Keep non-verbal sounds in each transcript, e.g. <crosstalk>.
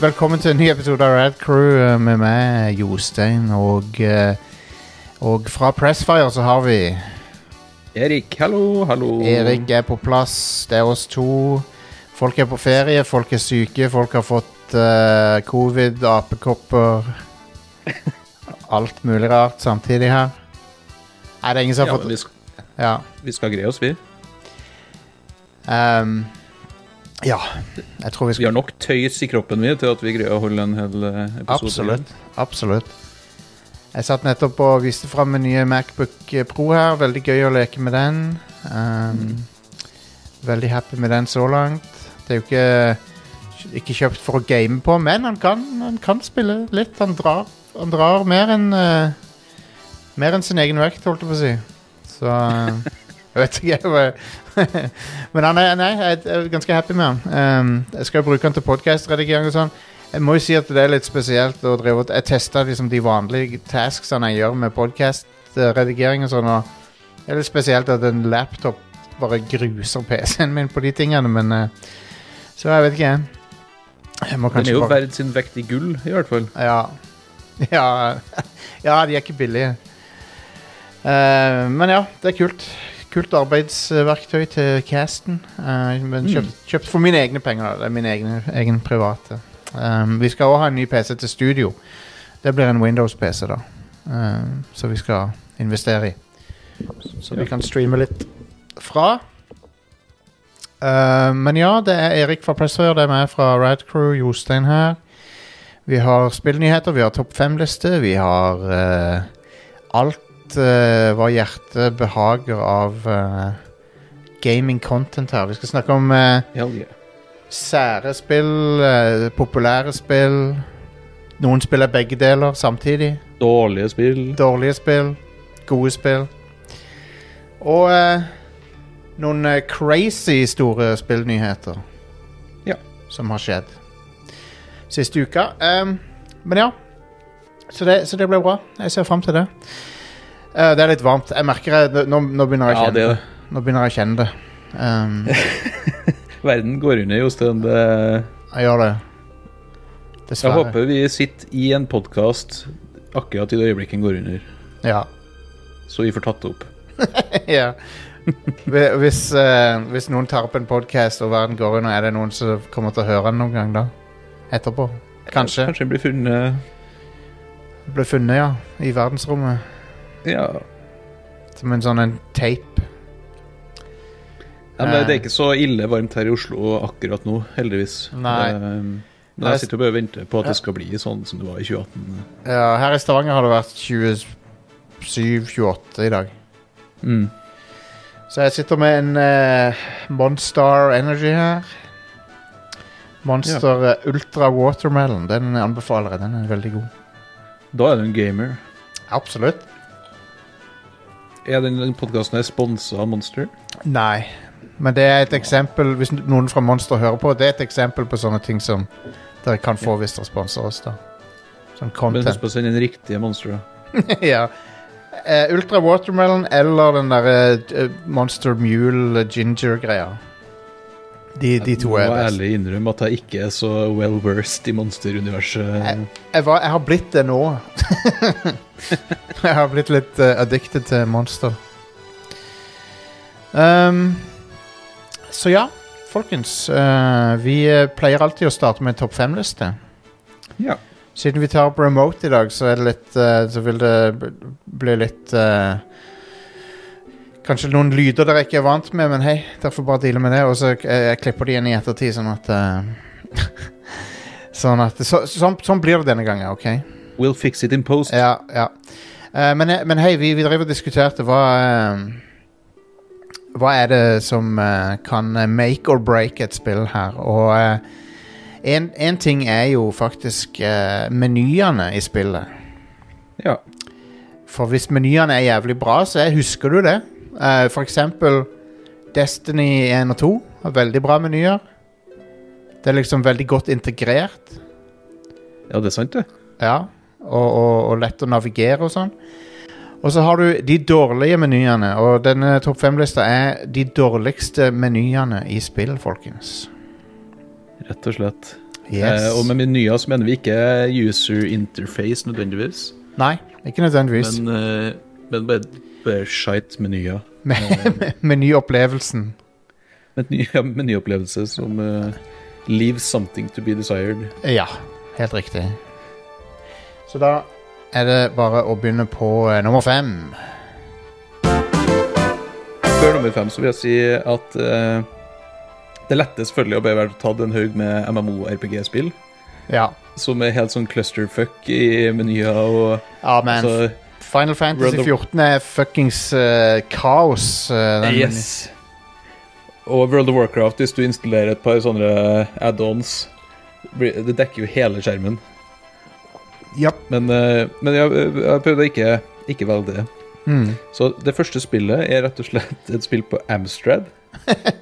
Velkommen til en ny episode av Rad Crew eh, med meg, Jostein. Og, eh, og fra Pressfire så har vi Erik, hallo, hallo. Erik er på plass, det er oss to. Folk er på ferie, folk er syke, folk har fått eh, covid, <laughs> apekopper Alt mulig rart samtidig her. Nei, det er ingen som Ja, har men vi, fått skal, Ja. vi skal greie oss, vi. ehm, ja. Jeg tror vi Vi skal har nok tøys i kroppen vi til at vi greier å holde en hel eh, episode. Absolutt. Absolutt. Jeg satt nettopp og viste fram min nye Macbook eh, Pro her. Veldig gøy å leke med den. Um, Veldig happy med den så langt. Det er jo ikke, ikke kjøpt for å game på, men han kan, han kan spille litt. Han drar, han drar mer enn eh, Mer enn sin egen vekt, holdt jeg på å si. Så eh, Jeg vet ikke, jeg bare <laughs> Men han er, nei, jeg er ganske happy med han. Um, jeg skal jo bruke han til podkastredigering og sånn. Jeg må jo si at det er litt spesielt å drive og Jeg testa liksom de vanlige tasksene jeg gjør med podkastredigering og sånn, og det er litt spesielt at en laptop bare gruser PC-en min på de tingene, men eh, Så jeg vet ikke, jeg. Jeg må Den er kanskje jo bare verd sin vekt i gull, i hvert fall. ja. <laughs> ja. Ja, de er ikke billige. Eh, men ja, det er kult. Kult arbeidsverktøy til casten. Eh, men kjøpt, kjøpt for mine egne penger. da. Det er min egne, egen private. Eh, vi skal òg ha en ny PC til studio. Det blir en Windows-PC, da. Eh, så vi skal investere i. Så vi Ja. kan streame litt fra. Eh, men ja, det er Erik fra Pressfire, det er meg fra Radcrew, Jostein her. Vi har spillnyheter, vi har topp fem-liste, vi har eh, alt eh, hva hjertet behager av eh, gaming content her. Vi skal snakke om eh, Hell yeah. sære spill, eh, populære spill. Noen spill er begge deler samtidig. Dårlige spill. Dårlige spill, gode spill. Og eh, noen eh, crazy store spillnyheter. Ja. Som har skjedd siste uka. Ehm, men ja. Så det, så det ble bra. Jeg ser fram til det. Eh, det er litt varmt. Jeg merker jeg, nå, nå begynner jeg å Ja, kjenne det er det. Nå begynner jeg å kjenne det. Ehm, Verden går under, Jostein. Det- jeg gjør det. Jeg Dessverre. håper vi sitter i en podkast akkurat i det øyeblikket den går under, Ja. så vi får tatt det opp. ja. Hvi- Hvis, eh, hvis noen tar opp en podkast og verden går under, er det noen som kommer til å høre den noen gang da? Etterpå? Kanskje. Kanskje den blir funnet Ble funnet, ja. I verdensrommet. Ja. Som en sånn en tape. Ja, Eh. men det er ikke så ille varmt her i Oslo akkurat nå, heldigvis. Nei. Ehm, men jeg sitter jo bare og venter på at det skal bli sånn som det var i 2018. Ja, her i Stavanger har det vært 27-28 i dag. Mm. Så jeg sitter med en eh, Monster Energy her. Monster eh, Ultra Watermelon. Den anbefaler jeg. Den er veldig god. Da er du en gamer. Absolutt. Er den podkasten sponsa av Monster? Nei, men det er et eksempel Hvis noen fra Monster hører på, det er et eksempel på sånne ting som dere kan få hvis dere sponser oss. da Sånn Men husk content. på å sende inn riktige Monster. da. <laughs> ja. Eh, Ultra Watermelon eller den derre eh, Monster Mule Ginger-greia. De, de to Jeg er må best. ærlig innrømme at jeg ikke er så well versed i monsteruniverset. Jeg, var, jeg har blitt det nå. <laughs> jeg har blitt litt eh, addicted til Monster. Ehm, så ja, folkens. eh, vi eh, pleier alltid å starte med en topp fem-liste. Ja. Siden vi tar opp remote i dag, så, er det litt, eh, så vil det bl- bli litt eh, Kanskje noen lyder dere ikke er vant med, men hei, dere får bare deale med det. Og så eh, jeg klipper de igjen i ettertid, sånn at eh, Sånn at så, sånn, sånn blir det denne gangen, OK? We'll fix it in post. Ja, ja. Eh, men, men hei, vi, vi drev og diskuterte hva eh, Hva er det som eh, kan make or break et spill her? Og eh, en, en ting er jo faktisk eh, menyene i spillet. Ja. For hvis menyene er jævlig bra, så er, husker du det. Eh, for eksempel Destiny 1 og 2 har veldig bra menyer. Det er liksom veldig godt integrert. ja, det er sant, det. Ja, og, og, og lett å navigere og sånn. Og så har du de dårlige menyene, og denne topp fem-lista er de dårligste menyene i spill, folkens. Rett og slett. Yes. Eh, og med menyer så mener vi ikke user interface nødvendigvis, Nei, ikke nødvendigvis. men, eh, men bare, bare shite menyer. <laughs> Men, menyopplevelsen. <laughs> Meny, ja, menyopplevelse som eh, leaves something to be desired. Ja, helt riktig. Så da er det bare å begynne på eh, nummer fem. Før nummer fem så vil jeg si at eh, det lette selvfølgelig å bare være tatt en haug med MMO-RPG-spill, Ja. som er helt sånn clusterfuck i menyer og Ja, men altså, Final Fantasy World of- 14 er fuckings eh, kaos. eh, den Yes. Og World of Warcraft, hvis du installerer et par sånne add-ons blir- Det dekker jo hele skjermen. menyen. Ja. Men, eh, men jeg, jeg prøvde å ikke, ikke velge det. Mm. Så det første spillet er rett og slett et spill på Amstrad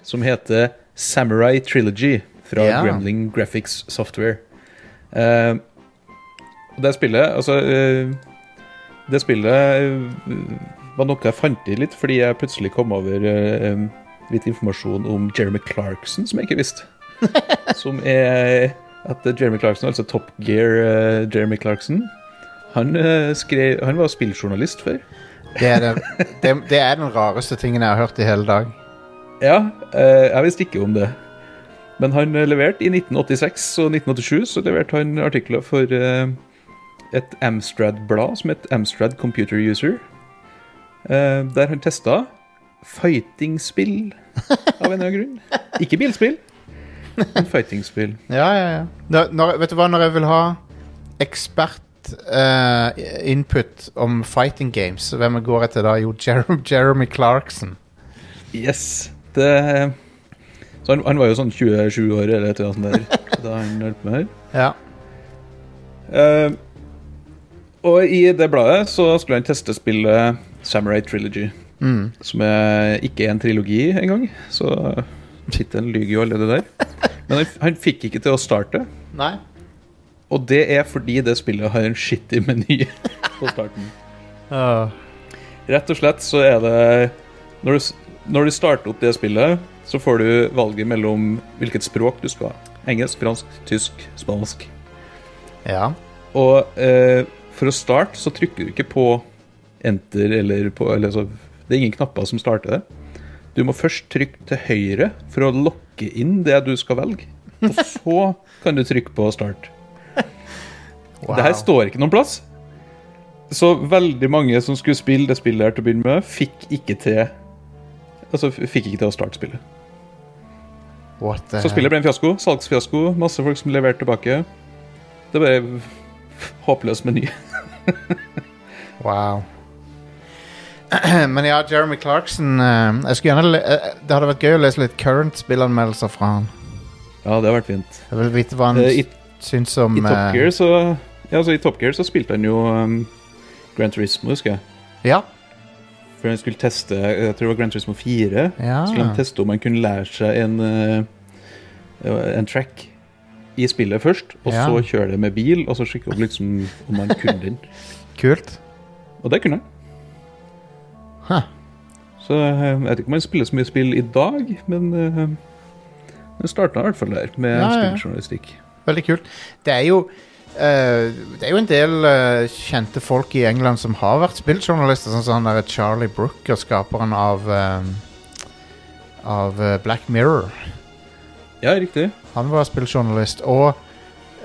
som heter Samurai Trilogy fra Ja. Gremlin Graphics Software. Eh, og det spillet Altså eh, Det spillet eh, var noe jeg fant i litt fordi jeg plutselig kom over eh, em, litt informasjon om Jeremy Clarkson som jeg ikke visste. Som er at Jeremy Clarkson, altså Top Gear eh, Jeremy Clarkson, han, eh, skrev, han var spilljournalist før. Det, er den, det, det er den rareste tingen jeg har hørt i hele dag. Ja, eh, jeg visste ikke om det. Men han eh, leverte i 1986 og 1987 så leverte han artikler for eh, et Amstrad-blad som het Amstrad Computer User, eh, der han testa fightingspill av en eller annen grunn. Ikke bilspill, men fightingspill. Ja, ja, ja. Når, når, vet du hva, når jeg vil ha ekspert eh, input om fighting games, hvem jeg går etter da? Jo, Jeremy, Jeremy Clarkson. Yes. Det, eh, så han, han var jo sånn 27 år eller et eller annet sånt der da han holdt på med her. Ja. Eh, og i det bladet så skulle han teste spillet Samurai Trilogy. Mm. Som er ikke er en trilogi engang, så tittelen lyger jo allerede der. Men han, han fikk ikke til å starte, Nei? og det er fordi det spillet har en skittig meny <laughs> på starten. Ah. Åh. Rett og slett så er det når du, s- når du starter opp det spillet, så får du valget mellom hvilket språk du skal ha. Engelsk, fransk, tysk, spansk. ja. Og eh, for å starte så trykker du ikke på enter eller på eller så, Det er ingen knapper som starter det. Du må først trykke til høyre for å lokke inn det du skal velge. Og så kan du trykke på start. Wow. Det her står ikke noen plass. Så veldig mange som skulle spille det spillet her til å begynne med, fikk ikke til Altså f- fikk ikke til å starte spillet. What the Så spillet ble en fiasko. Salgsfiasko. Masse folk som leverte tilbake. Det ble en håpløs meny. Wow. <clears throat> Men ja, Jeremy Clarkson eh, jeg skulle gjerne, le- eh, Det hadde vært gøy å lese litt current spillanmeldelser fra han. Ja, det har vært fint. Jeg vil vite hva han Eh, I syns om I eh, Top Gear så Ja, altså i Top Gear så spilte han jo um, Grand Turismo, husker jeg. Ja. For han skulle teste Jeg tror det var Grand Turismo 4. ja. Så skulle han teste om han kunne lære seg en uh, En track i spillet først, og Ja. så kjøre det med bil, og så sjekke opp liksom om han kunne den. Kult. Og det kunne han. Huh. Så uh, jeg vet ikke om han spiller så mye spill i dag, men uh, han starta i hvert fall der, med Ja, ja. spilljournalistikk. Veldig kult. Det er jo eh, Det er jo en del eh, kjente folk i England som har vært spilljournalister, sånn som han der Charlie Brooker, skaperen av eh, Av eh, Black Mirror. Ja, riktig. Han var spilljournalist. Og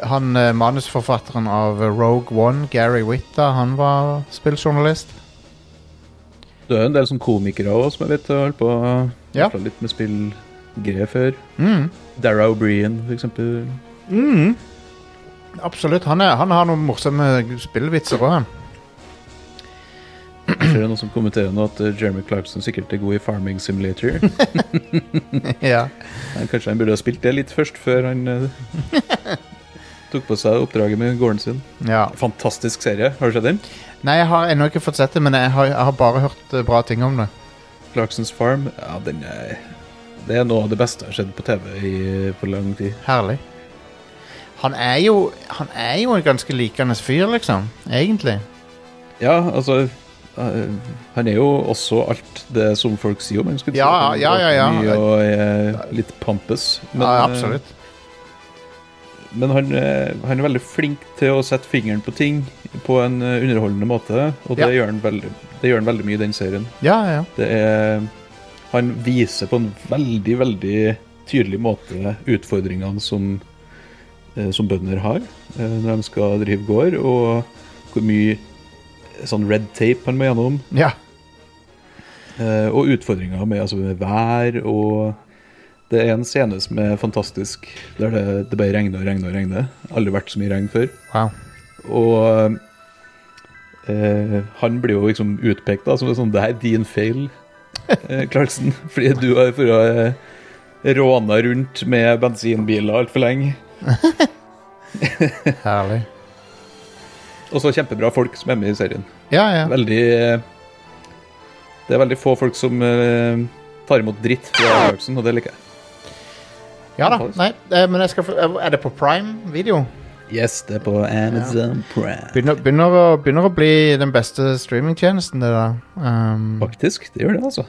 han eh, manusforfatteren av eh, Rogue One, Gary Whitta, han var spilljournalist. Det er jo en del sånn komikere òg som jeg vet har eh, holdt på Ja. ja. litt med spillgreier før. Mm. Dara O'Brien, for eksempel. Absolutt. Han, er, han har noen morsomme spillvitser òg, han. Ser det noen som kommenterer nå at eh, Jeremy Clarkson sikkert er god i Farming Simulator. <laughs> ja. Men Kanskje han burde ha spilt det litt først, før han eh, tok på seg oppdraget med gården sin. ja. Fantastisk serie. Har du sett den? Nei, jeg har ennå ikke fått sett det, men jeg har, jeg har bare hørt eh, bra ting om det. Clarksons Farm. Ja, den er Det er noe av det beste jeg har sett på TV i, på lang tid. Herlig. Han er jo Han er jo en ganske likende fyr, liksom. Egentlig. Ja, altså eh, han er jo også alt det som folk sier om ham. skulle du Ja, si. Han er ja, ja, ja. mye Og er litt pampus. men, ja, eh, absolutt. Men han, eh, han er veldig flink til å sette fingeren på ting på en eh, underholdende måte. Og det, gjør han veldig, det gjør han veldig mye i den serien. Ja, ja. Det er, han viser på en veldig, veldig tydelig måte utfordringene som, eh, som bønder har eh, når de skal drive gård, og hvor mye sånn red tape han må gjennom. ja. Eh, og utfordringer med, altså med vær og Det er en scene som er fantastisk, der det, det bare regner og regner og regner. Aldri vært så mye regn før. Wow. Og eh, han blir jo liksom utpekt da, som en sånn Det er din feil, eh, Clarkson. <laughs> Fordi du har for å eh, råna rundt med bensinbiler altfor lenge. <laughs> Herlig. Og så kjempebra folk som er med i serien. Ja, ja. Veldig eh, Det er veldig få folk som eh, tar imot dritt fra Clarkson, og det liker jeg. Ja da. Nei, eh, men jeg skal få Er det på prime video? Yes, det er på Amazon Prime. Begynner, begynner, å, begynner å bli den beste streamingtjenesten, det der. Um, Faktisk, det gjør det, altså.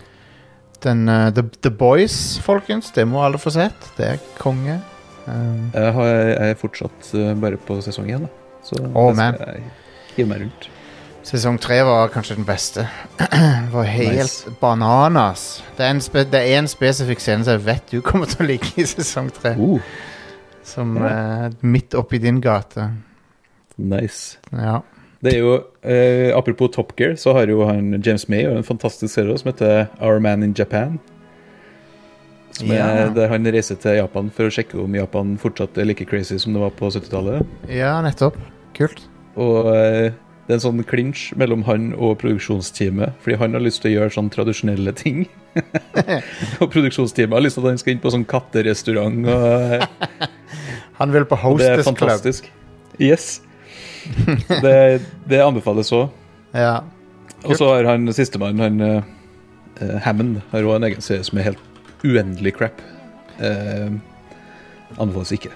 den, eh, the, the Boys, folkens. Det må alle få sett. Det er konge. Um, Jeg, har, jeg er fortsatt eh, bare på sesong én, da. Så Åh, det man. skal jeg hive meg rundt. sesong tre var kanskje den beste. <clears throat> Det var helt Nice. bananas. Det er en spe- det er en spesifikk scene som jeg vet du kommer til å like i sesong tre. Uh, Som er midt oppi din gate. nice. Ja. Det er jo, eh, Apropos Top Gear, så har jo han James May og en fantastisk serie også, som heter Our Man in Japan. Som Ja. er der han reiser til Japan for å sjekke om Japan fortsatt er like crazy som det var på 70-tallet. ja, nettopp. Kult. Og eh, det er en sånn clinch mellom han og produksjonsteamet, fordi han har lyst til å gjøre sånn tradisjonelle <laughs> ting. og produksjonsteamet har lyst til at han skal inn på sånn katterestaurant, og, eh, Han vil på og det er Hostess Club. fantastisk. Yes. Det, det anbefales òg. Ja. Og så har han sistemann, han eh, eh, Hammond, har òg en egen serie som er helt uendelig crap. Eh, anbefales ikke.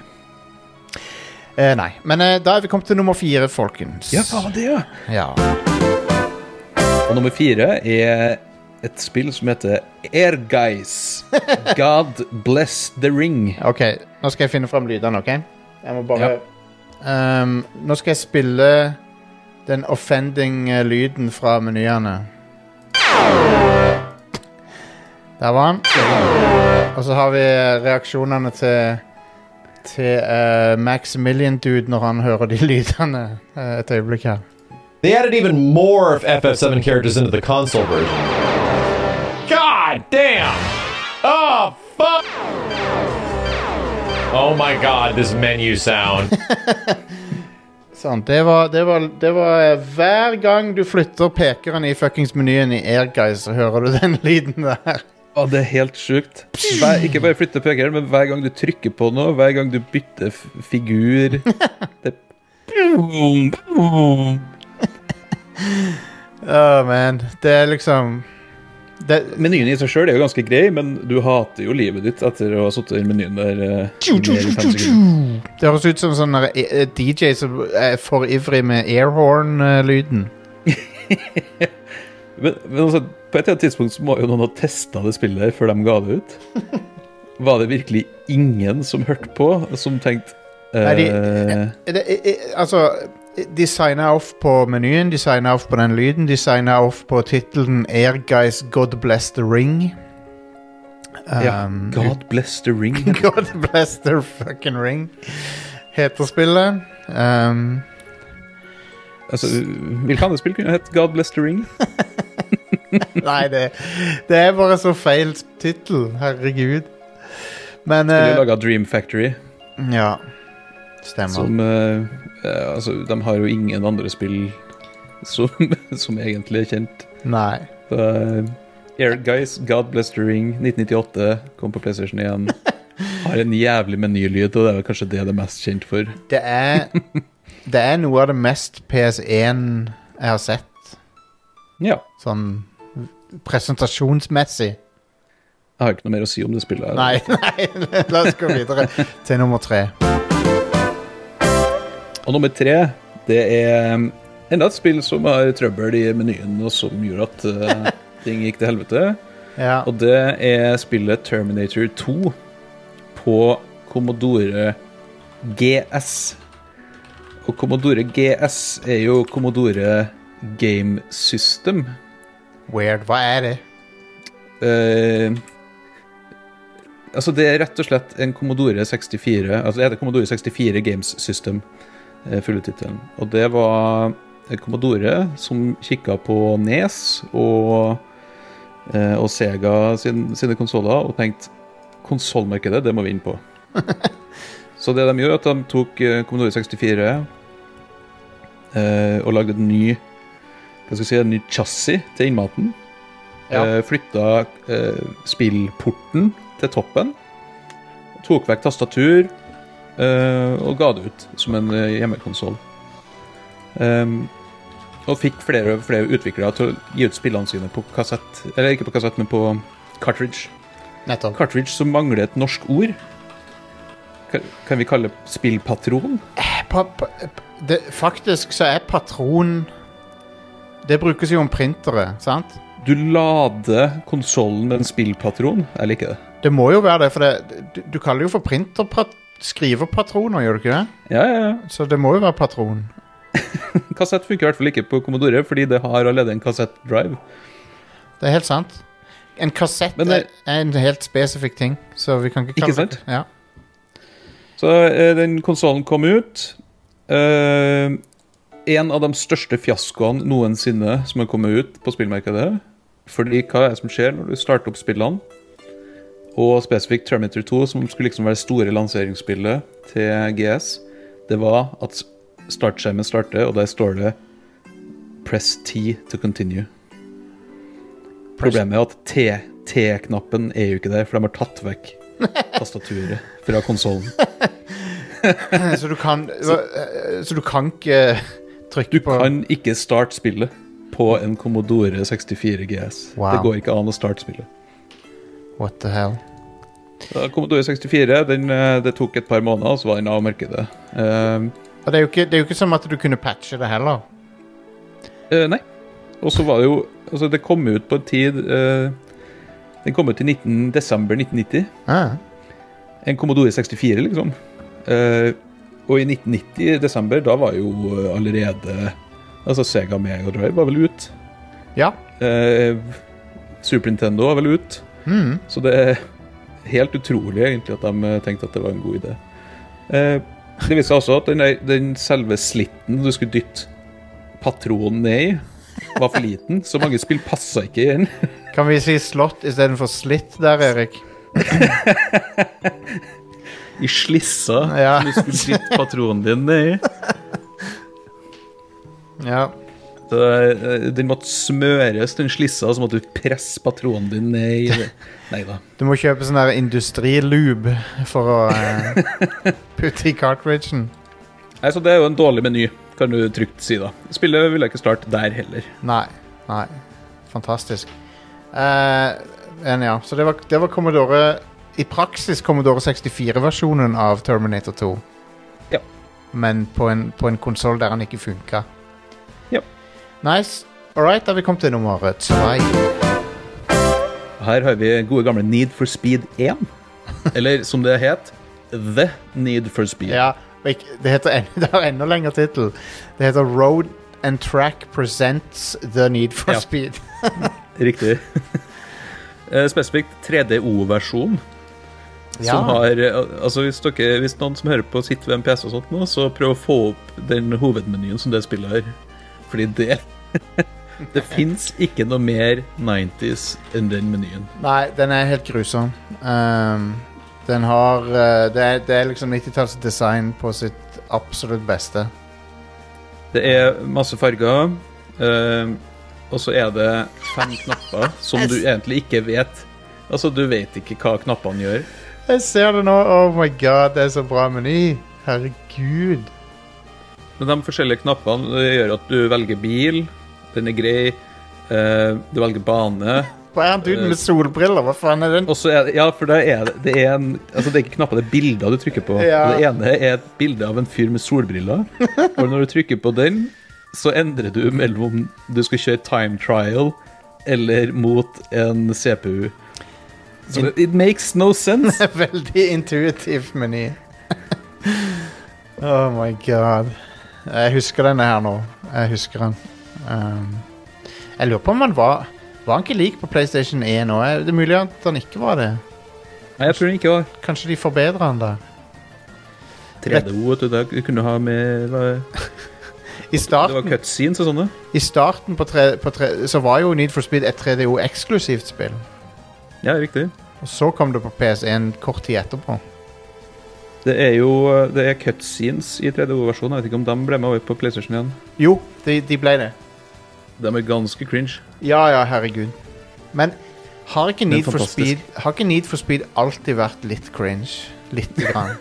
Eh, nei. Men eh, da er vi kommet til nummer fire, folkens. det, ja. ja. Og nummer fire er et spill som heter Air Guys. God bless the ring. Ok, nå skal jeg finne frem lydene, ok? Jeg må bare... Ehm, nå skal jeg spille den offending eh, lyden fra menyene. Der var han. Og så har vi eh, reaksjonene til, til eh, Maximilian-dude når han hører de <laughs> lydene eh, et øyeblikk her. They added even more of FF7 characters into the console version. God damn! Oh, fuck! Oh my god, this menu sound. Sånn, det var, det var, det var eh, hver gang du flytter pekeren i fuckings menyen i Airguys, så hører du den <laughs> lyden der. Å, det er helt sjukt. Hver, ikke bare flytte pekeren, men hver gang du trykker på noe, hver gang du bytter f figur <laughs> det, Åh, man. Det er liksom det, Menyen i seg sjøl er jo ganske grei, men du hater jo livet ditt etter å ha sittet i menyen der eh, i mer enn fem sekunder. det høres ut som sånn der, eh, DJ som er for ivrig med airhorn-lyden. Men, men altså, på et eller annet tidspunkt så må jo noen ha testa det spillet her før de ga det <laughs> ut. Var det virkelig ingen som hørte på, som tenkte Nei, de- eh, Det- eh, eh, Altså De signa off på menyen, de signa off på den lyden, de signa off på tittelen Airguys God Bless The Ring. ja, Um, God bless the ring. <laughs> God Bless The Fucking Ring heter spillet. <laughs> Um, <laughs> Altså, hvilke andre spill kunne hett God bless the ring? nei, det, det er bare så feil tittel. Herregud. Men Eller eh, laga Dream Factory, Ja. Stemmer. som eh, eh, Altså, de har jo ingen andre spill som, <laughs> som egentlig er kjent. Nei. Uh, Air Guys, God Bless the Ring, 1998, kom på PlayStation <laughs> 1. Har en jævlig menylyd, og det er vel kanskje det det er mest kjent for. Det er Det er noe av det mest PS1 jeg har sett. Ja. Sånn presentasjonsmessig. Jeg har ikke noe mer å si om det spillet. her. Nei, <laughs> nei, la oss gå videre til nummer tre. Og nummer tre, det er um, enda et spill som har trøbbel i menyen, og som gjorde at eh, ting gikk til helvete. Ja. Og det er spillet Terminator 2 på Commodore GS. Og Commodore GS er jo Commodore Game System. Weird. Hva er det? Eh, altså, det er rett og slett en Commodore 64 Altså, det heter Commodore 64 Games System, eh, fulle tittelen. Og det var en Commodore som kikka på Nes og, eh, og Sega sin, sine konsoller og tenkte konsollmarkedet, det må vi inn på. Så det de gjorde, er at de tok eh, Commodore 64 eh, og lagde en ny hva skal jeg si, en ny chassis til innmaten. Ja. Eh, flytta eh, spillporten til toppen. Tok vekk tastatur eh, og ga det ut som en eh, hjemmekonsoll. Ehm, og fikk flere og flere utviklere til å gi ut spillene sine på kassett. Eller ikke på kassett, men på cartridge. Nettopp. Cartridge som mangler et norsk ord. Ka- Kan vi kalle det spillpatron? Pa, pa, pa- det, faktisk så er patron Det brukes jo om printere, sant? Du lader konsollen med en spillpatron. Jeg liker det. Det må jo være det, for det, du, du kaller det jo for printerpat... Skriverpatroner, gjør du ikke det? Ja, ja, ja. Så det må jo være patron. Kassett funker i hvert fall ikke på Commodore, fordi det har allerede en kassettdrive. Det er helt sant. En kassett Men det- er er en helt spesifikk ting, så vi kan ikke Ikke kalle sant? det <laughs> ja. Så eh, den konsollen kom ut. Eh, en av de største fiaskoene noensinne som har kommet ut på spillmarkedet. Fordi hva er det som skjer når du starter opp spillene? Og spesifikt Terminator 2, som skulle liksom være det store lanseringsspillet til GS, det var at startskjermen starter, og der står det 'Press T to continue'. Problemet er at T- T-knappen er jo ikke der, for de har tatt vekk tastaturet fra konsollen. Så du kan Så, så du kan ikke eh, trykke Du på kan ikke starte spillet på en Commodore 64 GS. Wow. Det går ikke an å starte spillet. What the hell? Da Commodore 64 den, eh, det tok et par måneder, så var den av markedet. Ehm, Og det er, jo ikke, det er jo ikke som at du kunne patche det heller. eh, nei. Og så var det jo Altså, det kom ut på en tid eh, Den kom ut i 19, desember 1990. Ah, En Commodore 64, liksom. Eh, og i 1990, i desember, da var jo eh, allerede Altså, Sega Mega Drive var vel ut. ja. Eh, Super Nintendo var vel ut. Mm. Så det er helt utrolig egentlig at de eh, tenkte at det var en god idé. Eh, det viser seg også at den, den selve slitten du skulle dytte patronen ned i, var for liten. Så mange spill passa ikke i den. Kan vi si slått istedenfor slitt der, Erik? I slissa Ja. du skulle dytte patronen din ned i. Ja. Så, eh, den måtte smøres, den slissa, og så måtte du presse patronen din ned i det. Nei da. Du må kjøpe sånn der industrilube for å <laughs> eh, putte i cartridgen. Nei, så det er jo en dårlig meny, kan du trygt si da. Spillet vil jeg ikke starte der heller. Nei. Nei. Fantastisk. Eh, men ja, så det var, det var Commodore I praksis Commodore 64-versjonen av Terminator 2. Ja. Men på en, på en konsoll der den ikke funka. Ja. Nice. All right, da har vi kommet til nummer to. Her har vi gode gamle Need for Speed 1. Eller som det het, The Need for Speed. Ja, og ikke- det, heter en, <laughs> det har enda lengre tittel. Det heter Road and Track Presents The Need for Ja. Speed. <laughs> Riktig. Eh, Spesifikt 3DO-versjon. Som har eh, al- Altså, hvis, dere, hvis noen som hører på, sitter ved en PC og sånt nå, så prøv å få opp den hovedmenyen som det spillet har. Fordi det <laughs> Det fins ikke noe mer 90s enn den menyen. Nei, den er helt grusom. Ehm, den har eh, det, er, det er liksom 90-tallsdesign på sitt absolutt beste. Det er masse farger, eh, og så er det fem knapper som du egentlig ikke vet. Altså, du vet ikke hva knappene gjør. Jeg ser det nå! Oh my god, det er så bra meny! Herregud. Men de forskjellige knappene eh, gjør at du velger bil, den er grei, eh, du velger bane, Hva er han duden med solbriller? Hva faen er den? og så er det Ja, for det er, det- det er en Altså, det er ikke knapper, det er bilder du trykker på. Ja. Og det ene er et bilde av en fyr med solbriller, og når du trykker på den, så endrer du mellom om du skal kjøre time trial eller mot en CPU. <laughs> Så det, it makes no sense. Veldig intuitiv meny. Oh my god. Jeg husker denne her nå. Jeg husker den. Um, jeg lurer på om han var Var han ikke lik på PlayStation 1 òg? Er Det er mulig at han ikke var det. Nei, jeg tror den ikke var Kanskje de forbedrer han der. 3DO. Vet du, da kunne du ha med hva- I Det var starten, cutscenes og sånne. i starten på tre, på tre, så var jo Need for Speed et 3DO eksklusivt spill. Ja, riktig. Og så kom det på PS1 kort tid etterpå. Det er jo det er cutscenes i 3DO-versjonen. Jeg vet ikke om de ble med over på PlayStation igjen. Jo, de, de ble det. De er ganske cringe. Ja ja, herregud. Men har ikke er Need for fantastisk. Speed Har ikke Need for Speed alltid vært litt cringe? Lite <laughs> grann.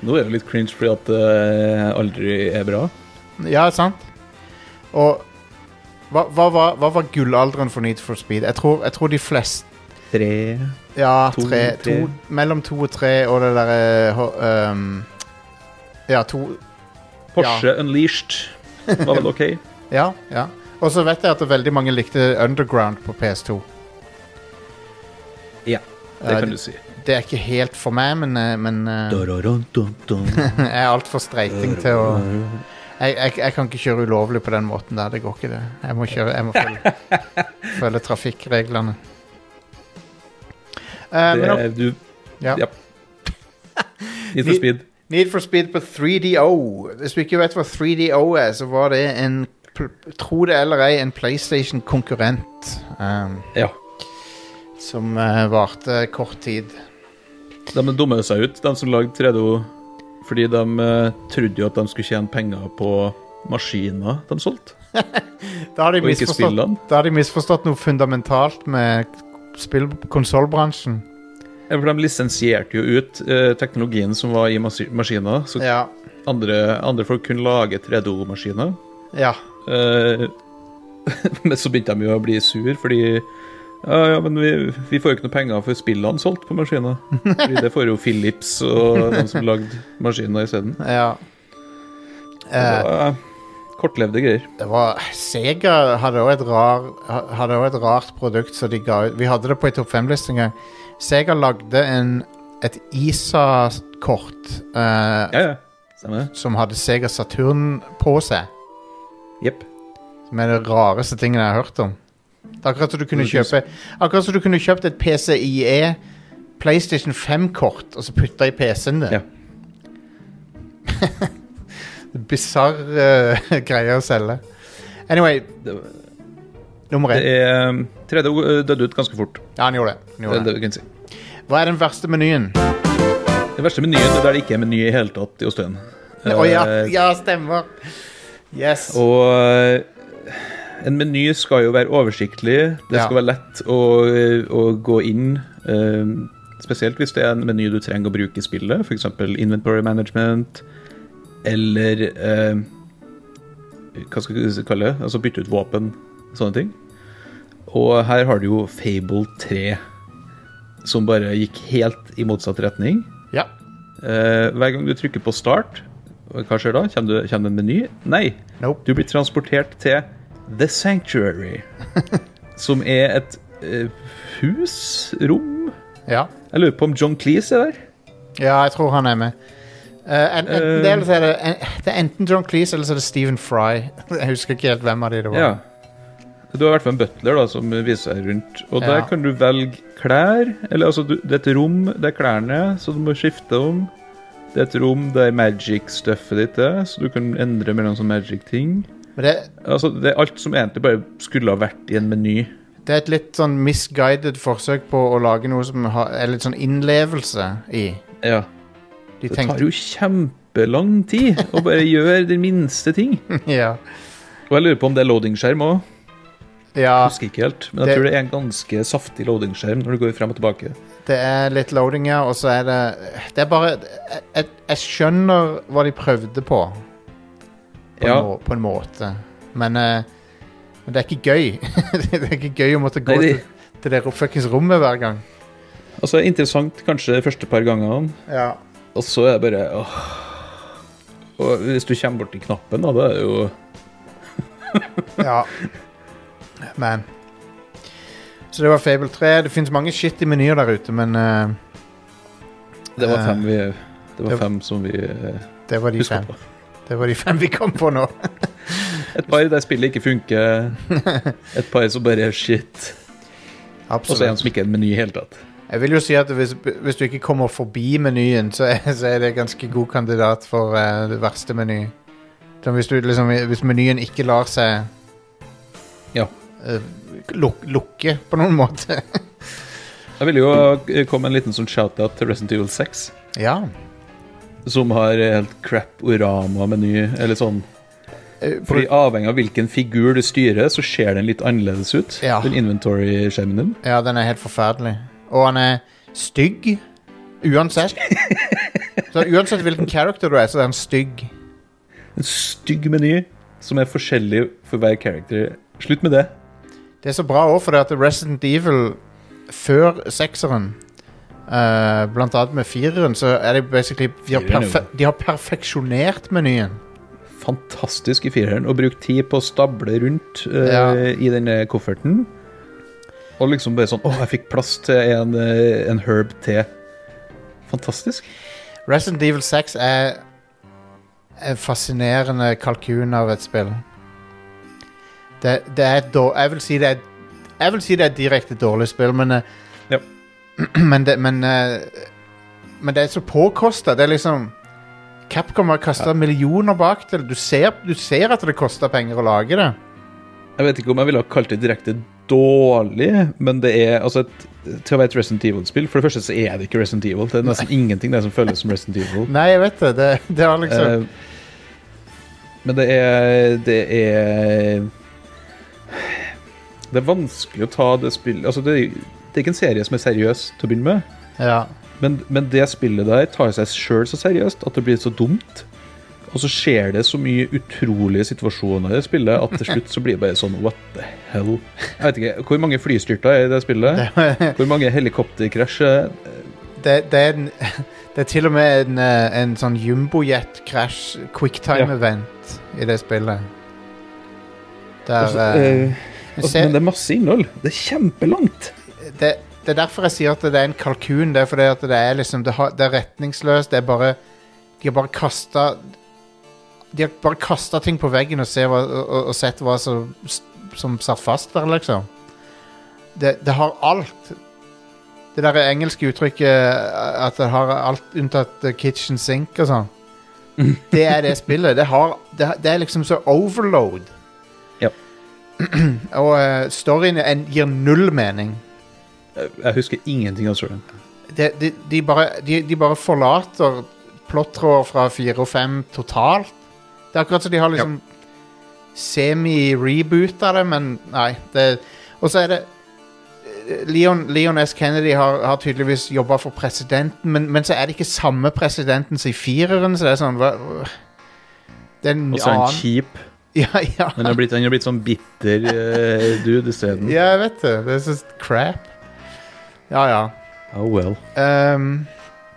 Nå er det litt cringe fordi at det aldri er bra. Ja, sant. Og hva, hva, var- hva var gullalderen for Need for Speed? Jeg tror, jeg tror de fleste Tre Ja, To, tre, tre. to, mellom to og tre og det derre ho- um, Ja, to Porsche Unleashed var vel OK? Ja. ja. Og så vet jeg at veldig mange likte Underground på PS2. <laughs> Ja, det Eh, kan du si. Det er ikke helt for meg, men, eh, men eh, Dun-dun-dun-dun. <laughs> jeg er altfor streiting til å jeg, jeg, jeg kan ikke kjøre ulovlig på den måten der. Det går ikke, det. Jeg må, kjøre, jeg må <laughs> følge, følge trafikkreglene. Eh, Det men ok. er du Ja. Ja. Need for Vi- speed. Need for Speed på 3DO. Hvis du ikke vet hva 3DO er, så var det en pl- Tro det eller ei, en PlayStation-konkurrent ehm, Ja. som eh, varte kort tid. De dummer seg ut, de som lagde 3DO, fordi de eh, trodde jo at de skulle tjene penger på maskiner de solgte, Da har de og ikke misforstått, spillene. da har de misforstått noe fundamentalt med spill- konsollbransjen. Ja, For de lisensierte jo ut eh, teknologien som var i masi- maskiner, så Ja. andre, andre folk kunne lage 3DO-maskiner. ja. Eh, <laughs> men så begynte de jo å bli sur, fordi ja, ja, men vi, vi får jo ikke noe penger for spillene solgt på maskiner. Fordi det får jo Philips og de som lagde maskiner isteden. ja. Eh, Uh, kortlevde greier. det var Sega hadde også et, rar, ha- hadde også et rart produkt som de ga ut. Vi hadde det på en topp fem-liste en gang. Sega lagde en, et ISA-kort eh, Ja, ja. Stemmer. som hadde Sega Saturn på seg. Jepp. Som er det rareste tingene jeg har hørt om. Det er akkurat som du kunne kjøpe Akkurat som du kunne kjøpt et PCIe E, PlayStation 5-kort og så putta i PC-en din. <laughs> Ja. Bisarr eh, <laughs> greie å selge. Anyway, Det, nummer det én. er 3D eh, døde ut ganske fort. Ja, han gjorde det. Han Det, er gjorde det, det. vi kan si. Hva er den verste menyen? det verste menyen er der det ikke er meny i hele tatt i Eh, Osteøyen. Å ja, ja, stemmer. Yes. Og eh, en meny skal jo være oversiktlig. Det Ja. skal være lett å, å gå inn. eh, Spesielt hvis det er en meny du trenger å bruke i spillet, f.eks. inventory management eller eh, Hva skal vi kalle det? Altså bytte ut våpen. Sånne ting. Og her har du jo Fable 3, som bare gikk helt i motsatt retning. Ja. Eh, hver gang du trykker på start, hva skjer da? Kommer det kommer det en meny? Nei. Nope. Du blir transportert til The <laughs> Sanctuary, som er et eh, hus? Rom? Ja. Jeg lurer på om John Cleese er der? ja, jeg tror han er med. Eh, en, enten det, eller Eh. så er det, en, det er enten John Cleese eller så er det Stephen Fry. <laughs> Jeg husker ikke helt hvem av de det var. Ja. Du har i hvert fall en butler da, som viser deg rundt. Og der Ja. kan du velge klær. Eller altså, du, det er et rom der klærne er, så du må skifte om. Det er et rom der magic-stuffet ditt er, så du kan endre mellom sånne magic-ting. Men det, Altså, det er alt som egentlig bare skulle ha vært i en meny. det er et litt sånn misguided forsøk på å lage noe som har, er litt sånn innlevelse i. Ja. De Det tar tenkte jo kjempelang tid å bare <laughs> gjøre den minste ting. <laughs> Ja. Og jeg lurer på om det er loadingskjerm òg. ja. Husker ikke helt. Men jeg Det- tror det er en ganske saftig loadingskjerm når du går frem og tilbake. Det er litt loading, ja, og så er det Det er bare Jeg, jeg- jeg skjønner hva de prøvde på. På, Ja. en, må, på en måte. Men eh, men det er ikke gøy. <laughs> det er ikke gøy å måtte gå Nei, det- til, til det ro- fuckings rommet hver gang. Altså Interessant kanskje de første par gangene, Ja. og så er det bare åh. Og hvis du kommer borti knappen, da, da er det jo ja. Men Så det var Fable 3. Det fins mange shitty menyer der ute, men eh, Det var fem, vi, det Det- var fem som vi eh, Det var de Husk fem. på. Det var de fem vi kom på <laughs> nå. Et par der spillet ikke funker. <laughs> Et par som bare er shit. Og så en som ikke er en meny i det hele tatt. Jeg vil jo si at hvis, hvis du ikke kommer forbi menyen, så er, så er det ganske god kandidat for eh, det verste meny. Så hvis, du, liksom, hvis menyen ikke lar seg Ja. eh, luk, lukke på noen måte. Jeg ville jo eh, komme en liten sånn shout-out til Resident Evil 6, ja. som har eh, helt crap Orama-meny, eller sånn. Eh, Fordi avhengig av hvilken figur du styrer, så ser den litt annerledes ut. Ja. Den inventory-skjermen din. ja, den er helt forferdelig. Og han er stygg. Uansett. <laughs> Så uansett hvilken character du er, så er han stygg. En stygg meny som er forskjellig for hver character. Slutt med det. Det er så bra òg, for det at Resident Evil før sekseren eh, Blant annet med fireren, så er det basically De har, Fireren er jo- perfe de har perfeksjonert menyen. Fantastisk i fireren. Å bruke tid på å stable rundt eh, Ja. i denne kofferten. Og liksom bare sånn Å, jeg fikk plass til en, eh, en herb til. Fantastisk. Resident Evil 6 er en fascinerende kalkun av et spill. Det, det er et dår- Jeg vil si det er Jeg vil si det er et direkte dårlig spill, men eh, Ja. <clears throat> Men det, men, eh, men det er så påkosta. Det er liksom Capcom har kasta millioner bak det. Du ser, du ser at det kosta penger å lage det. Jeg vet ikke om jeg ville ha kalt det direkte dårlig, men det er altså et, Til å være et Resident Evil-spill For det første så er det ikke Resident Evil. Det er nesten ingenting der som føles som Resident Evil. Nei, jeg vet det. Det, det har liksom Eh, men det er Det er Det er vanskelig å ta det spillet Altså, det, er- det er ikke en serie som er seriøs til å begynne med, Ja. men, men det spillet der tar seg sjøl så seriøst at det blir så dumt. Og så skjer det så mye utrolige situasjoner i det spillet at til slutt så blir det bare sånn What the hell? Jeg vet ikke, Hvor mange flystyrter er i det spillet? Hvor mange helikopterkrasjer? Det, det, er en, <laughs> det er til og med en, eh, en sånn jumbojet crash Ja. quicktime-event i det spillet. Der Altså, eh, eh, jeg altså, ser- men det er masse innhold. Det er kjempelangt. det, det er derfor jeg sier at det er en kalkun. Det er fordi at det er liksom Det, har, det er retningsløst. Det er bare De har bare kasta De har bare kasta ting på veggen og, se hva, og, og sett hva som, som satt fast der, liksom. Det, det har alt. Det der engelske uttrykket eh, at det har alt unntatt eh, kitchen sink og sånn. Det er det spillet. Det, har, det, det er liksom så overload. Ja. <clears throat> og eh, storyen er- gir null mening. Jeg jeg husker ingenting av storyen. de, de, de, bare, de, de bare forlater plottråder fra fire og fem totalt. Det er akkurat som de har liksom semi-reboota det, men nei. Det, og så er det Leon, Leon S. Kennedy har, har tydeligvis jobba for presidenten, men, men så er det ikke samme presidenten som i fireren, så det er sånn hva, Det er en Og så er han annen kjip. <laughs> ja, ja. Han har blitt, han har blitt sånn bitter eh, dude isteden. ja, jeg vet det. Det er så crap. Ja, ja. Oh well. Ehm,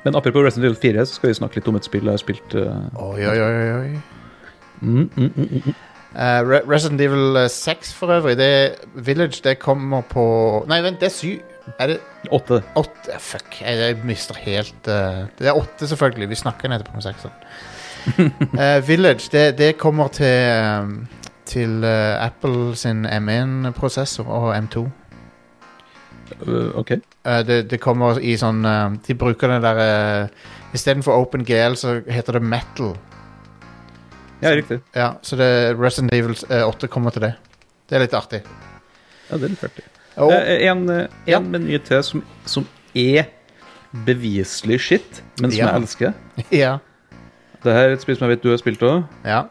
Men apropos Resident Evil 4, så skal vi snakke litt om et spill jeg har spilt. eh, oi, oi, oi, oi, oi. mm, mm, mm, mm. Eh, Re Resident Evil eh, 6 for øvrig, det Village, det kommer på Nei, vent, det er 7. Er det Åtte. 8? Fuck, jeg, jeg mister helt eh, Det er 8, selvfølgelig. Vi snakker nettopp om 6. Eh, Village, det, det kommer til eh, til eh, Apple sin M1-prosessor og M2. Eh, OK. Eh, det, det kommer i sånn eh, De bruker den derre uh, Istedenfor OpenGL så heter det Metal. Ja, riktig. Ja, Så det, Resident Evil eh, 8 kommer til det. Det er litt artig. Ja, det er litt artig. Og, Eh, en eh, Ja. en meny til som, som er beviselig shit, men som Ja. jeg elsker. ja, Det her er et spill som jeg vet du har spilt òg. ja.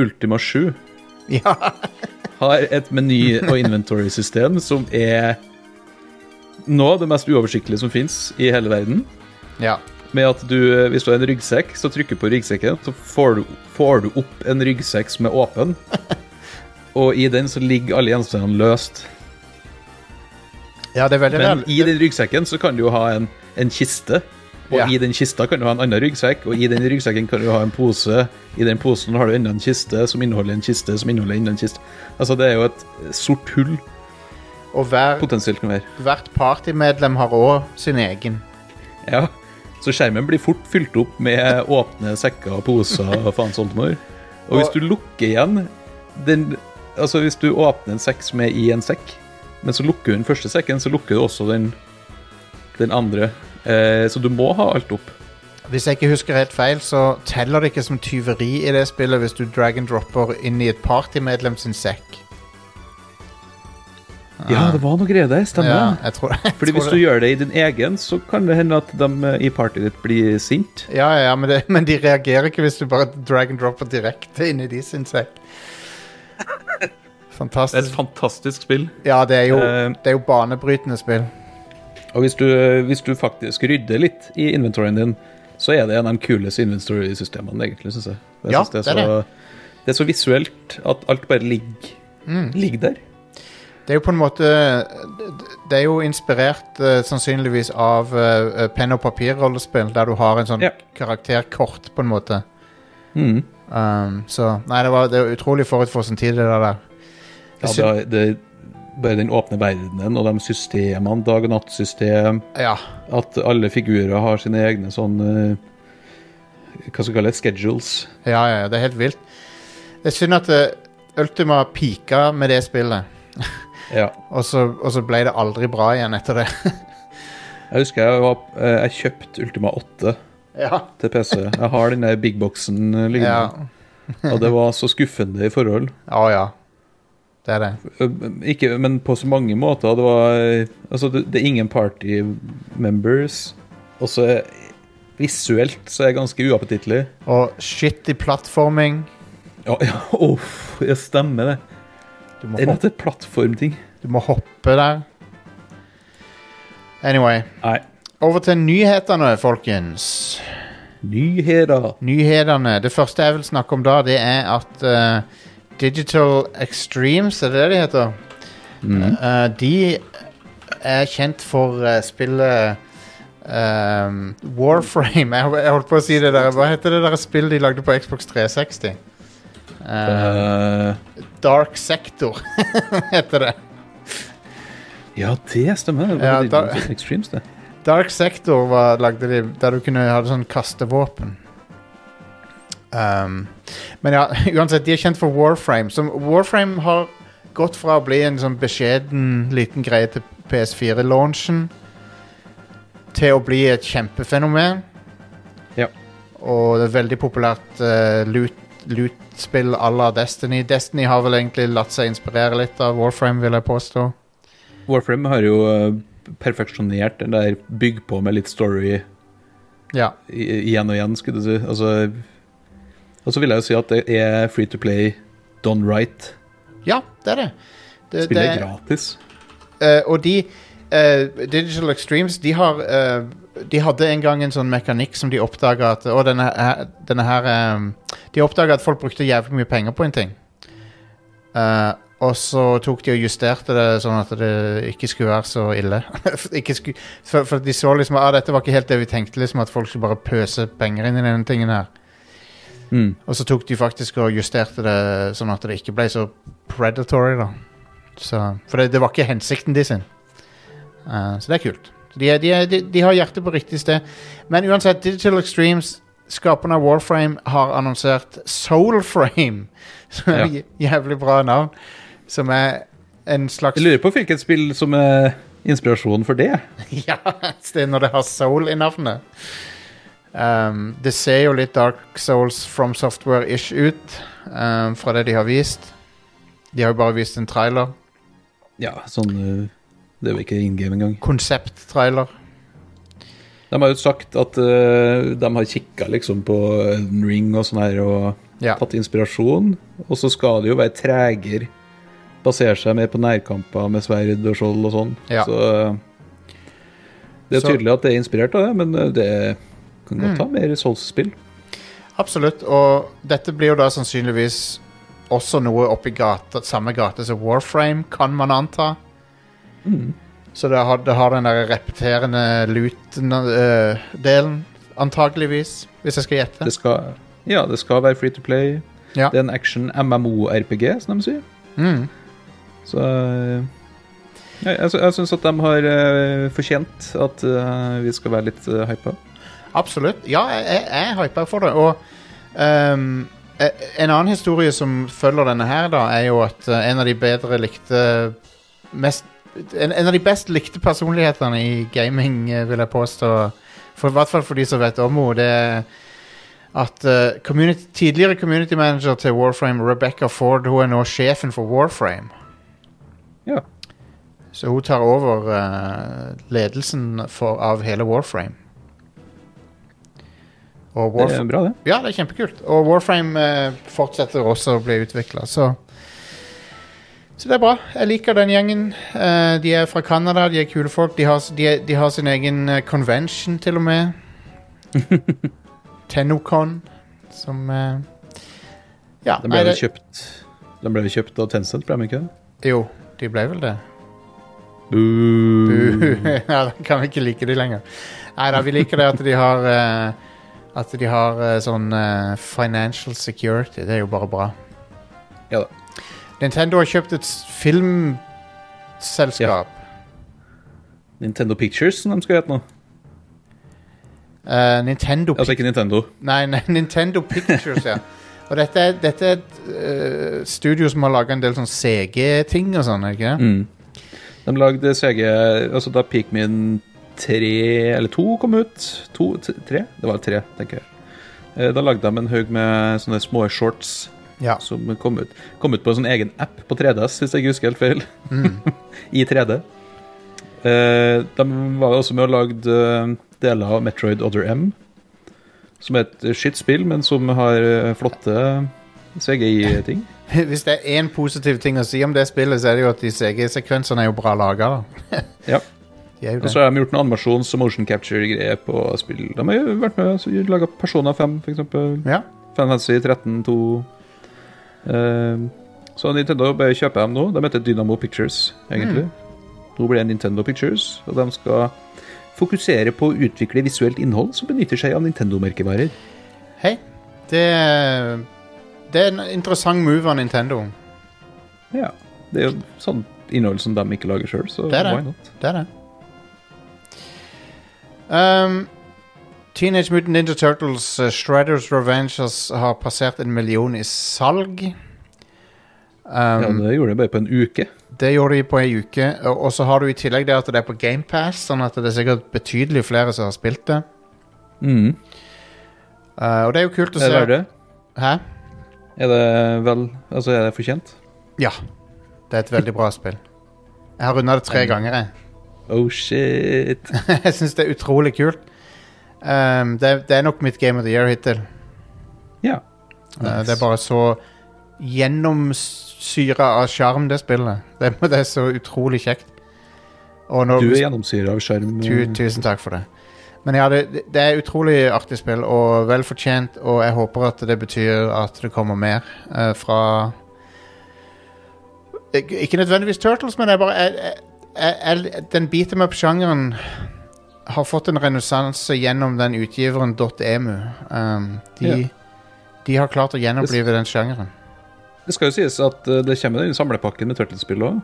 Ultima 7 Ja, har et meny- og inventory-system som er nå det mest uoversiktlige som fins i hele verden. ja. med at du, eh, hvis du har en ryggsekk, så trykker du på ryggsekken, så får du, får du opp en ryggsekk som er <laughs> åpen. Og i den så ligger alle gjenstandene løst. ja det er veldig Men real- i den ryggsekken så kan du jo ha en, en kiste. Og Ja. i den kista kan du ha en annen ryggsekk, og i den ryggsekken kan du ha en pose. I den posen har du enda en kiste som inneholder en kiste som inneholder enda en kiste. Altså det er jo et sort hull Og hver, potensielt kan være. hvert partymedlem har òg sin egen. Ja. Så skjermen blir fort fylt opp med åpne sekker og poser og faen sånt noe. Og hvis du lukker igjen den Altså hvis du åpner en sekk som er i en sekk, men så lukker du den første sekken, så lukker du også den, den andre. Eh, så du må ha alt opp. Hvis jeg ikke husker helt feil, så teller det ikke som tyveri i det spillet hvis du drag and dropper inn i et partymedlem sin sekk. Ja, det var noe greier der, stemmer Ja, det? jeg tror, jeg Fordi tror hvis det. du gjør det i din egen, så kan det hende at de eh, i partyet ditt blir sint. Ja, ja, ja men, det, men de reagerer ikke hvis du bare drag and dropper direkte inn i de sin <laughs> sekk. Det er et Fantastisk. fantastisk spill. Ja, det er jo, Eh. det er jo banebrytende spill. Og hvis du, eh, hvis du faktisk rydder litt i inventoryen din, så er det en av de kuleste inventory-systemene, egentlig, syns jeg. jeg Ja, synes det, det er er så, det. er så visuelt at alt bare ligger, Mm. ligger der. Det er jo på en måte Det er jo inspirert eh, sannsynligvis av eh, penn- og papirrollespill, der du har en sånn Ja. karakterkort, på en måte. Mm. Um, så Nei, det var, det var utrolig forut for sin tid, det der. der. Ja, Jeg syn- det, det, bare den åpne verdenen og de systemene, dag- og nattsystem, ja. at alle figurer har sine egne sånn eh, Hva skal vi kalle det? Schedules. Ja, ja, ja, det er helt vilt. Det er synd at eh, Ultima pika med det spillet, Ja. og så, og så ble det aldri bra igjen etter det. <laughs> Jeg husker jeg, var, eh, jeg kjøpte Ultima 8 ja. til PC. Jeg har den der bigboxen eh, Å ja. liggende, og det var så skuffende i forhold. Det er det. Eh, Ikke, men på så mange måter. Det var eh, Altså, det, det er ingen party members. Og så er- visuelt så er det ganske uappetittlig. Og shitty plattforming. Ja, ja, <laughs> uff, det stemmer det. Du må, Det er hoppe, rett et plattformting. du må hoppe der. Anyway. Nei. Over til nyhetene, folkens. Nyheter. Nyhetene. Det første jeg vil snakke om da, det er at eh, Digital Extremes, er det det de heter? Mm. Eh, de er kjent for eh, spillet ehm, Warframe. <laughs> Jeg, jeg holdt på å si det der. Hva heter det der spillet de lagde på Xbox 360? Eh, Eh, Dark Sector <laughs> heter det. ja, det stemmer. Det var Ja, det da- Digital Extremes, det. Dark Sector var, lagde de der du kunne ha sånn kastevåpen. Ehm, men ja, <laughs> uansett, de er kjent for Warframe. Som Warframe har gått fra å bli en sånn beskjeden liten greie til PS4-launchen til å bli et kjempefenomen. Ja. Og det er veldig populært eh, loot loot-spill à la Destiny. Destiny har vel egentlig latt seg inspirere litt av Warframe, vil jeg påstå. Warframe har jo eh, perfeksjonert den der bygg på med litt story Ja. i- igjen og igjen, skulle du si. Altså, og så vil jeg jo si at det er free to play done right. ja, det er det. det Spillet det- er gratis. Eh, og de eh, Digital Extremes de har eh, De hadde en gang en sånn mekanikk som de oppdaga at Å, denne, her- denne her ehm, De oppdaga at folk brukte jævlig mye penger på en ting. Eh, og så tok de og justerte det sånn at det ikke skulle være så ille. <laughs> ikke skulle, for, for de så liksom at ah, dette var ikke helt det vi tenkte, liksom at folk skulle bare pøse penger inn i denne tingen her. Mm. Og så tok de faktisk og justerte det sånn at det ikke ble så predatory, da. Så, for det, det var ikke hensikten de sin. Eh, så det er kult. De, er- de, er- de, de har hjertet på riktig sted. Men uansett, Digital Extremes, skaperen av Warframe, har annonsert Soulframe. <laughs> Som er Ja. et jævlig bra navn. Som er en slags Jeg lurer på hvilket spill som er inspirasjonen for det. <laughs> Ja, det er når det har soul i navnet. Um, det ser jo litt Dark Souls from software-ish ut um, fra det de har vist. De har jo bare vist en trailer. Ja, sånn eh, Det er jo ikke in game engang. Konsept-trailer. De har jo sagt at eh, de har kikka liksom på Elden Ring og sånn her og Ja. tatt inspirasjon. Og så skal det jo være tregere. Basere seg mer på nærkamper med sverd og skjold og sånn. Ja. Så eh, det er Så- Mm. tydelig at det er inspirert av det, men eh, det kan godt ha mer Souls-spill. Absolutt. Og dette blir jo da sannsynligvis også noe oppi gata, samme gate som Warframe, kan man anta. Så det har, det har den der repeterende loot-delen, antageligvis, hvis jeg skal gjette. Det skal, ja, det skal være free to play. Ja. Det er en action MMO-RPG, som de sier. Mm. Så eh, altså, jeg, jeg, sy- jeg syns at de har eh, fortjent at eh, vi skal være litt uh, hypa. Absolutt. Ja, jeg, jeg, jeg er hypa for det. Og ehm, eh, en annen historie som følger denne her, da, er jo at eh, en av de bedre likte mest, en, en av de best likte personlighetene i gaming, eh, vil jeg påstå, for, i hvert fall for de som vet om henne, det er at eh, community, tidligere community manager til Warframe, Rebecca Ford, hun er nå sjefen for Warframe. Ja. Så hun tar over eh, ledelsen for, av hele Warframe. Og Det er Warframe bra, det. Ja, det er kjempekult. Og Warframe eh, fortsetter også å bli utvikla, så Så det er bra. Jeg liker den gjengen. Eh, de er fra Canada, de er kule folk. De har, s- de, er- de har sin egen eh, convention, til og <laughs> med. Tenocon, som eh, Ja. De nei, ble vel det- kjøpt De ble vel kjøpt av Tencent, ble de ikke det? Jo, de ble vel det. Boo. <laughs> ja, da kan vi ikke like de lenger. Nei da, vi liker det at de har eh, At de har eh, sånn eh, financial security. Det er jo bare bra. Ja da. Nintendo har kjøpt et s- filmselskap. <laughs> Nintendo Pictures, som de skal hete nå. Eh, Nintendo Altså ikke Nintendo. Nei, <laughs> nei, Nintendo Pictures, ja. Og dette, er- dette er et eh, studio som har laga en del sånn CG-ting og sånn, er det ikke det? Mm. De lagde CG Altså da Pikmin 3 eller 2 kom ut to, t- tre? Det var tre, tenker jeg. Eh, Da lagde de en haug med sånne små shorts Ja. <laughs> som Altså, kom ut, kom ut på en sånn egen app på 3DS, hvis jeg ikke husker helt feil. <laughs> I 3D. Eh, de var også med og lagde eh, deler av Metroid Other M, som er et skytspill, men som har eh, flotte eh, CGI-ting. Hvis det er én positiv ting å si om det spillet, så er det jo at de CG-sekvensene er jo bra laga. Ja. <laughs> De er jo Og det. så har de gjort noen animasjons- og motion capture-greier på spill. De har jo vært med og laga Persona 5, f.eks. Ja. Fantasy 13 2. Eh, så Nintendo bare kjøper dem nå. De heter Dynamo Pictures, egentlig. Mm. Nå blir det Nintendo Pictures, og de skal fokusere på å utvikle visuelt innhold som benytter seg av Nintendo-merkevarer. Hei. Det, er- det er en interessant move av Nintendo. Ja, Det er jo sånn innhold som de ikke lager sjøl, så Det er det. why not? Det er det. Um, Teenage Mutant Ninja Turtles eh, Shredders Revenge has- har passert en million i salg. Um, Ja, det gjorde de bare på en uke. Det gjorde de på ei uke. Og og så har du i tillegg det at det er på GamePass, sånn at det er sikkert betydelig flere som har spilt det. Mm. Eh, og det er jo kult å se. Er det, Hæ? er det vel Altså, er det fortjent? Ja. Det er et veldig bra spill. Jeg har runda det tre ganger, jeg. Oh shit. <laughs> jeg syns det er utrolig kult. Ehm, det, er- det er nok mitt Game of the Year hittil. Ja. Eh, det er bare så gjennomsyra av sjarm, det spillet. Det, <laughs> det er så utrolig kjekt. Og når, Du er gjennomsyra av skjerm. tu, tusen takk for det. Men ja, det, det er utrolig artig spill, og vel fortjent, og jeg håper at det betyr at det kommer mer eh, fra Ik Ikke nødvendigvis Turtles, men jeg bare jeg, jeg, jeg, jeg, Den beat em up-sjangeren har fått en renessanse gjennom den utgiveren .emu. Um, de, Ja. de har klart å gjenopplive den sjangeren. Det skal jo sies at eh, det kommer en samlepakke med Turtlespill òg.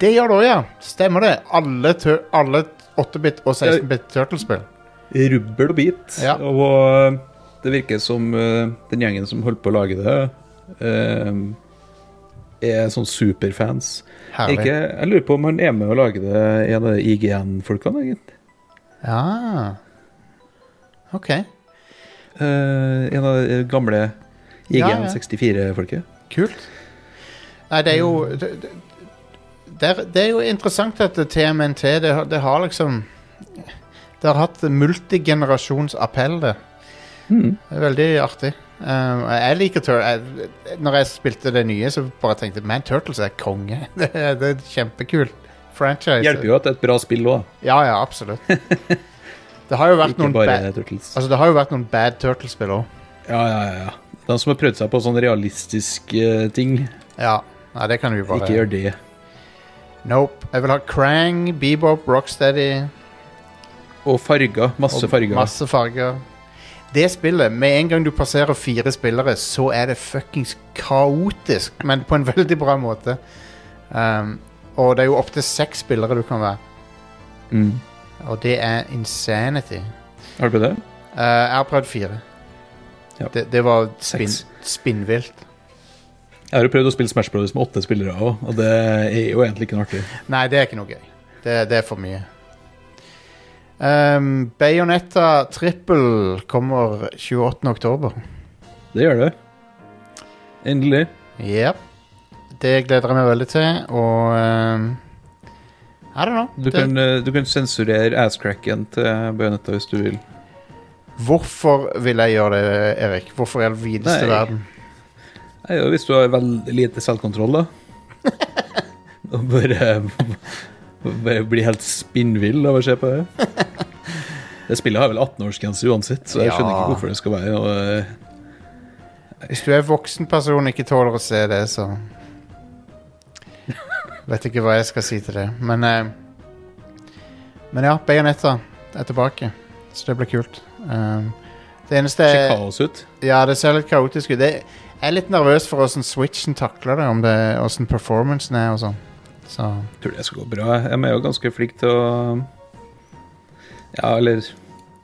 Det gjør det òg, ja. Stemmer det. Alle, tur- alle 8-bit og 16-bit Turtles-spill. Rubbel og bit. Ja. Og eh, det virker som eh, den gjengen som holdt på å lage det, eh, er sånn superfans. Herlig. Ikke, jeg lurer på om han er med å lage det en av de IGN-folkene, egentlig. Ja Ok, Eh, en av de gamle Ja, ja. IGN64-folket. kult Nei, det er jo Mm. Det, det, det er- det er jo interessant at TMNT Det, har- det har liksom Det har hatt multigenerasjonsappell det. Mm. det er veldig artig Um, jeg liker Turtles Når jeg spilte det nye så bare tenkte jeg, Man, Turtles er konge <laughs> Det, er- det er kjempekult Franchise Hjelper jo at det er et bra spill òg, Ja, ja, absolutt Det har jo vært ikke noen bare bad, Turtles. altså, Det har jo vært noen bad Turtles-spill også Ja, ja, ja. De som har prøvd seg på sånne realistiske eh, ting, Ja, Nei, det kan vi bare ikke gjør det. Nope. Jeg vil ha Krang, Bebop, Rocksteady Og farger. Masse og farger. masse farger. Det spillet, med en gang du passerer fire spillere, så er det fuckings kaotisk, men på en <laughs> veldig bra måte. Um, og det er jo opptil seks spillere du kan være, Mm. og det er insanity. Har du prøvd det? Eh, Eh, jeg har prøvd fire. Ja. Det, det var spinn, Seks. spinnvilt. Jeg har jo prøvd å spille Smash Brothers med åtte spillere òg, og det er jo egentlig ikke noe artig. Nei, det er ikke noe gøy. Det, det er for mye. Um, Bayonetta Triple kommer 28. oktober. Det gjør det. Endelig. Yep. Det gleder jeg meg veldig til, og um, I don't know. Du Det- kan, eh, du kan sensurere asscracken til Bayonetta hvis du vil. Hvorfor vil jeg gjøre det, Erik? Hvorfor i all videste Nei. verden? Nei, ja, hvis du har veldig lite <laughs> selvkontroll, da. Og bare, bare bli helt spinnvill av å se <laughs> på det. Det spillet har vel 18-årsgrense uansett, så jeg skjønner Ja. ikke hvorfor det skal være noe eh, Hvis du er voksen person og ikke tåler å se det, så Vet ikke hva jeg skal si til det. Men, eh, men ja, Bayonetta er tilbake, så det blir kult. Um, det eneste se er kaos ut. Ja, det ser litt kaotisk ut. Det, jeg er litt nervøs for åssen switchen takler det, om det, åssen performancen er og sånn. Så Jeg tror det skal gå bra. De er jo ganske flinke til å Ja, eller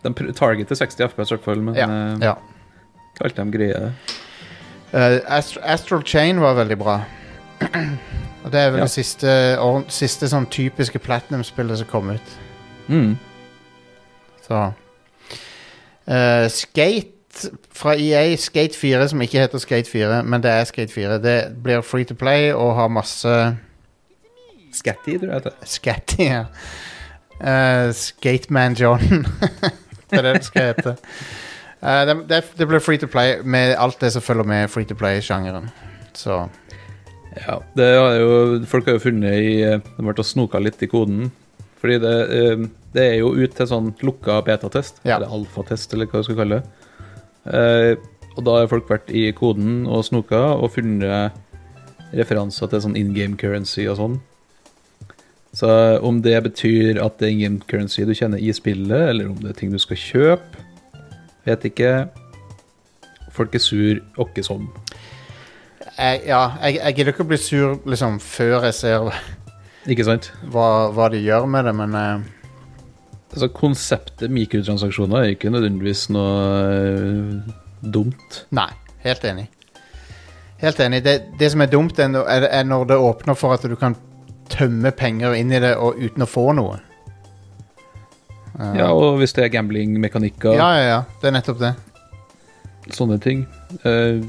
De pr- targeter 60 FPS i hvert fall, men Ja, eh, ja. ikke alt de greier. det. Eh, Ast Astral Chain var veldig bra. <clears throat> og det er vel Ja. det siste, ordent- siste sånn typiske Platinum-spillet som kom ut. Mm. Så Eh, Skate fra EA, Skate 4, som ikke heter Skate 4, men det er Skate 4. Det blir free to play og har masse Scatty, tror jeg det heter. skatt i her. Eh, Skateman John. <laughs> det er det det skal hete. Eh, det, det, det blir free to play med alt det som følger med free to play-sjangeren. Så Ja, det har jo, folk har jo funnet i eh, De har vært og snoka litt i koden. Fordi det, eh, det er jo ut til sånn lukka betatest, Ja. eller alfatest, eller hva du skal kalle det. Eh, og da har folk vært i koden og snoka og funnet referanser til sånn in game currency og sånn. Så eh, om det betyr at det er in game currency du kjenner i spillet, eller om det er ting du skal kjøpe, vet ikke. Folk er sur åkke som. jeg, ja, jeg, jeg gidder ikke å bli sur liksom, før jeg ser Ikke sant? hva, hva de gjør med det, men eh, Altså, konseptet mikrotransaksjoner er ikke nødvendigvis noe øh, dumt. Nei, helt enig. Helt enig. Det, det som er dumt, er når, er- er når det åpner for at du kan tømme penger inn i det og, uten å få noe. Eh, Ja, og hvis det er gamblingmekanikker, ja, ja, ja. Det er nettopp det. sånne ting. Eh,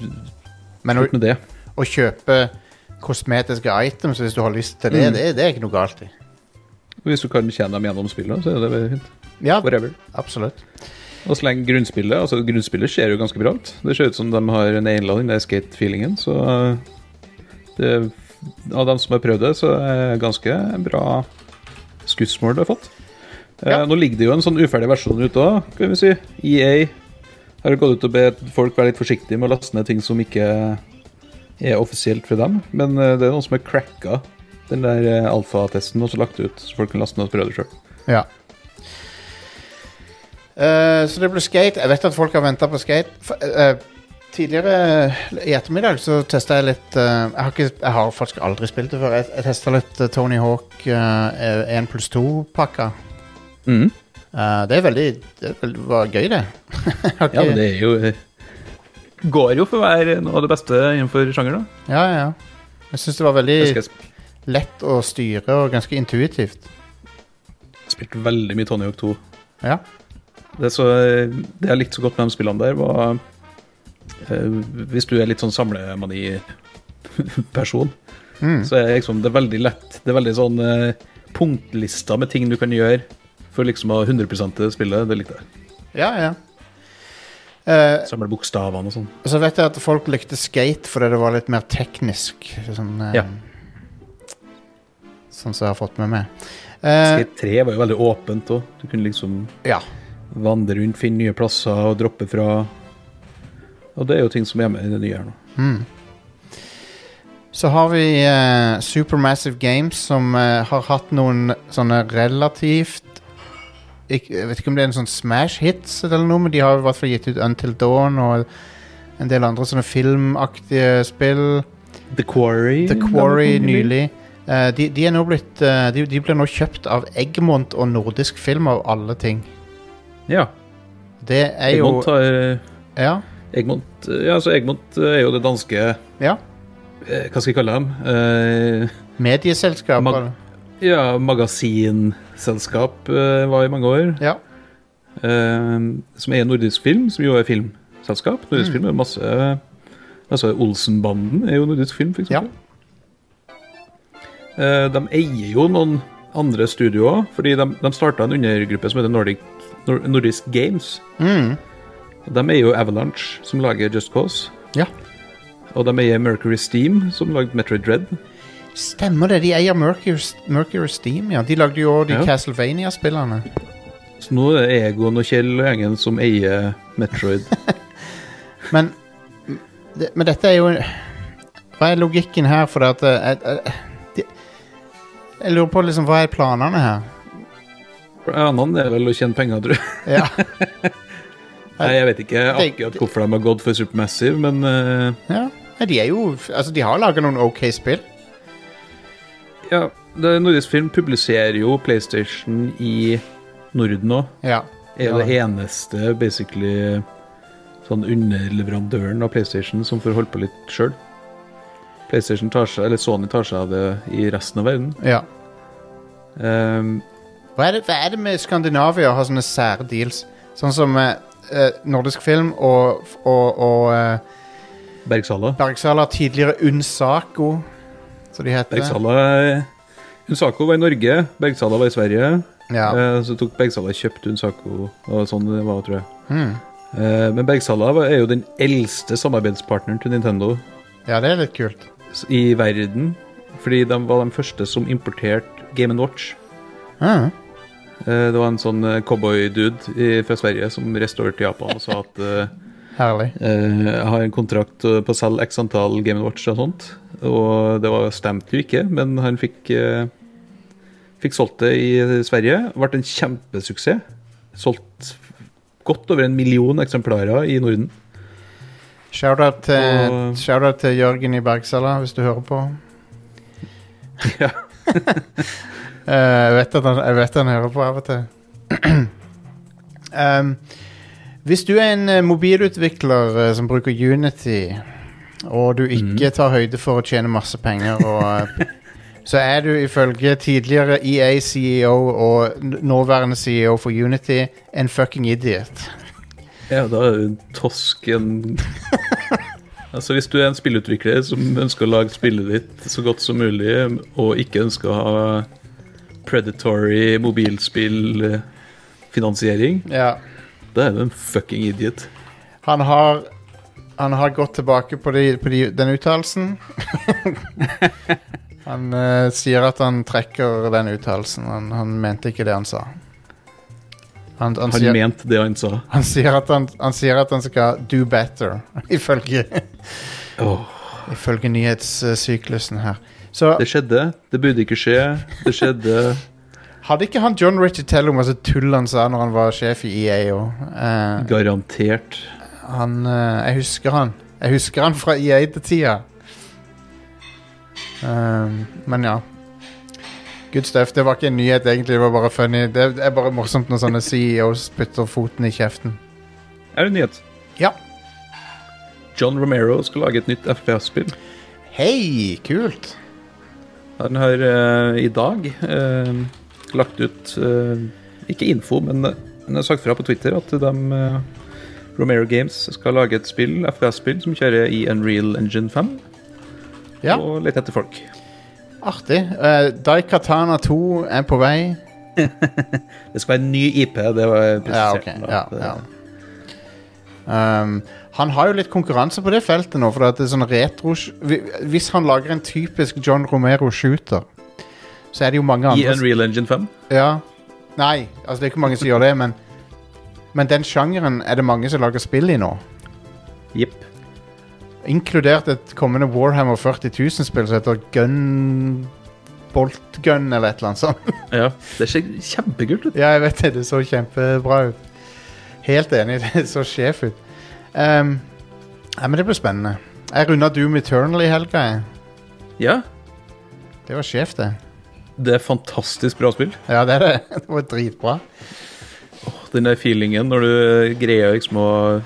Men å, Slutt med det. å kjøpe kosmetiske items hvis du har lyst til det, Mm. det, det er ikke noe galt i. Hvis du kan tjene dem gjennom spillet, så er det veldig fint. Ja, Whatever. absolutt. Og så lenge grunnspillet altså Grunnspillet ser jo ganske bra ut. Det ser ut som de har en einland i den der skate-feelingen, så øh, det, Av dem som har prøvd det, så er det ganske bra skussmål du har fått. Eh, Ja. nå ligger det jo en sånn uferdig versjon ute òg, kan vi si. EA har jo gått ut og bedt folk være litt forsiktige med å laste ned ting som ikke er offisielt fra dem. Men eh, det er noen som har cracka den der eh, alfatesten og så lagt det ut, så folk kan laste ned og prøve det sjøl. Ja. Eh, så det blir skate. Jeg vet at folk har venta på skate. F- eh, tidligere eh, i ettermiddag så testa jeg litt eh, jeg, har ikke, jeg har faktisk aldri spilt det før. Jeg, jeg testa litt eh, Tony Hawk eh, 1 pluss 2-pakka. Mm. det er veldig Det er veldig, var gøy, det. <laughs> Jeg har Ja, ikke- men det er jo Går jo for å være noe av det beste innenfor sjangeren, da. ja, ja, ja. Jeg syns det var veldig Jeg husker jeg lett å styre og ganske intuitivt. sp- spilte veldig mye Tony Hawk 2. Ja. Det, så, det jeg likte så godt med de spillene der, var eh, Hvis du er litt sånn samlemani-person, Mm. så er det liksom, det er veldig lett. Det er veldig sånn eh, punktlister med ting du kan gjøre for liksom å ha 100 til spillet. Det likte jeg. Ja, ja. Eh, Samle bokstavene og sånn. Og så vet jeg at folk likte skate fordi det var litt mer teknisk. Sånn, eh, Ja. sånn som jeg har fått med meg. Eh, Skate 3 var jo veldig åpent òg. Du kunne liksom ja. vandre rundt, finne nye plasser og droppe fra. Og det er jo ting som er med i det nye her nå. Så har vi eh, Supermassive Games, som eh, har hatt noen sånne relativt ikk- Jeg vet ikke om det er en sånn Smash Hits eller noe, men de har i hvert fall gitt ut Until Dawn og en del andre sånne filmaktige spill. The Quarry. The Quarry nylig. Eh, de, de er nå blitt eh, de, de blir nå kjøpt av Eggmont og Nordisk Film av alle ting. Ja. Det er jo Egmont, har, eh, Ja. Egmont, ja, altså Egmont er jo det danske eh, ja. Hva skal jeg kalle dem? Eh, Medieselskaper. Mag- ja, magasinselskap eh, var i mange år. Ja. eh, som er Nordisk Film, som jo er filmselskap. Nordisk Film er masse Altså Olsenbanden er jo Nordisk Film, f.eks. Ja. Eh, de eier jo noen andre studioer, fordi de, de starta en undergruppe som heter Nordic, Nor Nordisk Games. Mm. De eier jo Avalanche, som lager Just Cause. ja. Og de eier Mercury Steam, som lagde Metroid Dread. Stemmer det, de eier Mercury, Mercury Steam, ja. De lagde jo også de Ja. Castlevania-spillene. Så nå er det Egon og Kjell og gjengen som eier Metroid. Men, det- men dette er jo Hva er logikken her? For at eh, jeg, jeg, de, jeg lurer på liksom hva er planene her? Annen er vel å tjene penger, tror jeg. Ja. <laughs> Nei, jeg vet ikke Det- akkurat hvorfor de har gått for Supermassive, men eh, ja. Nei, de er jo Altså, de har laga noen OK spill. ja, det Nordisk Film publiserer jo PlayStation i Norden òg. Ja. Er Ja. jo det eneste basically sånn underleverandøren av PlayStation som får holde på litt sjøl. PlayStation tar seg, eller Sony tar seg av det i resten av verden. ja. Eh, Hva er, det, hva er det med Skandinavia å ha sånne særdeals? Sånn som eh, eh, nordisk film og, og, og eh, Bergsala. Bergsala, tidligere Unsako, som de heter. Bergsala Unsako var i Norge, Bergsala var i Sverige. Ja. Eh, Så tok Bergsala kjøpt Unsako, og sånn det var, tror jeg. Hmm. Eh, Men Bergsala var- er jo den eldste samarbeidspartneren til Nintendo ja, det er litt kult. s- i verden. Fordi de var de første som importerte Game Watch. Ah. Eh, Det var en sånn eh, cowboy-dude i- fra Sverige som reiste over til Japan og sa at eh, Herlig. Eh, Jeg har en kontrakt eh, på å selge x antall Game Watch og sånt, og det var stemte jo ikke, men han fikk, eh, fikk solgt det i Sverige. Ble en kjempesuksess. Solgt godt over en million eksemplarer i Norden. Shoutout til, Og- shoutout til Jørgen i Bergsala, hvis du hører på. Ja. <laughs> Eh, jeg, vet at han, jeg vet han hører på av og til. <clears throat> um, hvis du er en eh, mobilutvikler eh, som bruker Unity, og du Mm. ikke tar høyde for å tjene masse penger, og, eh, <laughs> så er du ifølge tidligere E EA-CEO og n- nåværende CEO for Unity en fucking idiot. Ja, da er du en tosk <laughs> en Altså, hvis du er en spillutvikler som ønsker å lage spillet ditt så godt som mulig, og ikke ønsker å ha predatory mobilspillfinansiering, Ja. da er du en fucking idiot. Han har Han har gått tilbake på, de, på de, den uttalelsen. han eh, sier at han trekker den uttalelsen. Han, han mente ikke det han sa. Han, han, Han sier, mente det han sa. han, sier at han, han sier at han skal do better, <laughs> ifølge, ifølge nyhetssyklusen her. Så Det skjedde. Det burde ikke skje. Det skjedde. <laughs> hadde ikke han John Richitello masse tull han sa når han var sjef i E EA òg? Garantert. Han eh, Jeg husker han. Jeg husker han fra E EA-tida. Ehm, men ja. Good stuff. Det var ikke en nyhet, egentlig. Det var bare funny. Det er bare morsomt når sånne CEOs putter foten i kjeften. Er det en nyhet? Ja. John Romero skal lage et nytt FPS-spill. Hei! Kult. Han har eh, i dag eh, lagt ut eh, Ikke info, men eh, han har sagt fra på Twitter at de eh, Romero Games skal lage et spill, FPS-spill som kjører i Unreal Engine 5. Ja, Og leter etter folk. artig. Eh, Daikatana 2 er på vei. Det skal være en ny IP, det var Ja, ok. presisert. Eh, Ja, ja. Ehm, han har jo litt konkurranse på det feltet nå, for det er sånn retro Hvi- Hvis han lager en typisk John Romero-shooter, så er det jo mange I andre Unreal Engine 5. Ja. Nei, altså det er ikke mange som gjør det, men Men den sjangeren er det mange som lager spill i nå. Jepp. Inkludert et kommende Warhammer 40 000-spill som heter Gun Bolt Gun eller et eller annet sånt. Ja. Det ser kjempekult ut. Ja, jeg vet det. Det så kjempebra ut. Helt enig. Det så sjef ut. Ehm, nei, men det blir spennende. Jeg runda Doom Eternal i helga. jeg. Ja, Det var sjef, det. Det er fantastisk bra spill. <laughs> Ja, det er det. Det var dritbra. Det den der feelingen når du greier liksom å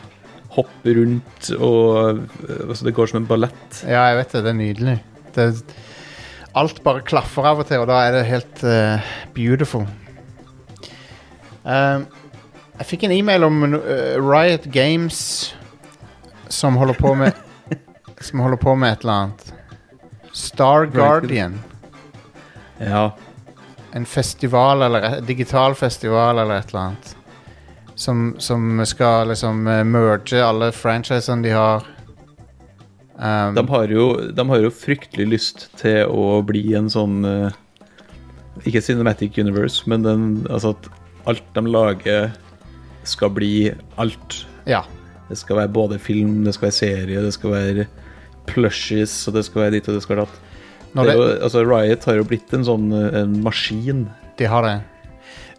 hoppe rundt og eh, altså Det går som en ballett. Ja, jeg vet det. Det er nydelig. Det, alt bare klaffer av og til, og da er det helt eh, beautiful. Eh, jeg fikk en e-mail om no- eh, Riot Games som holder på med Som holder på med et eller annet. Star Guardian. Ja. En festival eller et- digital festival eller et eller annet. Som, som skal liksom eh, merge alle franchisene de har. Um, De har, jo, de har jo fryktelig lyst til å bli en sånn eh, Ikke Cinematic Universe, men den, altså at alt de lager, skal bli alt. ja. Det skal være både film, det skal være serie, det skal være plushies, og det skal være ditt og det skal være datt. Når Det er det- jo, altså, Riot har jo blitt en sånn eh, en maskin. De har det.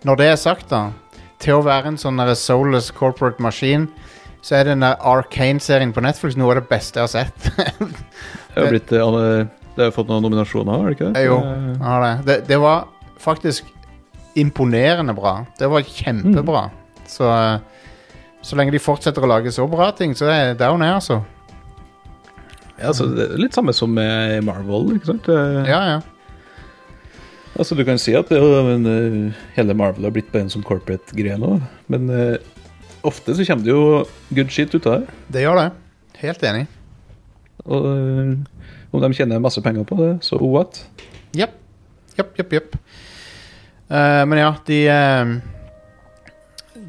Når det er sagt, da Til å være en sånn der soulless corporate maskin, så er den Arcane-serien på Netflix noe av det beste jeg har sett. <laughs> Det har, jo blitt, eh, alle- det har jo fått noen nominasjoner, har det ikke det? jo, jeg har det. det. Det var faktisk imponerende bra. Det var kjempebra. Så eh, så lenge de fortsetter å lage så bra ting, så er jeg down her, altså. Ja, altså, det er litt samme som med Marvel, ikke sant? Eh, Ja, ja. Altså, du kan si at ja, men, eh, hele Marvel har blitt på en sånn corporate-greie nå, men eh, ofte så kommer det jo good shit ut av det. Det gjør det. Helt enig. Og eh, om de tjener masse penger på det, så what? Jepp. Jepp, jepp, jepp. Eh, men ja, de, eh,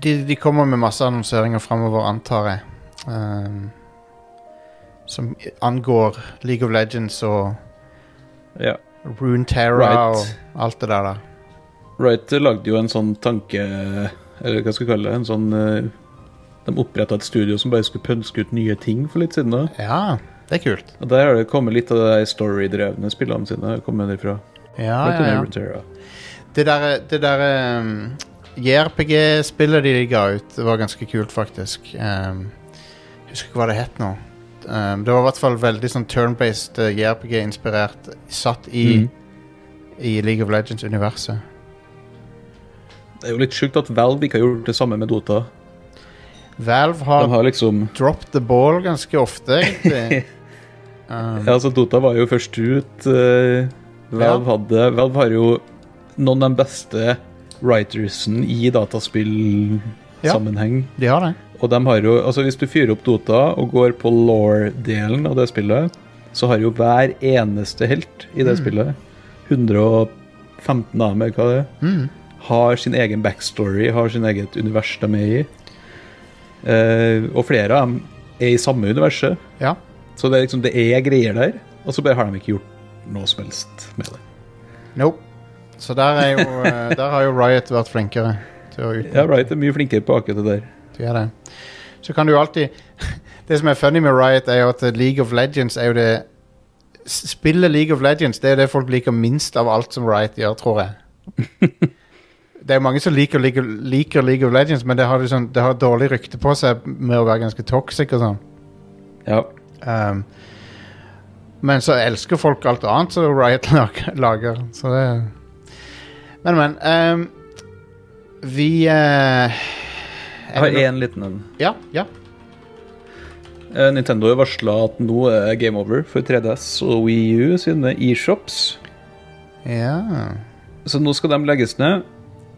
de De kommer med masse annonseringer framover, antar jeg. Eh, som angår League of Legends og Ja. Rune Terra Right. og alt det der. der. Wright lagde jo en sånn tanke Eller hva skal vi kalle det? En sånn eh, De oppretta et studio som bare skulle pønske ut nye ting for litt siden. da Ja, det er kult. Og Der har det kommet litt av de der storydrevne spillene sine. har kommet derfra. Ja, ja, Blant annet ja. Runeterra. Det derre det der, um, JRPG-spillet de ga ut, det var ganske kult, faktisk. Um, jeg husker ikke hva det het nå. Um, det var i hvert fall veldig sånn turn-based eh, JRPG-inspirert, satt i, Mhm. i League of Legends-universet. Det er jo litt sjukt at Valve ikke har gjort det samme med Dota. Valve De har, har liksom dropped the ball ganske ofte, <laughs> egentlig. um, Ja, altså Dota var jo først ut. eh, Valve, hadde, Valve har jo noen av de beste writersen i Ja. dataspillsammenheng. de har det. Og de har jo, altså Hvis du fyrer opp Dota og går på law-delen av det spillet, så har jo hver eneste helt i Mm. det spillet, 115 av dem, eller hva det er, Mm. har sin egen backstory, har sin eget univers de er i. Eh, og flere av dem er i samme universet, Ja. så det er liksom, det er greier der. Og så bare har de ikke gjort noe som helst med det. Nope. Så der, er jo, eh, der har jo Riot vært flinkere til å utnytte Ja, Wright er mye flinkere på akkurat det der. Du er det. Så kan du jo alltid <laughs> Det som er funny med Riot, er jo at League of Legends er jo det s- Spillet League of Legends det er det folk liker minst av alt som Riot gjør, tror jeg. Det er jo mange som liker, liker, liker League of Legends, men det har, liksom, det har dårlig rykte på seg med å være ganske toxic og sånn. Ja, Um, men så elsker folk alt annet som Riot <laughs> lag- lager. Så det Men, men. Um, vi eh, Jeg har én liten en. Ja, ja. Eh, Nintendo har varsla at nå er game over for 3DS og Wii U sine e-shops. Ja Så nå skal de legges ned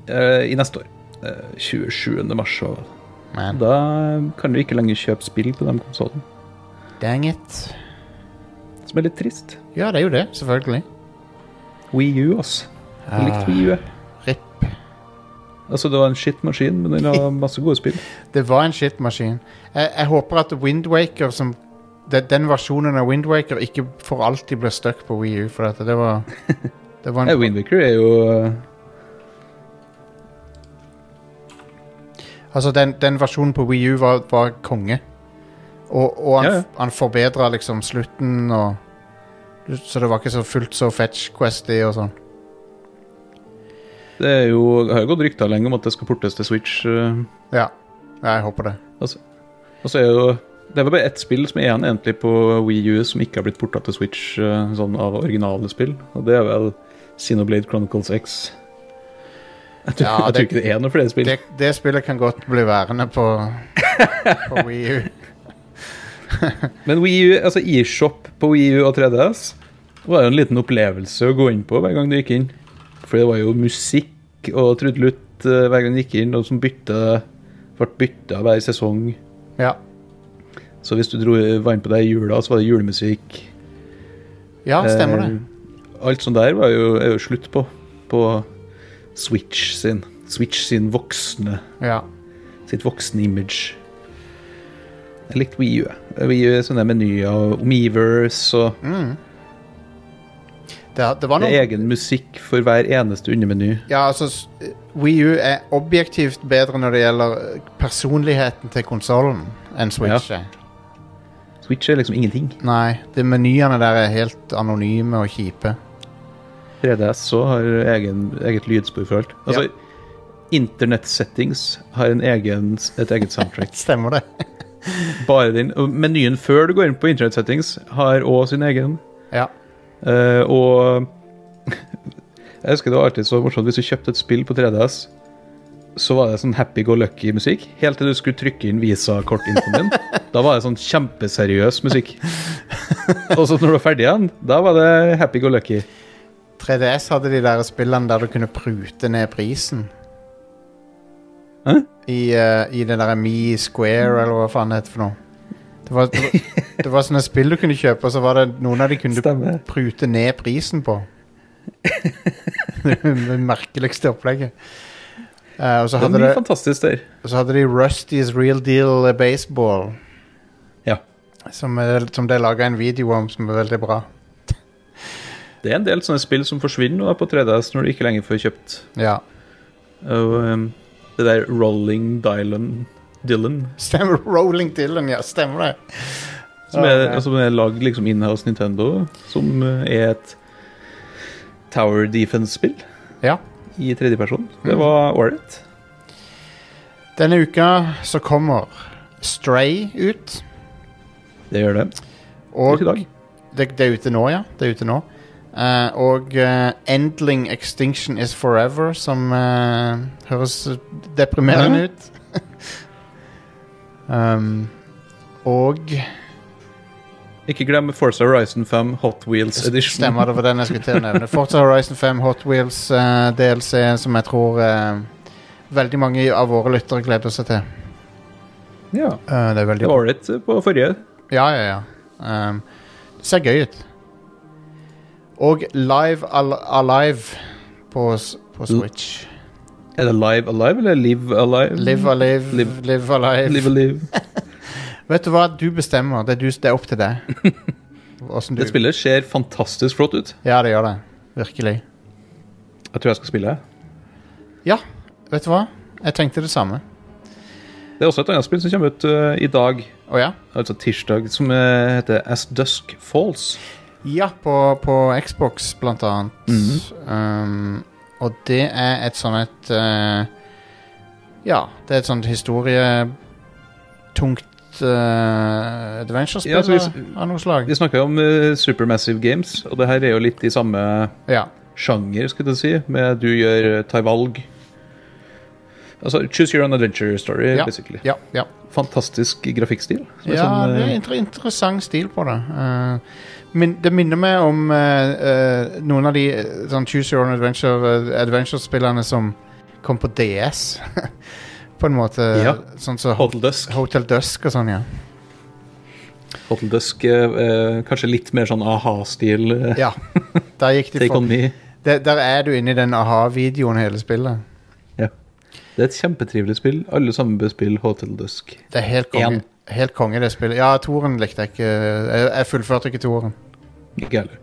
eh, i neste år. Eh, 27. mars. Og Man, da kan du ikke lenger kjøpe spill på den konsollen. dang it. Som er litt trist. Ja, det er jo det, selvfølgelig. Wii U, ass. Jeg likte Wii U. jeg. RIP. Altså, det var en skittmaskin, men den har masse gode spill. Det var en shitmaskin. Jeg, jeg håper at Windwaker som de, Den versjonen av Windwaker ikke for alltid blir stuck på Wii U, for at det <laughs> var Det var Eh, en Windwaker er jo eh, Altså, den, den versjonen på Wii U var, var konge. Og, og han, Ja, ja. han forbedra liksom slutten og Så det var ikke så fullt så fetch questy og sånn. Det er jo, det har jo gått rykter lenge om at det skal portes til Switch. eh, Ja. ja. Jeg håper det. Og så er jo Det er vel bare ett spill som er igjen egentlig på Wii U som ikke har blitt porta til Switch eh, sånn av originale spill, og det er vel Xenoblade Chronicles X. Jeg tror, Ja, jeg tror det- ikke det er noen flere spill. Det, det spillet kan godt bli værende <laughs> på, på Wii U. Men Wii U, altså eShop på Wii U og 3DS var jo en liten opplevelse å gå inn på hver gang du gikk inn. For det var jo musikk og trudelutt eh, hver gang du gikk inn, og som bytta ble bytta hver sesong. Ja. Så hvis du dro, var inn på det i jula, så var det julemusikk. ja, stemmer det. Eh, alt sånt der var jo, er jo slutt på. På Switch sin. Switch sin voksne Ja. sitt voksne image. Jeg likte Wii U. jeg. Wii U er sånn sånne menyer og Omivers og Mm. Det, det var Det noe er egen musikk for hver eneste undermeny. Ja, altså s- Wii U er objektivt bedre når det gjelder eh, personligheten til konsollen enn Switch er. Switch er liksom ingenting. Nei, de menyene der er helt anonyme og kjipe. 3DS så har egen, eget lydspor for alt. Altså, Ja. Internett-settings har en egen, et eget soundtrack. Stemmer det? Bare din. Og menyen før du går inn på Internett-settings, har òg sin egen. <laughs> Ja. Eh, og <laughs> jeg husker det var alltid så morsomt hvis du kjøpte et spill på 3DS, så var det sånn happy-go-lucky-musikk helt til du skulle trykke inn visakortinfoen <laughs> din. Da var det sånn kjempeseriøs musikk. Og så når du var ferdig igjen, da var det happy-go-lucky. 3DS hadde de der spillene der du kunne prute ned prisen. Hæ? Mm. I, eh, I det derre Me Square, eller hva faen det heter for noe. Det var, det, var, det var sånne spill du kunne kjøpe, og så var det noen av de kunne du Stemmer. prute ned prisen på. det merkeligste opplegget. Eh, og så Det er hadde, mye det, fantastisk der. så hadde de Rusty's Real Deal Baseball, Ja. som, er, som de laga en video om som er veldig bra. Det er en del sånne spill som forsvinner nå da på 3DS når du ikke lenger får kjøpt. Ja. Og, ehm, det der Rolling Dylan Dylan, Stemmer <laughs> Rolling Dylan, ja. Stemmer det. Eh, Som er, Ok. altså, som er lagd liksom in-house Nintendo, som eh, er et Tower Defense-spill Ja. i tredjeperson. Mm. Det var ålreit. Denne uka så kommer Stray ut. Det gjør det. Og Ikke i dag. det, det er ute nå, ja. Det er ute nå. Eh, og eh, Endling Extinction Is Forever, som eh, høres deprimerende Ja. ut. <laughs> um, og Ikke glem Forza Horizon 5 Hot Wheels Edition. Stemmer, det var den jeg skulle til å nevne. Forza Horizon 5 Hot Wheels eh, DLC, som jeg tror eh, veldig mange av våre lyttere gleder seg til. Ja, Eh, det er veldig det var ålreit på forrige. Ja, ja, ja. Ehm, det ser gøy ut. Og Live al Alive på, s- på Switch. Er det Live Alive eller Live Alive? Live Alive, Live, Live- Alive. Live <laughs> Alive. Vet du hva? Du bestemmer. Det er, du, det er opp til <laughs> deg. Hvordan Det spillet ser fantastisk flott ut. Ja, det gjør det. Virkelig. Jeg tror jeg skal spille det. Ja, vet du hva? Jeg tenkte det samme. Det er også et annet spill som kommer ut eh, i dag, Å ja? altså tirsdag, som eh, heter As Dusk Falls. Ja, på, på Xbox blant annet. Mhm. um, og det er et sånn et eh, Ja, det er et sånt historietungt uh, adventure-spill Ja, så hvis- da, av noe slag. Vi snakka om eh, Supermassive Games, og det her er jo litt i samme ja. sjanger, skulle jeg si, med du gjør eh, tar valg. Altså Choose your own adventure story, Ja, basically. ja, ja. Fantastisk grafikkstil. som er ja sånn, det er eh, inter interessant stil på det. Eh, min, det minner meg om eh, eh, noen av de eh, sånn Choose Your Own Adventure-spillene som kom på DS, <laughs> på en måte. Ja. Sånn som Hotel Dusk. Hotel Dusk og sånn, ja. Hotel Dusk eh, eh, kanskje litt mer sånn aha-stil. eh, Ja. Der <laughs> gikk de Take for. on me. Der, der er du inne i den aha-videoen hele spillet. Ja. Det er et kjempetrivelig spill. Alle sammen bør spille Hotel Dusk. Det er helt konge, En. helt konge det spillet. Ja, toeren likte jeg ikke. Jeg, jeg fullførte ikke toeren. Ikke heller.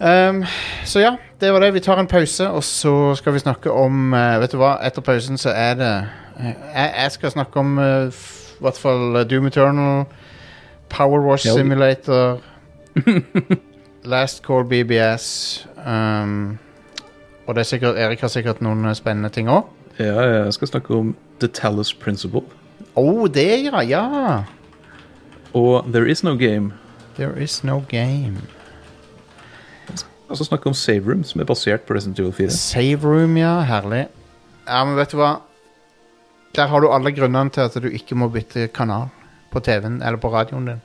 Ehm, så ja, det var det. Vi tar en pause, og så skal vi snakke om eh, Vet du hva, etter pausen så er det eh, jeg, jeg skal snakke om eh, f- i hvert fall eh, Doom Eternal, Power Wash Ja, vi- <laughs> Simulator, Last Call BBS ehm, Og det er sikkert, Erik har sikkert noen eh, spennende ting òg. Ja, jeg skal snakke om The Talus Principle Å, oh, det ja, ja. og There Is No Game. There is no game. Og så Altså snakke om Save Room, som er basert på Resident Evil 4. Save room, ja. Herlig. Ja, men vet du hva? Der har du alle grunnene til at du ikke må bytte kanal på TV-en eller på radioen <laughs> din.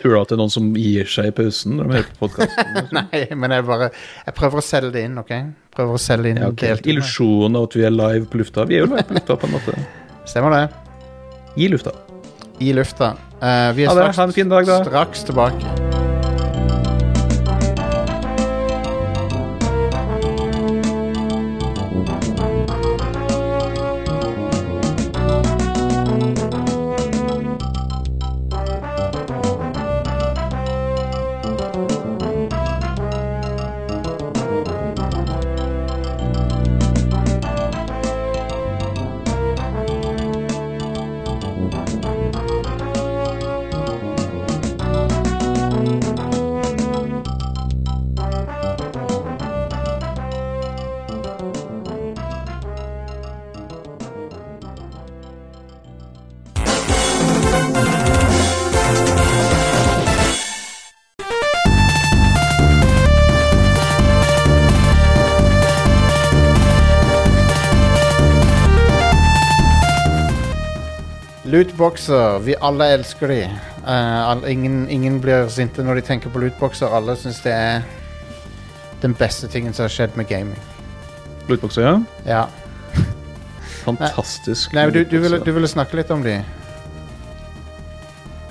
Tror du at det er noen som gir seg i pausen når de hører på podkasten? Nei, men jeg bare Jeg prøver å selge det inn, OK? Prøver å selge inn Ja, ok. deltone. Illusjonen av at vi er live på lufta. Vi er jo live på lufta, på en måte. Stemmer det. I lufta. I lufta. Eh, vi er Ha det. Ha en straks, fin dag, da. straks tilbake. Lootboxer. Vi alle elsker de. Eh, all, ingen, ingen blir sinte når de tenker på lootboxer. Alle syns det er den beste tingen som har skjedd med gaming. Lootboxa, ja. Ja. Fantastisk. Nei, men du, du, lootboxer. ville, du ville snakke litt om de.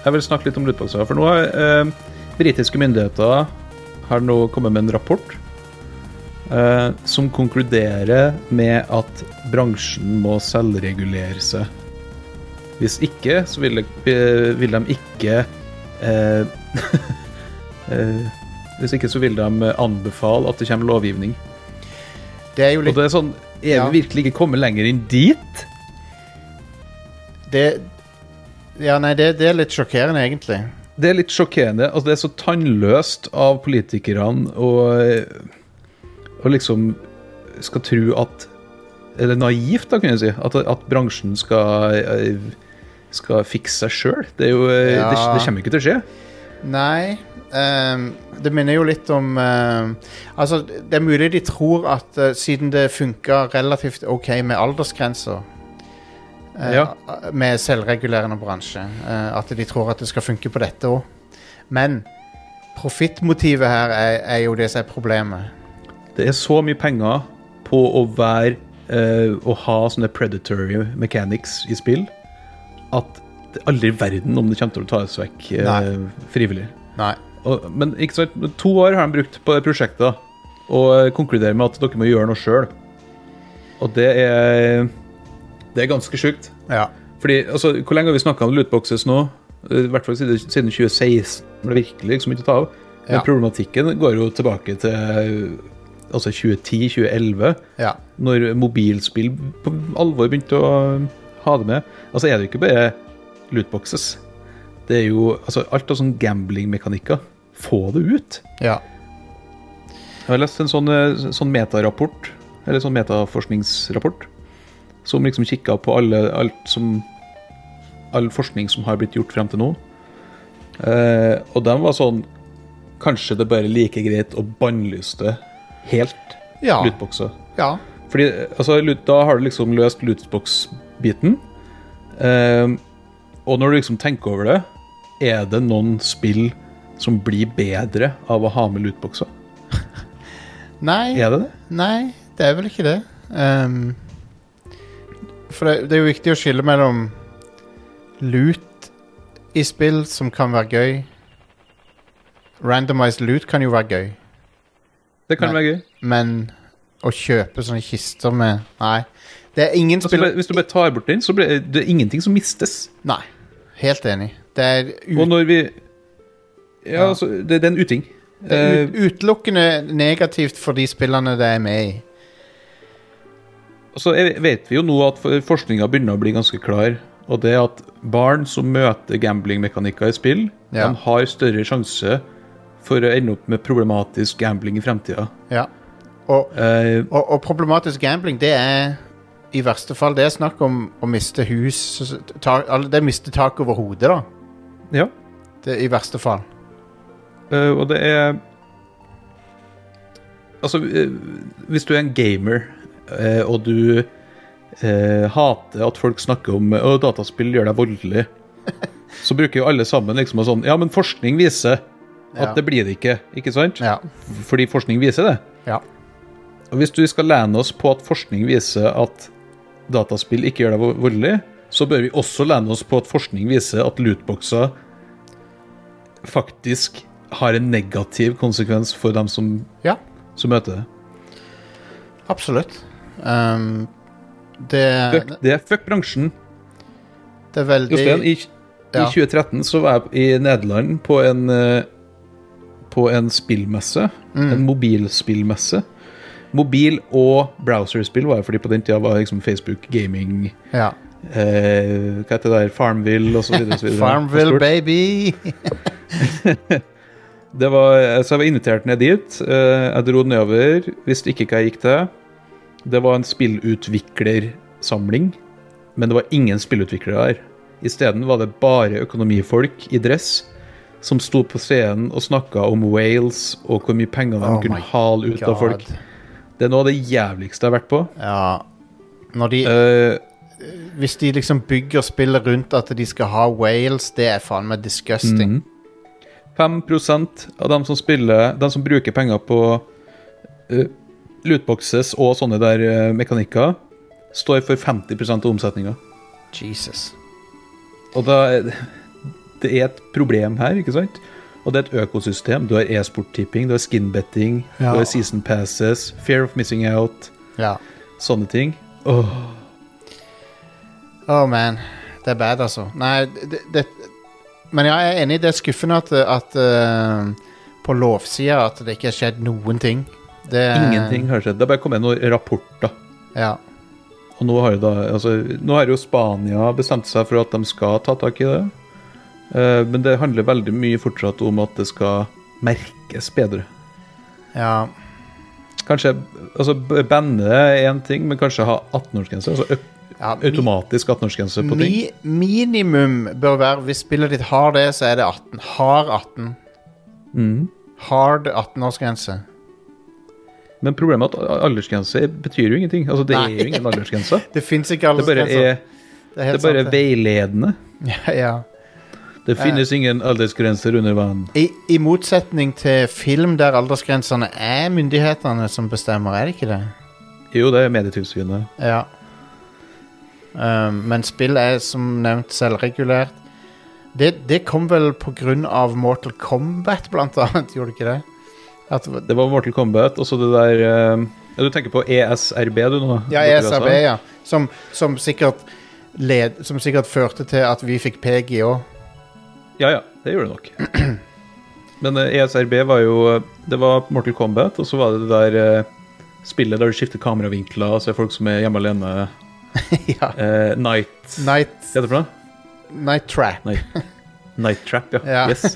Jeg vil snakke litt om lootboxa. For nå har eh, britiske myndigheter har nå kommet med en rapport eh, som konkluderer med at bransjen må selvregulere seg. Hvis ikke, så vil, det- eh, vil de ikke eh, <laughs> eh, Hvis ikke, så vil de anbefale at det kommer lovgivning. Det er jo Og litt det er sånn Er Ja. vi virkelig ikke kommet lenger inn dit? det, Ja, nei, det, det er litt sjokkerende, egentlig. Det er litt sjokkerende. Altså, det er så tannløst av politikerne å å liksom skal tro at Eller naivt, da, kan jeg si. At, at bransjen skal, eh, skal fikse seg sjøl. Det, er jo, eh, Ja. det, det kommer ikke til å skje. Nei ehm, Det minner jo litt om ehm, Altså, det er mulig de tror at eh, siden det funka relativt OK med aldersgrenser eh, Ja. a- Med selvregulerende bransje, eh, at de tror at det skal funke på dette òg. Men profittmotivet her er, er jo det som er problemet. Det er så mye penger på å være eh, Å ha sånne predatory mechanics i spill at det er aldri i verden om det kommer til å tas vekk eh, Nei. frivillig. Nei. Og, men ikke sant, men to år har de brukt på det prosjektet da, og eh, konkluderer med at dere må gjøre noe sjøl. Og det er Det er ganske sjukt. Ja. Fordi, altså, hvor lenge har vi snakka om lootboxes nå? Eh, I hvert fall siden, siden 2016, hvor det virkelig liksom ikke tar av. Men Ja. problematikken går jo tilbake til eh, altså 2010-2011, ja. når mobilspill på alvor begynte å ha det med. Altså er det jo ikke bare lootboxes. Det er jo altså, alt av sånn gamblingmekanikker. Få det ut. ja. Jeg har lest en sånn, eh, sånn metarapport, eller sånn metaforskningsrapport, som liksom kikka på alle, alt som, all forskning som har blitt gjort frem til nå. Eh, og den var sånn Kanskje det bare er like greit å bannlyse helt Ja. lootboxer. ja. Fordi, altså, lut- da har du liksom løst lootbox-biten. Ehm, og når du liksom tenker over det, er det noen spill som blir bedre av å ha med lootboxer? Nei. Er det det? Nei, det er vel ikke det. Ehm, for det, det er jo viktig å skille mellom loot i spill som kan være gøy. Randomized loot kan jo være gøy, Det kan Nei. være gøy. men å kjøpe sånne kister med Nei. Det er ingen Altså, spill bare- hvis du bare tar bort den, så blir det er ingenting som mistes. Nei. Helt enig. Det er, Og ut, når vi Mm. Ja, altså, det, det er en uting. det er Eh, ut, utelukkende negativt for de spillene det er med i. Og så er- vet vi jo nå at for- forskninga begynner å bli ganske klar. Og det er at barn som møter gamblingmekanikker i spill, Ja. de har større sjanse for å ende opp med problematisk gambling i fremtida. Ja. Og Eh, Og, og problematisk gambling, det er i verste fall det er snakk om å miste hus så- ta, al- Det er miste tak over hodet, da. ja. Det, I verste fall. Eh, og det er Altså, eh, hvis du er en gamer, eh, og du eh, hater at folk snakker om at dataspill gjør deg voldelig, <laughs> så bruker jo alle sammen liksom å sånn Ja, men forskning viser at Ja. det blir det ikke, ikke sant? Ja. Fordi forskning viser det. ja. Og hvis du skal lene oss på at forskning viser at dataspill ikke gjør deg vo- voldelig, så bør vi også lene oss på at forskning viser at lootboxer faktisk har en negativ konsekvens for dem som, ja. som møter det. Absolutt. Ehm, det, Fuck det, fuck bransjen. det er veldig Jostein, i, i Ja. 2013 så var jeg i Nederland på en eh, På en spillmesse. Mm. En mobilspillmesse. Mobil- og browserspill var jeg, fordi på den tida var liksom Facebook gaming ja. eh, Hva heter det der? Farmville og så videre. og så <laughs> videre. Farmville, Stort. baby! Det var, eh, så jeg var invitert ned dit. Eh, Jeg dro nedover, visste ikke hva jeg gikk til. Det var en spillutviklersamling, men det var ingen spillutviklere der. Isteden var det bare økonomifolk i dress som sto på scenen og snakka om Wales og hvor mye penger de Oh my kunne hale ut av folk. God. Det er noe av det jævligste jeg har vært på. Ja. Når de, Eh, hvis de liksom bygger spillet rundt at de skal ha Wales, det er faen meg disgusting. Mhm. 5 av dem som spiller De som bruker penger på eh, lootboxes og sånne der eh, mekanikker, står for 50 av omsetninga. Jesus. Og da er det- Det er et problem her, ikke sant? Og det er et økosystem. Du har e-sport-tipping, du har skinbetting, Ja. du har season passes, fear of missing out, Ja. sånne ting. Åh, Oh man. Det er bad, altså. Nei, det, det Men ja, jeg er enig, det er skuffende at, at eh, på lovsida at det ikke har skjedd noen ting. Det er- ingenting har skjedd. Det har bare kommet noen rapporter. Ja. Og nå har, jo da, altså, nå har jo Spania bestemt seg for at de skal ta tak i det. Eh, men det handler veldig mye fortsatt om at det skal merkes bedre. ja. Kanskje altså, b- banne er én ting, men kanskje ha 18-årsgrense. Altså ø- ja mi- automatisk 18-årsgrense på ting. Mi, minimum bør være Hvis spillet ditt har det, så er det 18. Har 18. Mhm. Hard 18-årsgrense. Men problemet er at aldersgrense betyr jo ingenting. Altså, det Nei. er jo ingen aldersgrense. Det fins ikke Det bare aldersgrenser. er, det er bare veiledende. Ja, ja. Det finnes ingen aldersgrenser under vann. I, I motsetning til film der aldersgrensene er myndighetene som bestemmer, er det ikke det? Jo, det er Medietilsynet. Ja. Um, men spill er som nevnt selvregulert. Det, det kom vel på grunn av Mortal Kombat, blant annet, <laughs> gjorde det ikke det? At, Det var Mortal Kombat, og så det der eh, Ja, du tenker på ESRB, du nå? Ja, E Borte i USA. ESRB, ja. Som, som, sikkert led, som sikkert førte til at vi fikk PG òg. Ja, ja, det gjør det nok. <clears throat> Men eh, ESRB var jo eh, Det var Mortal Kombat, og så var det det der eh, spillet der du skifter kameravinkler og ser folk som er hjemme alene. ja. Eh, night Hva Night, heter det for noe? Night Trap. Night Trap, ja. Ja. Yes.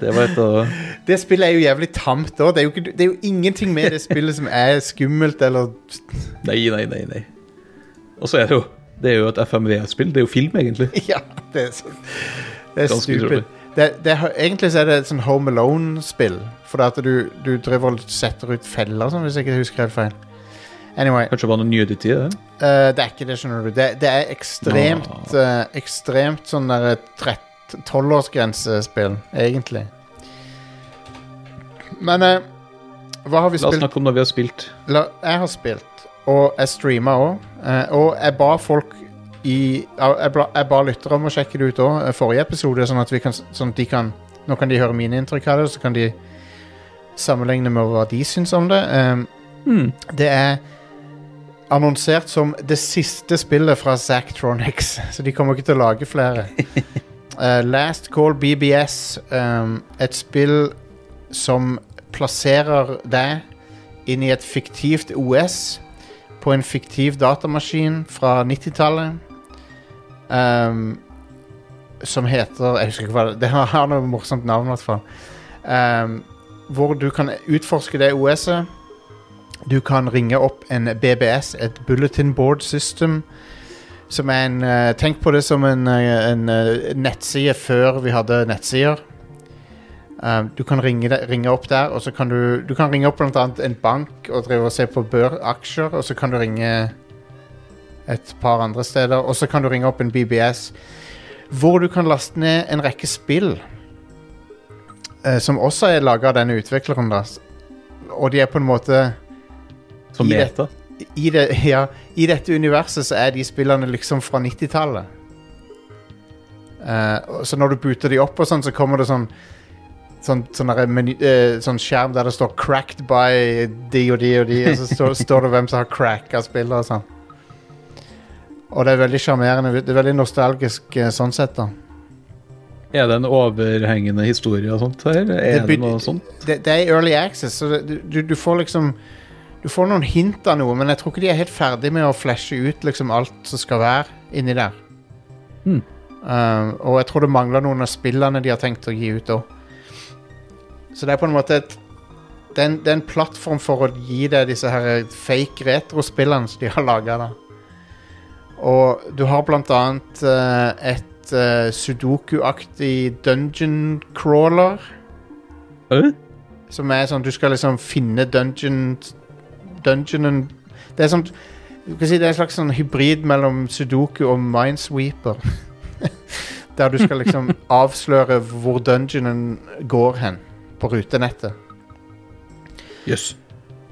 Det var et av Det spillet er jo jævlig tamt òg. Det, er jo ikke- det er jo ingenting med det spillet som er skummelt eller Nei, nei, nei. nei. Og så er det jo Det er jo et FMV-spill. Det er jo film, egentlig. <laughs> Ja, det er så Det er Ganske stupid. utrolig. Det, det, er- egentlig så er det et sånn Home Alone-spill. For at du, du driver og setter ut feller, sånn, hvis jeg ikke husker helt feil. Anyway. Kanskje det var noe nudity i det? Eh, det er ikke det, skjønner du. Det, det er ekstremt eh, Ekstremt sånn der trett- 12-årsgrensespill, egentlig. Men eh, hva har vi La oss spilt? snakke om når vi har spilt. La, jeg har spilt, og jeg streama òg. og jeg ba folk i ja, Jeg, ba- jeg ba lyttere om å sjekke det ut òg, forrige episode, sånn at, vi kan, s- sånn at de kan Nå kan de høre mine inntrykk av det, og så kan de sammenligne med hva de syns om det. Ehm, Hmm. det er annonsert som det siste spillet fra Zactronics, <laughs> så de kommer ikke til å lage flere. Eh, Last Call BBS, ehm, et spill som plasserer deg inn i et fiktivt OS på en fiktiv datamaskin fra 90-tallet. ehm, som heter Jeg husker ikke hva det Det har noe morsomt navn, i hvert fall. Ehm, hvor du kan utforske det OS-et. Du kan ringe opp en BBS, et Bulletin Board System, som er en eh, Tenk på det som en, eh, en eh, nettside før vi hadde nettsider. Eh, du kan ringe, de- ringe opp der, og så kan du, du kan ringe opp blant annet en bank og drive og se på bør aksjer, og så kan du ringe et par andre steder, og så kan du ringe opp en BBS, hvor du kan laste ned en rekke spill, eh, som også er laget av denne utvikleren, da. S- og de er på en måte Som I det- meta. i, det, <laughs> ja, I dette universet så er de spillene liksom fra 90-tallet. Eh, og så når du booter de opp, og sånn, så kommer det sånn Sånn, sånn, derre meny, eh, sånn skjerm der det står 'cracked by de og de og de', og så står, står det hvem som har cracka spillet og sånn. Og det er veldig sjarmerende. Det er veldig nostalgisk eh, sånn sett, da. Er det en overhengende historie og sånt her? Er det, begyn- noe sånt? det, det er i early access, så det, du, du får liksom Du får noen hint av noe, men jeg tror ikke de er helt ferdig med å flashe ut liksom alt som skal være inni der. Hmm. Um, og jeg tror det mangler noen av spillene de har tenkt å gi ut òg. Så det er på en måte et det er en, det er en plattform for å gi deg disse her fake retrospillene som de har laga. Og du har blant annet eh, et eh, sudoku-aktig dungeon crawler. Hæ? Som er sånn, du skal liksom finne dungeon Dungeonen Det er sånn du kan si det er en slags sånn hybrid mellom Sudoku og Minesweeper. <laughs> Der du skal liksom avsløre hvor dungeonen går hen på rutenettet. Jøss.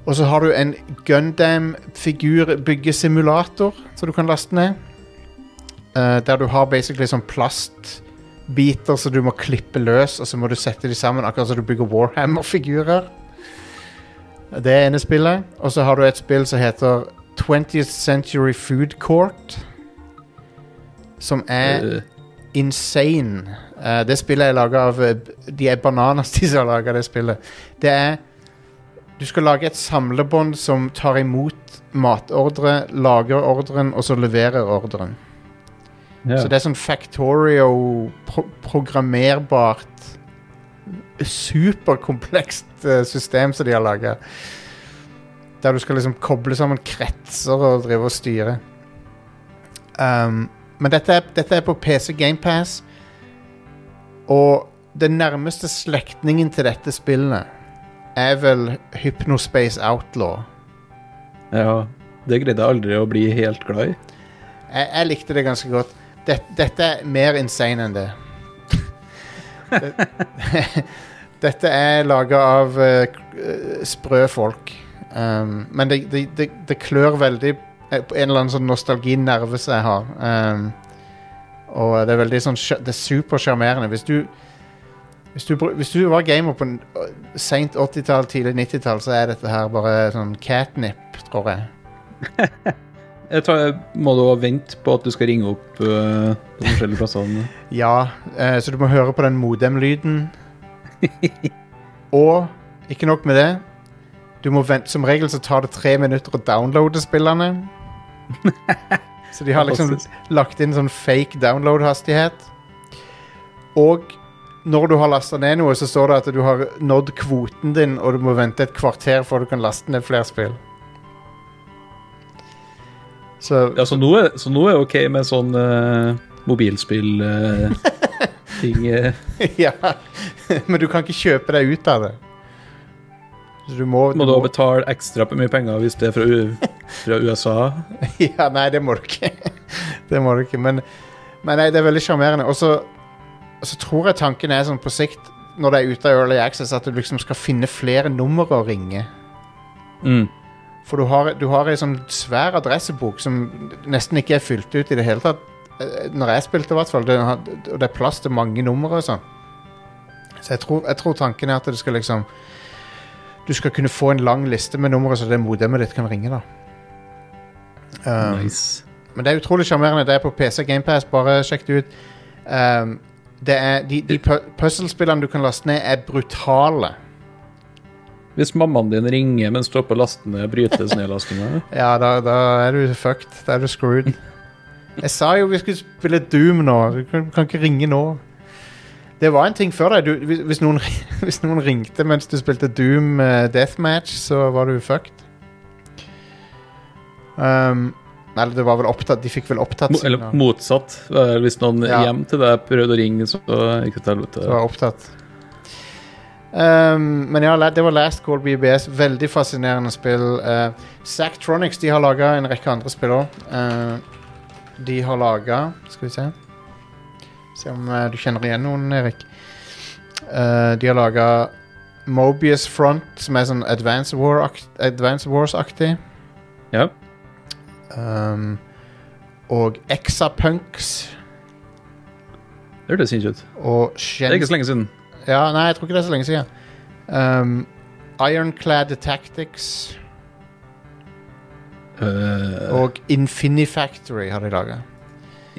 Og så har du en Gundam-figurbyggesimulator som du kan laste ned. Eh, der du har basically sånn plastbiter som du må klippe løs, og så må du sette de sammen, akkurat som du bygger Warhammer-figurer. Det er ene spillet. Og så har du et spill som heter 20th Century Food Court. Som er Eh, insane. Eh, det spillet er laga av eh, De er bananas, <laughs> de som har laga det spillet. Det er Du skal lage et samlebånd som tar imot matordre, lager ordren, og så leverer ordren. ja. Så det er sånn Factorio-programmerbart Superkomplekst eh, system som de har laga. Der du skal liksom koble sammen kretser og drive og styre. Um, men dette er, dette er på PC GamePass. Og den nærmeste slektningen til dette spillet er vel Hypnospace Outlaw. ja. Det greide jeg aldri å bli helt glad i. Jeg, jeg likte det ganske godt. Det- dette er mer insane enn det. <laughs> Det- dette er laga av eh, k- eh, sprø folk. Um, men det, det, det, det klør veldig eh, på en eller annen sånn nostalginerve som jeg har. Um, og det er veldig sånn sj- Det er supersjarmerende. Hvis du hvis du, bru- hvis du var gamer på n- seint 80-tall, tidlig 90-tall, så er dette her bare sånn catnip, tror jeg. Jeg tar, må du også vente på at du skal ringe opp eh, de forskjellige plassene? Ja, eh, så du må høre på den modem-lyden. Og ikke nok med det. Du må vente, som regel så tar det tre minutter å downloade spillene. Så de har liksom Fantastisk. lagt inn sånn fake download-hastighet. Og når du har lasta ned noe, så står det at du har nådd kvoten din, og du må vente et kvarter før du kan laste ned flere spill. Så <laughs> Ja, så nå er, så nå er det ok med sånn eh, mobilspill eh, ting eh. <laughs> ja. Men du kan ikke kjøpe deg ut av det. Så du må, Må du også betale ekstra på mye penger hvis det er fra, U fra USA? <laughs> Ja, nei, det må du ikke. <laughs> det må du ikke. Men, men nei, det er veldig sjarmerende. Og så og så tror jeg tanken er sånn på sikt, når det er ute av Early Access, at du liksom skal finne flere numre å ringe. Mm. For du har, du har ei sånn svær adressebok som nesten ikke er fylt ut i det hele tatt. Eh, Når jeg spilte, i hvert fall. Den har- Og det er plass til mange numre og sånn. Så jeg tror, jeg tror tanken er at du skal liksom Du skal kunne få en lang liste med numre, så det modemet ditt kan ringe, da. Um, Nice. Men det er utrolig sjarmerende. Det er på PC GamePass, bare sjekk det ut. Um, det er, de de pu- puzzlespillene du kan laste ned, er brutale. Hvis mammaen din ringer mens du er oppe og laster ned, brytes nedlastinga? Ja, da, da er du fucked. Da er du screwed. Jeg sa jo vi skulle spille Doom nå. Du kan, kan ikke ringe nå. Det var en ting før deg. Du, hvis, hvis, noen, <laughs> hvis noen ringte mens du spilte Doom eh, Deathmatch, så var du fucked. Um, nei, det var vel opptatt De fikk vel opptatt Mo- Eller signal. motsatt. Eh, Hvis noen Ja. hjem til deg prøvde å ringe, så gikk det til helvete. Det var opptatt. Ehm, men ja, la- det var Last Call BBS. Veldig fascinerende spill. Uh, Sactronics de har laga en rekke andre spill òg. de har laga Skal vi se Se om eh, du kjenner igjen noen, Erik. Eh, de har laga Mobius Front, som er sånn Advance, War Advance Wars-aktig. Ja. Ehm, og Exapunks Det hørtes sinnssykt ut. og Det er Shen ikke så lenge siden. Ja, nei, jeg tror ikke det er så lenge siden. Um, Ironclad Tactics Eh, og Infinifactory har de laga.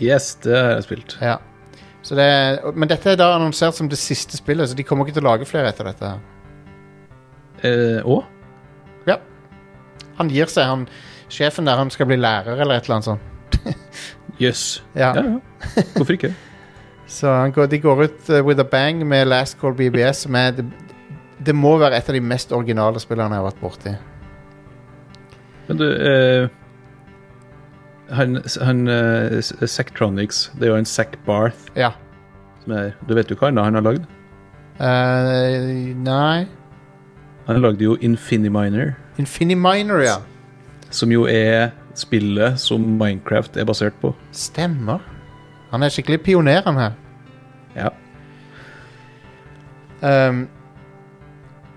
yes, det har jeg spilt. Ja. Så det er- Men dette er da annonsert som det siste spillet, så de kommer ikke til å lage flere etter dette. her. Eh, Å? Han gir seg. han Sjefen der han skal bli lærer eller et eller annet sånt. Jøss. Ja. Ja, ja. Hvorfor ikke? Så han går, de går ut uh, with a bang med Last Call BBS, som er det, det må være et av de mest originale spillene jeg har vært borti. Men du eh, Han, han eh, S- Sactronics, det er jo en Sac Barth Ja. som er Du vet jo hva annet han har lagd? Eh, nei Han lagde jo Infiniminer, Infiniminer, ja. som jo er spillet som Minecraft er basert på. Stemmer. Han er skikkelig pioner, han her. Ja. Ehm,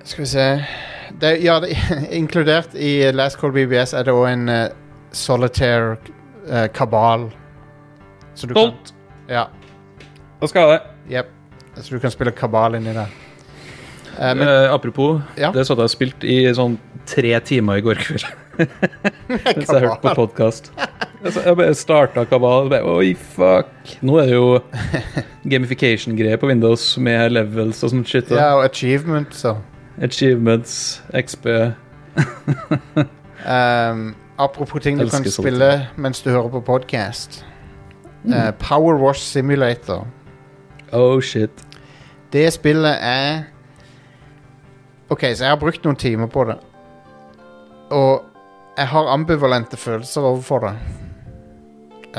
skal vi se det, Ja, det, <laughs> inkludert i Last Call BBS er det òg en eh, solitaire eh, kabal. Så du kan Stolt! Ja. Da skal jeg ha det. Jepp. Så du kan spille kabal inni der. Eh, men Eh, apropos, Ja. det satt jeg og spilte i sånn tre timer i går kveld. <laughs> Mens jeg hørte på podkast. Jeg bare starta kabal. Bare, Oi, fuck! Nå er det jo gamification-greier på Windows med levels og sånt shit. da. ja, og achievement, så. Achievements, XP Ehm, apropos ting du Elsker kan solitaire. spille mens du hører på podkast. Power Wash Simulator. Oh, shit. Det spillet er Ok, så jeg har brukt noen timer på det. Og jeg har ambivalente følelser overfor det.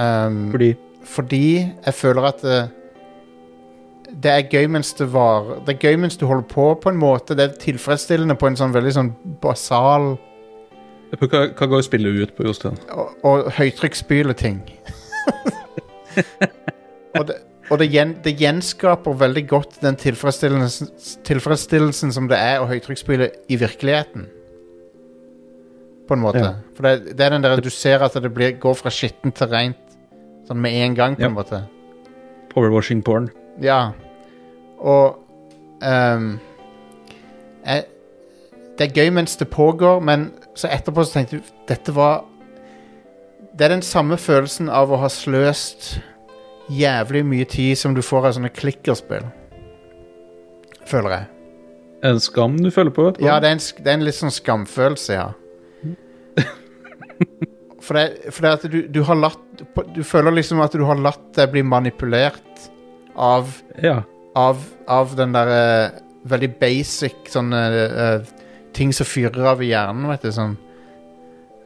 Ehm, Fordi fordi jeg føler at eh, det er gøy mens det var Det er gøy mens du holder på, på en måte. Det er tilfredsstillende på en sånn veldig sånn basal Hva, hva går spillet ut på, Jostein? og, og <laughs> høytrykksspyleting. og det, og det, gjen, det gjenskaper veldig godt den tilfredsstillelsen, tilfredsstillelsen som det er å høytrykksspyle i virkeligheten. På en måte. Ja. For det, det er den der du ser at det blir, går fra skittent til rent sånn med en gang, på Ja. en måte. Overwashing porn. Ja. Og ehm, jeg, Det er gøy mens det pågår, men så etterpå så tenkte du Dette var Det er den samme følelsen av å ha sløst jævlig mye tid som du får av sånne klikkerspill. Føler jeg. En skam du føler på? etterpå? Ja, det er en, sk- det er en litt sånn skamfølelse, ja. For det, for det at du, du har latt Du føler liksom at du har latt deg bli manipulert av ja. av, av den der eh, veldig basic sånne eh, ting som fyrer av i hjernen, vet du, sånn.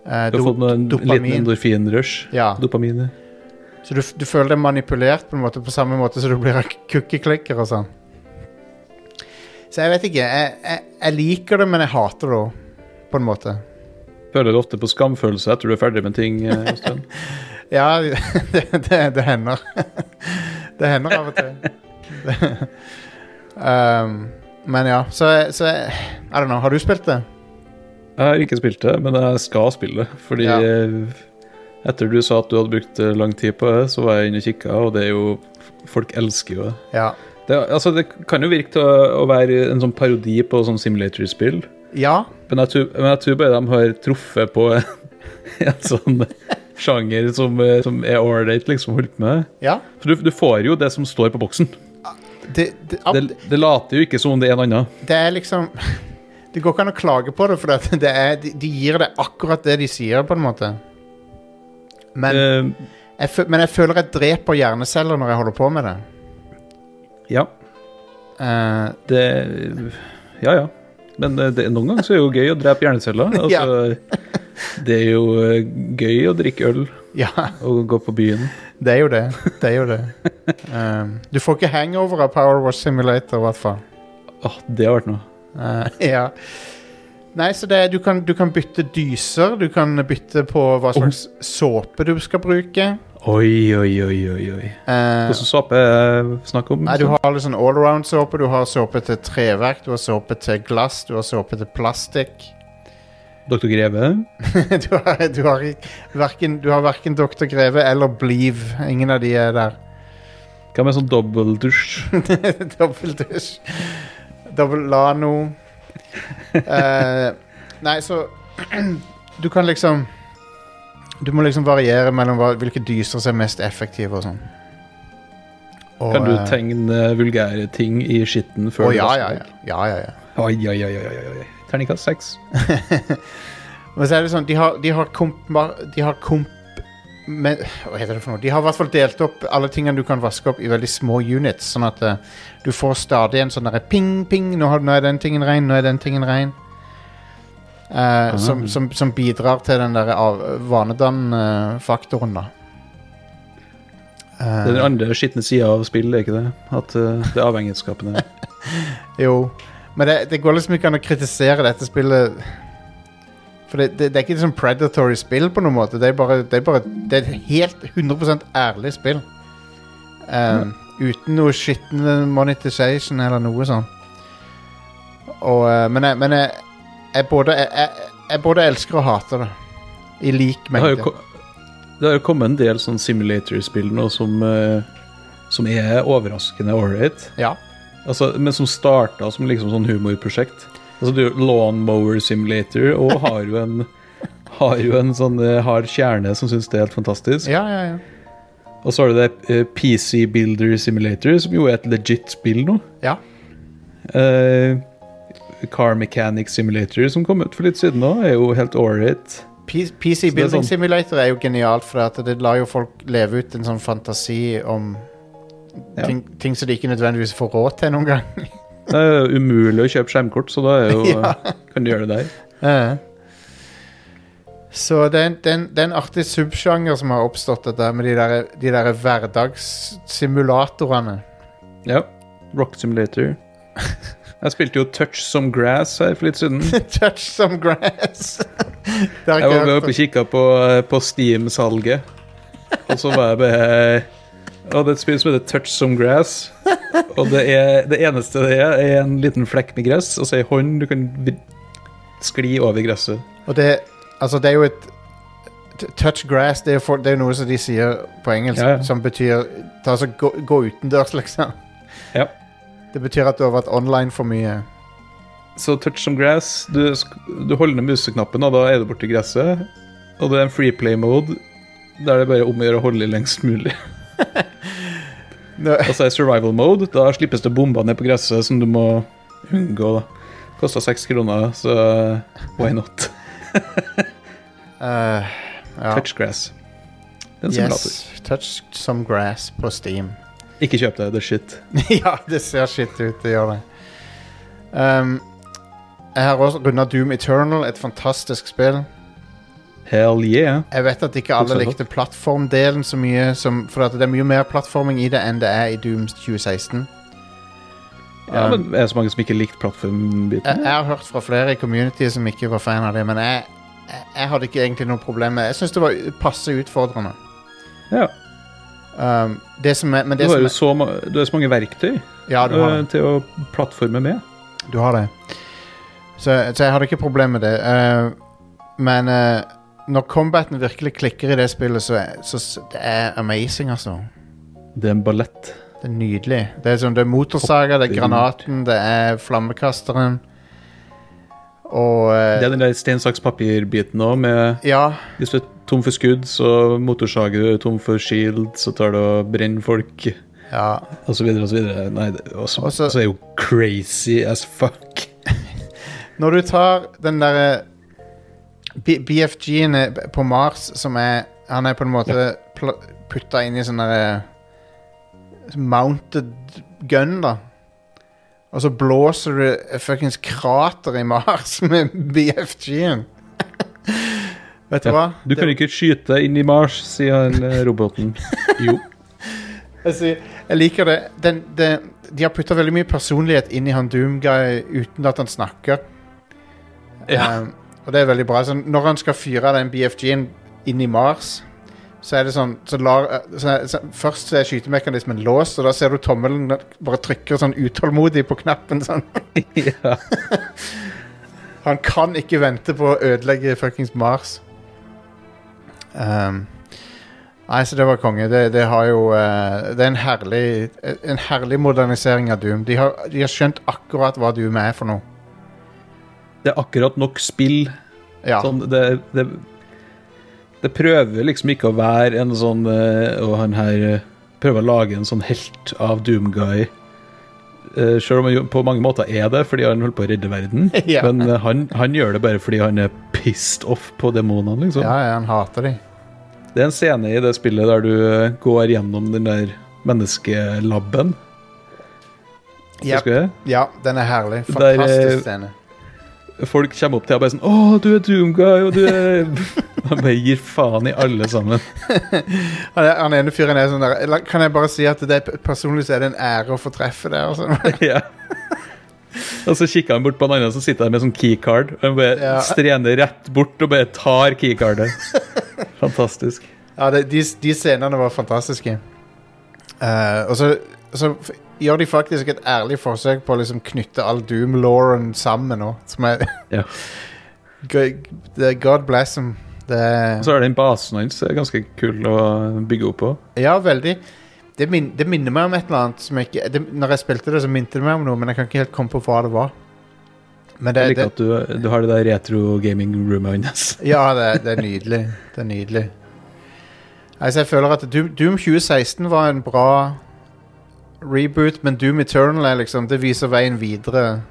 Eh, Du har do- fått en liten dopamin. endorfinrush. Ja, Dopamin. ja. så du, f- du føler deg manipulert på en måte på samme måte som du blir av kukkeklikker og sånn. Så jeg vet ikke, jeg, jeg, jeg liker det, men jeg hater det også, på en måte. Føler ofte på skamfølelse etter du er ferdig med ting. eh, Jostein. Ja, <laughs> det, det, det hender. <laughs> Det hender av og til. Det- <laughs> um, men ja, så, så jeg, I don't know, har du spilt det? Jeg har ikke spilt det, men jeg skal spille det. Fordi Ja. eh, etter du sa at du hadde brukt eh, lang tid på det, så var jeg inne og kikka, og det er jo Folk elsker jo det. Ja. Det, er- altså, det kan jo virke til å, å være en sånn parodi på sånn simulator-spill, Ja, men, jeg tror- men jeg tror bare de har truffet på <laughs> en sånn sjanger som, eh, som er ålreit, liksom, holdt med. ja. For du, du får jo det som står på boksen. det, det, ab- Det, det later jo ikke som om det er en annen. det er liksom <laughs> Det går ikke an å klage på det, for at det er, de, de gir deg akkurat det de sier, på en måte. Men, Eh, jeg, fø- men jeg føler jeg dreper hjerneceller når jeg holder på med det. ja, Eh, det Ja, ja. Men eh, det, noen ganger så er det jo gøy å drepe <laughs> hjerneceller. Altså, Det er jo eh, gøy å drikke øl ja, <laughs> og gå på byen. det er jo <laughs> det. Det er jo det. Eh, du får ikke hangover av Power Wash Simulator, i hvert fall. Åh, Ah, det har vært noe. Eh, <laughs> ja. Nei, så det, er- du, kan, du kan bytte dyser. Du kan bytte på hva slags såpe du skal bruke. Oh. Oi, oi, oi, oi. oi. Eh, Hvordan såpe eh, snakker om? nei, du har litt sånn allround-såpe. Du har såpe til treverk, du har såpe til glass, du har såpe til plastikk. <laughs> Dr. Greve? du, har, du, har, ikke- verken, du har verken Dr. Greve eller Believe. Ingen av de er der. <laughs> Hva med sånn dobbeldusj? Dobbeldusj. Dobbel Lano. Eh, nei, så <clears throat> Du kan liksom Du må liksom variere mellom hva, hvilke dyser som er mest effektive og sånn. Og, Kan du eh, tegne vulgære ting i skitten før Å du ja, ja, vasker ja. ja, ja, ja. deg? Oi, oi, oi, oi, oi, oi. Terningkast seks. Men så er det sånn, de har, de har komp... De har komp men, hva heter det for noe? De har i hvert fall delt opp alle tingene du kan vaske opp i veldig små units, sånn at eh, du får stadig en sånn derre ping, ping, nå, har, nå er den tingen rein, nå er den tingen rein. Eh, som, som, som bidrar til den derre eh, vanedan-faktoren, eh, da. Eh. Det er den andre skitne sida av spillet, er ikke det? At eh, det er avhengighetsskapende. Jo, men det, det går liksom ikke an å kritisere dette spillet For det, det, det er ikke et sånn predatory spill på noen måte. Det er bare, det er bare det er et helt 100 ærlig spill. Um, Mm. Uten noe skitne monetization eller noe sånn. Og, eh, men jeg, men jeg, jeg, både, jeg, jeg, jeg både elsker og hater det. I lik Det har jo, mengde. ko- det har jo kommet en del sånn simulator-spill nå som, eh, som er overraskende ålreit. Ja. Altså, men som starta som liksom sånn humorprosjekt. Altså, du, Lawnmower Simulator og har jo en <laughs> har jo en sånn eh, hard kjerne som syns det er helt fantastisk. ja, ja, ja. Og så har du det eh, PC Builder Simulator, som jo er et legit spill nå. ja. Eh, Car Mechanic Simulator, som kom ut for litt siden nå, er jo helt ålreit. P- PC er Building sånn- Simulator er jo genialt, for at det lar jo folk leve ut en sånn fantasi om Ja. ting, ting som de ikke nødvendigvis får råd til noen <laughs> gang. Det er jo umulig å kjøpe skjermkort, så da er jo, kan du gjøre det der. Eh. Så det er, en, det, er en, det er en artig subsjanger som har oppstått dette med de der, de der hverdagssimulatorene. <laughs> Ja. Rock Simulator. Jeg spilte jo Touch Some Grass her for litt siden. Touch some grass! <laughs> Det har Jeg var ikke hørt med oppe om. og kikka på, eh, på Steam-salget, og så var jeg bare Og det er et spill som heter Touch Some Grass. Og det, er, det eneste det er, er en liten flekk med gress, og så ei hånd du kan vri- skli over gresset. Og det, altså det er jo et t- Touch grass, det er, jo for, det er jo noe som de sier på engelsk, Ja, ja. som betyr ta, altså, gå, gå utendørs, liksom. Ja. Det betyr at du har vært online for mye. Så Touch Some Grass Du, sk- du holder ned museknappen, og da er du borti gresset. Og det er en freeplay-mode der det bare er om å gjøre å holde i lengst mulig. <laughs> Nå, Og så er survival mode. Da slippes det bomber ned på gresset som du må unngå. da Kosta seks kroner, så why not? eh, ja. Touch grass. Det er en simulator. Yes, touch some grass på Steam. <laughs> Ikke kjøp det, det er shit. ja, det ser shit ut, det gjør det. Um, jeg har også runda Doom Eternal, et fantastisk spill. Hell yeah. Jeg vet at ikke alle Fortsatt. likte plattformdelen så mye, som, for at det er mye mer plattforming i det enn det er i Doom 2016. Ja, Um, men Er det så mange som ikke likte Jeg, plattformbiten? jeg har hørt fra flere i community som ikke var fan av det, men jeg, jeg, jeg hadde ikke egentlig noe problem med det. Jeg syns det var passe utfordrende. Ja. Um, det som er, men Du det som har jo er, så, ma- du har så mange verktøy ja, du har det. eh, til å plattforme med. Du har det. Så, så jeg hadde ikke problem med det. Eh, men eh, når combaten virkelig klikker i det spillet, så, er- så, så det er amazing, altså. Det er en ballett. Det er nydelig. Det er, sånn, det er motorsaga, det er granaten, det er flammekasteren. Og eh, Det er den der stein, saks, papir-biten òg, med Ja. hvis du er tom for skudd, så motorsager du, er tom for shield, så tar du og brenner folk. ja. Og så videre og så videre. Nei, det, og så, Og så- så er altså, det jo crazy as fuck. Når du tar den derre B- BFG-en er på Mars, som er Han er på en måte ja. putta inn i sånn derre Mounted gun, da. Og så blåser du et fuckings krater i Mars <laughs> med BFG-en. <laughs> Vet du hva? Du kan Det- <laughs> ikke skyte inn i Mars, sier han eh, roboten. Jo. Jeg sier, Jeg liker det. Den, den, de har putta veldig mye personlighet inn i han Doomguy uten at han snakker. Ja. Um, og det er veldig bra. Så når han skal fyre den BFG-en inn i Mars, så er det sånn så lar, så, så, Først så er skytemekanismen låst, og da ser du tommelen bare trykker sånn utålmodig på knappen. Sånn. <laughs> ja. Han kan ikke vente på å ødelegge fuckings Mars. Ehm, nei, så det var konge. Det, det har jo eh, Det er en herlig En herlig modernisering av Doom. De har, de har skjønt akkurat hva Doom er for noe. Det er akkurat nok spill. Ja. Sånn, det, det, det prøver liksom ikke å være en sånn eh, Og han her eh, prøver å lage en sånn helt av Doomguy. Uh, Sjøl om han jo på mange måter er det, fordi han holder på å redde verden. <laughs> Ja. Men eh, han, han gjør det bare fordi han er pissed off på demonene, liksom. ja, ja, han hater de. Det er en scene i det spillet der du eh, går gjennom den der menneskelabben. Ja, Husker du det? ja, den er herlig. Der, eh, Fantastisk scene. Folk kommer opp til deg og bare sånn 'Å, du er Doomguy', og du er <laughs> Han bare gir faen i alle sammen. Han, er, han ene fyren er sånn der "La- Kan jeg bare si at det er, personlig så er det en ære å få treffe deg? og sånn. <laughs> ja. Og så kikker han bort på en annen som sitter der med sånn keycard. Og han bare Ja. strener rett bort og bare tar <laughs> keycardet. Fantastisk. Ja, det, de, de scenene var fantastiske. Eh, og så, så f- gjør de faktisk et ærlig forsøk på å liksom knytte all Doom-lauren sammen nå. Som er <laughs> Ja. G- det er God bless them. Det Og er, så er den basen hans eh, ganske kul å bygge opp på. ja, veldig. Det, min, det minner meg om et eller annet som jeg ikke det, Når jeg spilte det, så minte det meg om noe, men jeg kan ikke helt komme på hva det var. Men det, Jeg det, liker at du, du har det der retro gaming-roomet hans. Ja, det, er- det er nydelig. Det er nydelig. Altså, jeg føler at Doom, Doom 2016 var en bra reboot, men Doom Eternal er liksom, det viser veien videre.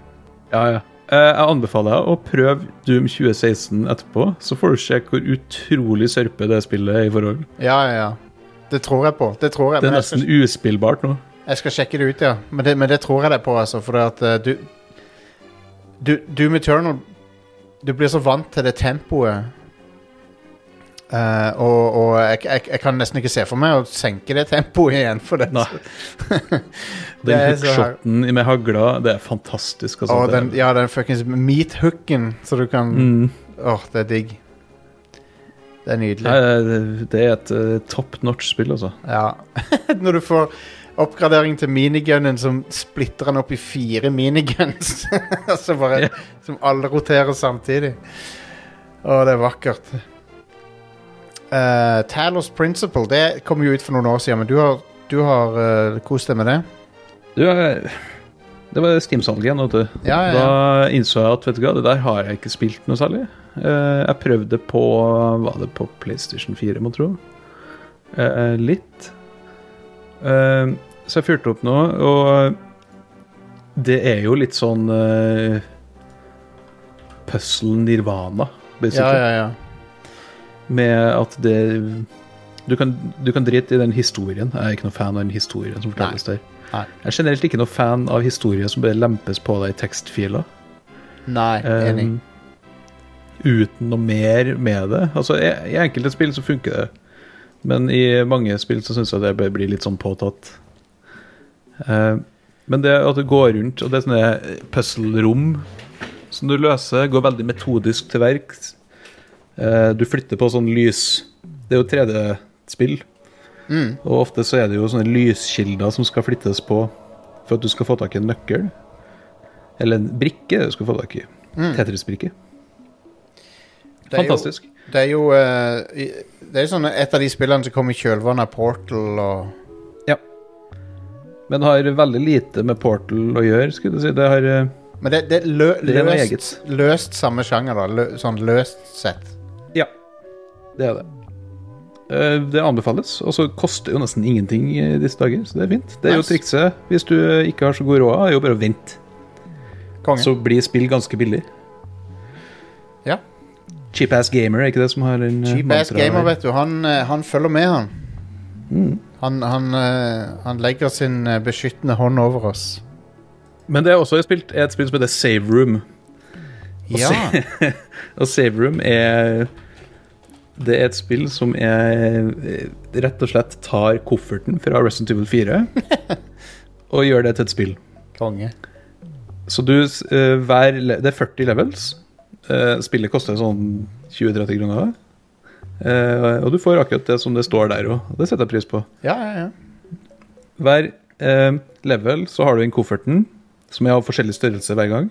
Ja, ja. Eh, Jeg anbefaler deg å prøve Doom 2016 etterpå, så får du se hvor utrolig sørpe det spillet er i forhold. Ja, ja, ja. Det tror jeg på. Det tror jeg, Det men er jeg, skal, nesten uspillbart nå. jeg skal sjekke det ut, ja. Men det, men det tror jeg deg på, altså. For det at eh, du, du Doom Eternal Du blir så vant til det tempoet. Eh, og og jeg, jeg, jeg kan nesten ikke se for meg å senke det tempoet igjen. For det, Nei. <laughs> Det Den er så her- hookshoten med hagla, det er fantastisk. Altså. Og Det er- den, ja, den fuckings meat-hooken, så du kan Åh, mm. det er digg. Det er nydelig. Nei, det- det er et eh, top notch spill, altså. Ja. <laughs> Når du får oppgradering til minigunnen som splitter den opp i fire <laughs> miniguns, altså bare, Ja. som alle roterer samtidig. Å, det er vakkert. Eh, Talos Principle det kom jo ut for noen år siden, men du har, du har eh, kost deg med det? Du, eh, det var Steam-salget igjen, vet du. Ja, ja, Da innså jeg at vet du hva, det der har jeg ikke spilt noe særlig. Eh, Jeg prøvde på Var det på PlayStation 4, må tro? Eh, Litt. Eh, Så jeg fyrte opp nå, og det er jo litt sånn eh, Puzzle nirvana, Ja, basically. ja, ja. med at det du kan, du kan drite i den historien. Jeg er ikke noe fan av den historien som fortelles der. Nei. Jeg er generelt ikke noe fan av historier som bare lempes på deg i tekstfiler. Nei, enig. Um, Ehm, uten noe mer med det. Altså, i, I enkelte spill så funker det, men i mange spill så syns jeg det bare blir litt sånn påtatt. Eh, men det at det går rundt, og det er sånne puzzle-rom som du løser, går veldig metodisk til verks. Eh, du flytter på sånn lys Det er jo 3D-spill, Mm. og ofte så er det jo sånne lyskilder som skal flyttes på for at du skal få tak i en nøkkel. Eller en brikke du skal få tak i. Tetris-brikke. Mm. Det er jo- Fantastisk. Det er jo eh, i- Det er jo sånn et av de spillene som kom i kjølvannet av Portal og Men har veldig lite med Portal å gjøre, skulle du si. Det har eh, Men det, det, er lø, Det er noe løst, løst samme sjanger, da. Lø, sånn løst sett. Ja, det er det. Eh, Det anbefales. Og så koster jo nesten ingenting i disse dager, så det er fint. Det er jo Nice. trikset. Hvis du ikke har så god råd, er jo bare å vente. Konge. Så blir spill ganske billig. Ja. Cheap ass gamer, er ikke det som har en eh, Cheap ass mantra der? gamer, vet du. Han, eh, han følger med, han. Mm. Han, han, eh, han legger sin eh, beskyttende hånd over oss. Men det jeg også har spilt, er et spill som heter Save Room. Og <laughs> Ja. Og Save Room er Det er et spill som jeg eh, rett og slett tar kofferten fra Resident Evil 4 og gjør det til et spill. Konge. Så du, s- eh, hver, le- det er 40 levels. Eh, Spillet koster sånn 20-30 kroner. Eh, Og du får akkurat det som det står der òg. Det setter jeg pris på. Ja, ja, ja. Hver eh, level så har du en kofferten, som er av forskjellig størrelse hver gang.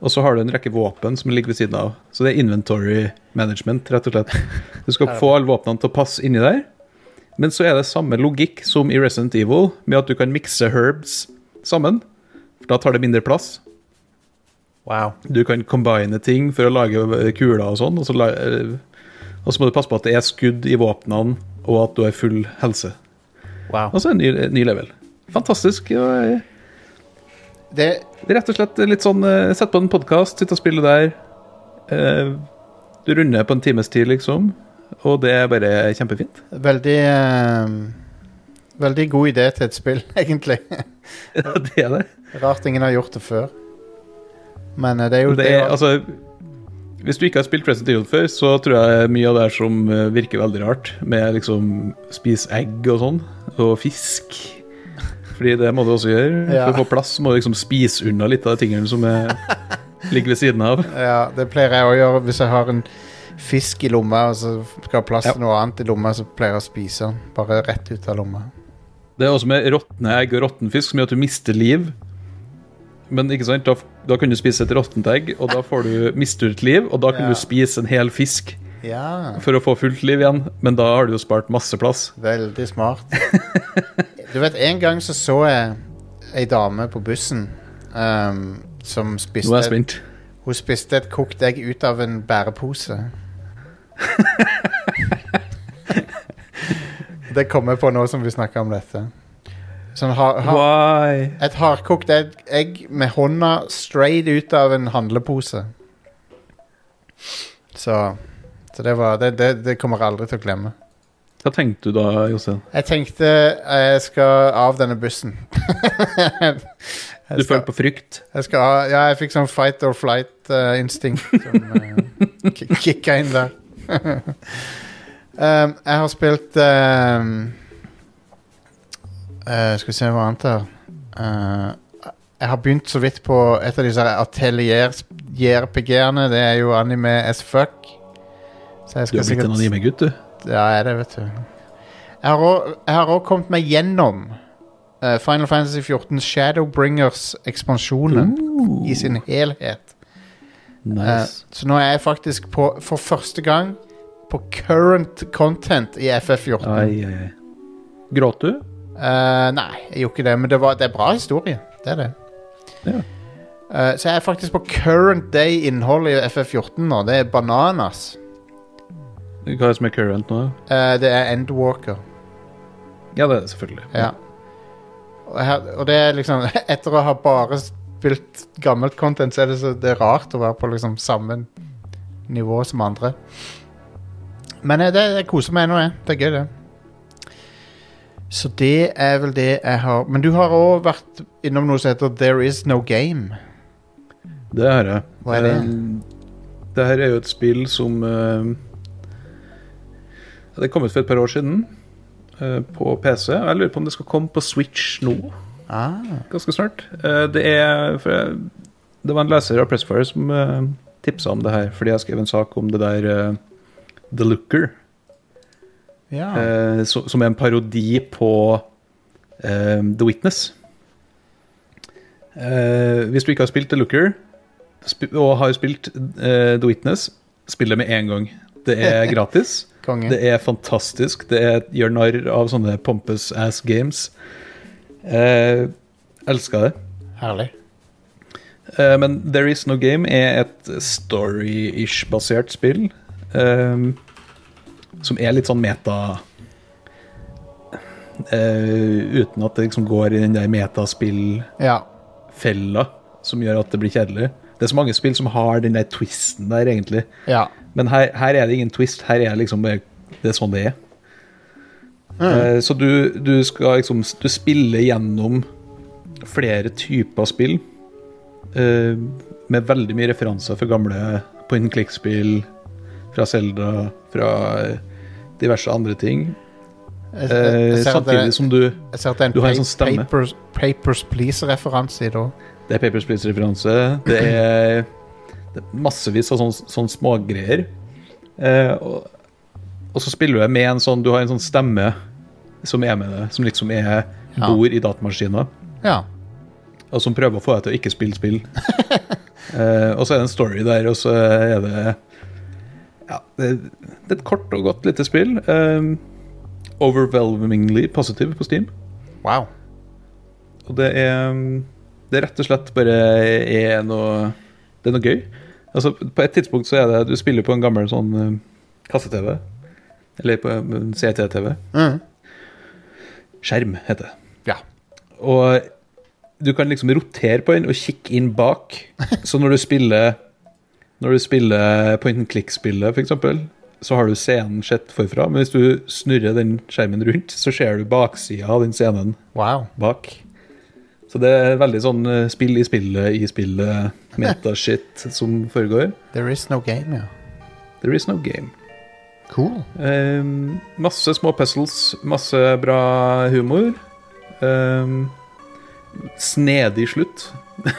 Og så har du en rekke våpen som ligger ved siden av. Så det er inventory management, rett og slett. Du skal få alle våpnene til å passe inni der. Men så er det samme logikk som i Resident Evil, med at du kan mikse herbs sammen. For da tar det mindre plass. Wow. Du kan combine ting for å lage eh, kuler og sånn. Og så, la- eh, og så må du passe på at det er skudd i våpnene, og at du har full helse. wow. Altså en ny, en ny level. Fantastisk. Og, eh, Det, rett og slett litt sånn eh, Sett på en podkast, sitte og spille der. Eh, Du runder på en times tid, liksom. Og det er bare kjempefint. <laughs> Veldig ehm, Veldig god idé til et spill, <laughs> egentlig. det er det. Rart ingen har gjort det før. Men eh, det er jo det er, altså, hvis du ikke har spilt Resident Evil før, så tror jeg mye av det her som eh, virker veldig rart, med liksom spis egg og sånn, og fisk Fordi det må du også gjøre. Ja. For å få plass må du liksom spise unna litt av de tingene som er, ligger ved siden av. Ja, det pleier jeg å gjøre hvis jeg har en fisk i lomma og så skal ha plass til Ja. noe annet i lomma, så pleier jeg å spise den. Bare rett ut av lomma. Det er også med råtne egg og råtten fisk som gjør at du mister liv. Men ikke sant, da, da kan du spise et råttent egg, og da får du, mister du et liv. Og da kan Ja. du spise en hel fisk Ja, for å få fullt liv igjen, men da har du jo spart masse plass. veldig smart. Du vet, en gang så så jeg ei dame på bussen ehm, som Nå er jeg spiste spent. Hun spiste et kokt egg ut av en bærepose. <laughs> det kommer jeg på nå som vi snakker om dette. Sånn har, har, Why? et hardkokt egg, egg med hånda straight ut av en handlepose. Så, så det, var, det, det, det kommer jeg aldri til å glemme. Hva tenkte du da, Jostein? Jeg tenkte eh, jeg skal av denne bussen. <laughs> jeg, Du skal, følte på frykt? jeg skal av, Ja, jeg fikk sånn fight or flight-instinkt som eh, ki- kicka inn der. <laughs> um, jeg har spilt um, eh, Skal vi se hva annet her Eh, Jeg har begynt så vidt på et av disse her atelier-JRPG-ene. Det er jo anime as fuck. Så jeg skal Du har blitt en sikkert- anime-gutt, du. ja, jeg er det, vet du. Jeg har også- Jeg har òg kommet meg gjennom eh, Final Fantasy 14 Shadowbringers-ekspansjonen Uh. i sin helhet. Eh, Nice. så nå er jeg faktisk på, for første gang på current content i FF14. Ai, ai, ai. Gråt du? Eh, nei, jeg gjorde ikke det, men det, var, det er bra historie. Det er det. Ja. Eh, så jeg er faktisk på current day-innhold i FF14 nå. Det er bananas. Hva er det som er current nå? Eh, det er Endwalker. Ja, det er det selvfølgelig. Ja. Og, her, og det er liksom <laughs> Etter å ha bare spilt gammelt content, så er det så det er rart å være på liksom samme nivå som andre. Men eh, det, jeg koser meg ennå, jeg. Det er gøy, det. Så det er vel det jeg har Men du har òg vært innom noe som heter There Is No Game. Det er det. Hva er det? Eh, Det her er jo et spill som eh, Det kom ut for et par år siden eh, på PC. og Jeg lurer på om det skal komme på Switch nå, Ah, ganske snart. Eh, Det er for jeg, Det var en leser av Pressfire som uh, tipsa om det her, fordi jeg skrev en sak om det der eh, The Looker. ja. eh, so- som er en parodi på eh, The Witness. Eh, hvis du ikke har spilt The Looker, sp og har spilt eh, The Witness, spill det med en gang. Det er <laughs> gratis. Konge. Det er fantastisk. Det er, gjør narr av sånne pompous ass games. Eh, Elska det. Herlig. Eh, men There Is No Game er et story-ish-basert spill. eh, som er litt sånn meta eh, Uten at det liksom går i den der metaspill-fella Ja. som gjør at det blir kjedelig. Det er så mange spill som har den der twisten der, egentlig. Ja. Men her, her er det ingen twist. Her er det liksom bare Det er sånn det er. Eh, så du, du skal liksom Du spiller gjennom flere typer spill. eh, med veldig mye referanser for gamle point and click-spill. fra Selda, fra eh, diverse andre ting. Jeg, jeg, Eh, jeg, ser at det, samtidig som du jeg ser at det er en, du har en pa- sånn stemme. Papers, papers Please-referanse i det òg. Det er Papers, Please-referanse. Det er det er massevis av sånn, sånn smågreier. Eh, og, og så spiller du med en sånn Du har en sånn stemme som er med deg, som liksom er, Ja. bor i datamaskina, Ja. og som prøver å få deg til å ikke spille spill. eh, og så er det en story der, og så er det Ja, det, det er et kort og godt lite spill. Eh, overwhelmingly positiv på Steam. Wow. Og det er um, Det er rett og slett bare er noe Det er noe gøy. Altså, på et tidspunkt så er det Du spiller på en gammel sånn eh, kasse-TV. Eller på en CT-TV. Mhm. Skjerm, heter det. Ja. Og du kan liksom rotere på den og kikke inn bak. Så når du spiller Når du spiller point and click-spillet, f.eks., så har du scenen sett forfra. Men hvis du snurrer den skjermen rundt, så ser du baksida av den scenen Wow. bak. Så det er veldig sånn eh, spill i spillet i spillet, metashit som foregår. There is no game, ja. There is no game. Cool. Ehm, masse små puzzles, masse bra humor. Ehm, snedig slutt. <laughs>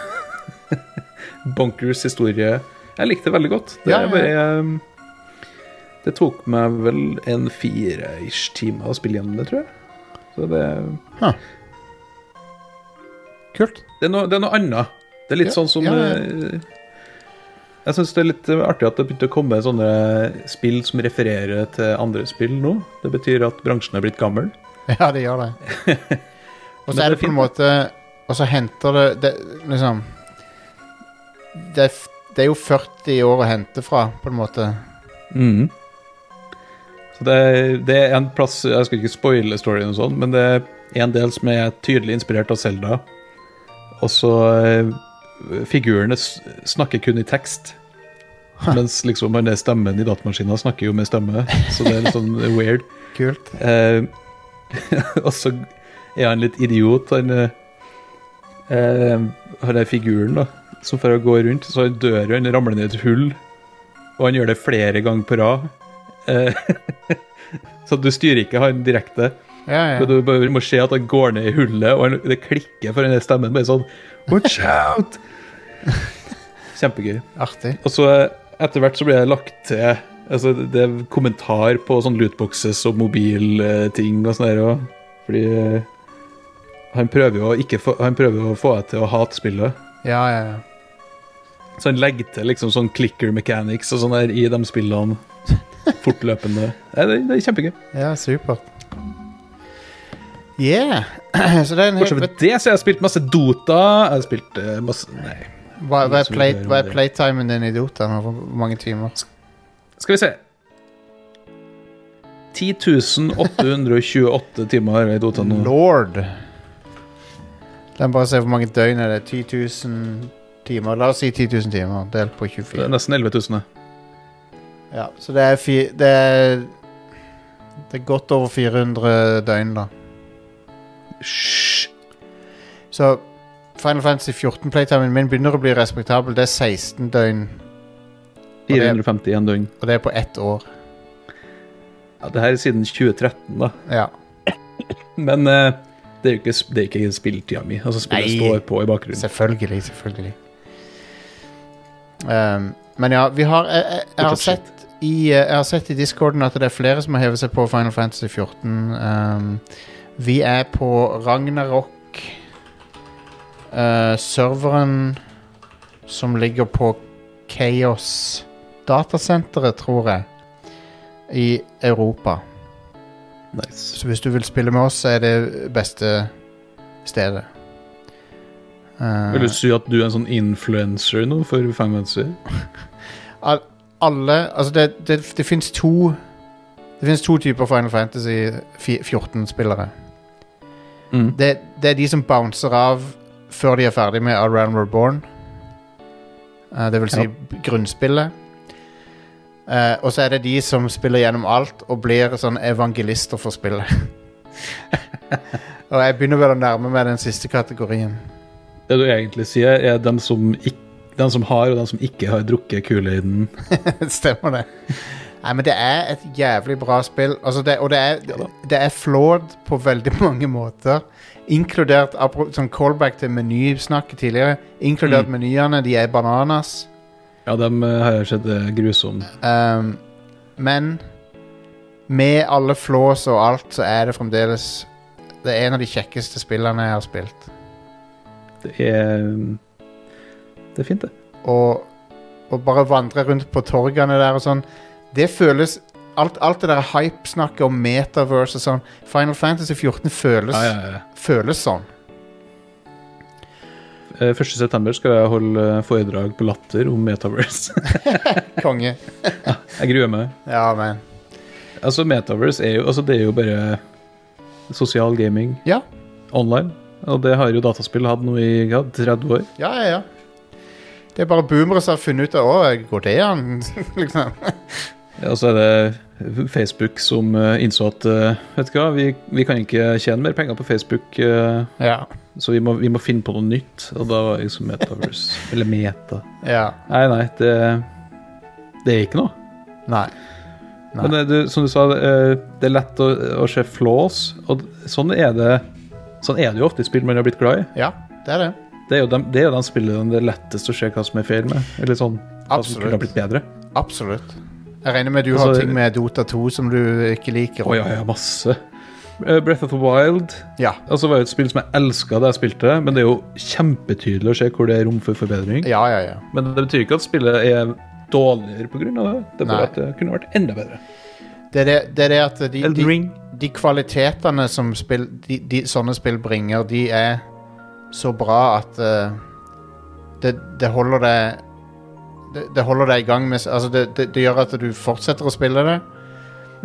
Bonkers historie. Jeg likte det veldig godt. Det, Ja, er ja, bare, ehm, det tok meg vel en fire-ish time å spille gjennom det, tror jeg. Så det Kult. Det er noe, det er noe annet. Det er litt Ja, sånn som ja, ja. eh, Jeg syns det er litt eh, artig at det begynte å komme sånne spill som refererer til andre spill nå. Det betyr at bransjen er blitt gammel. <laughs> Ja, det gjør <laughs> det. Og så Men er det det på er en måte Og så henter det, det liksom det er, f- det er jo 40 år å hente fra, på en måte. Mhm. Så det, det er en plass Jeg skal ikke spoile storyen og sånn, men det er en del som er tydelig inspirert av Selda. Og så eh, Figurene s- snakker kun i tekst. Mens liksom han er stemmen i datamaskinen snakker jo med stemme, så det er litt sånn weird. Kult. Eh, <laughs> og så er han litt idiot, han eh, eh, Han der figuren, da. Som for å gå rundt, så han dør jo, han ramler ned i et hull. Og han gjør det flere ganger på rad. Eh, <laughs> så du styrer ikke han direkte. Ja, Men ja. du bare må se at han går ned i hullet, og han, det klikker for den der stemmen. Bare sånn Watch out! Kjempegøy. Artig. Og så etter hvert så ble jeg lagt til altså, Det er kommentar på sånn lootboxes og mobilting og sånn der òg. Fordi eh, han prøver jo å ikke få, han prøver å få deg til å hate spillet. Ja, ja, ja. Så han legger til liksom sånn clicker mechanics og sånn der i de spillene fortløpende. Nei, det, det er kjempegøy. Ja, supert. Yeah. <clears throat> så det er en helt Bortsett fra det så har jeg spilt masse Dota. Jeg har spilt eh, masse Nei. Hva, hva, er Så play, det er hva er det. playtimen din i Dota nå? Hvor mange timer? Skal vi se 10.828 timer har jeg i Dota nå. Lord. La meg bare se hvor mange døgn er det. 10 000 timer. La oss si 10 000 timer delt på Det 24. er nesten 11 000. det. Ja, så det er fi... Det er, det er godt over 400 døgn, da. Hysj! Så Final Fantasy 14-playtimen min begynner å bli respektabel. Det er 16 døgn, 451 døgn. og det er på ett år. Ja, det her er siden 2013, da. Ja. Men eh, det er jo ikke, det er ikke spilletida mi. Altså, spillet Nei. står på i bakgrunnen. Selvfølgelig, selvfølgelig. Ehm, men ja, vi har Jeg, jeg, jeg, har, Fortsatt sett i, eh, jeg har sett i discorden at det er flere som har hevet seg på Final Fantasy 14. Ehm, vi er på Ragnarok. eh, serveren som ligger på Chaos datasenteret, tror jeg, i Europa. Nice. Så hvis du vil spille med oss, så er det beste stedet. Eh, Vil du si at du er en sånn influencer nå for fanfancy? alle Altså, det, det, det fins to Det finnes to typer Final Fantasy 14-spillere. Mm. Det, det er de som bouncer av før de er ferdig med A Realm Reborn. Eh, det vil si Ja. grunnspillet. Eh, og så er det de som spiller gjennom alt og blir sånn evangelister for spillet. <laughs> og jeg begynner vel å nærme meg den siste kategorien. Det du egentlig sier, er dem som, ikk- De som har, og de som ikke har drukket Kool-Aiden. <laughs> Stemmer det. Nei, men det er et jævlig bra spill. Altså det, og det er, det er flawed på veldig <laughs> mange måter. Inkludert apro- sånn callback til menysnakket tidligere. Inkludert menyene. De er bananas. Ja, de eh, har sett eh, grusom. Um, men med alle flaws og alt, så er det fremdeles Det er en av de kjekkeste spillene jeg har spilt. Det er mm, Det er fint, det. Og, og bare vandre rundt på torgene der og sånn Det føles Alt, alt det der hype-snakket om metaverse og sånn Final Fantasy 14 føles, Ah, Ja, ja, ja. føles sånn. Eh, 1. september skal jeg holde eh, foredrag på Latter om Metaverse. <laughs> Konge. jeg gruer meg. Ja, men Altså, Metaverse er jo, altså, det er jo bare sosial gaming Ja. online. Og det har jo dataspill hatt nå i ja, 30 år. Ja, ja, ja. Det er bare boomere som har funnet ut av Å, går det an? <laughs> liksom. Og så er det Facebook som eh, innså at eh, vet du hva, vi, vi kan ikke tjene mer penger på Facebook, eh, Ja. så vi må, vi må finne på noe nytt. Og da var liksom Metaverse Eller Meta. ja. Nei, nei, det, det er ikke noe. Nei. Nei. Men det, du, som du sa, det, eh, det er lett å, å se flaws, og d- sånn er det Sånn er det jo ofte i spill man har blitt glad i. Ja, det er det. Det er jo de, det er jo de spillene det er lettest å se hva som er feil med. Eller sånn, hva som kunne Absolutt. ha blitt bedre. Absolutt. Jeg regner med du har Altså, ting med Dota 2 som du ikke liker. Å ja, ja, masse. Eh, Breath of the Wild Ja. altså var jo et spill som jeg elska da jeg spilte, men det er jo kjempetydelig å se hvor det er rom for forbedring. Ja, ja, ja. Men det betyr ikke at spillet er dårligere pga. det. Det er Nei. bare at det kunne vært enda bedre. Det er det, det, er det at de, Elden de, Ring. de kvalitetene som spill, de, de, sånne spill bringer, de er så bra at eh, det, det holder deg det, det holder deg i gang med altså det, det, det gjør at du fortsetter å spille det,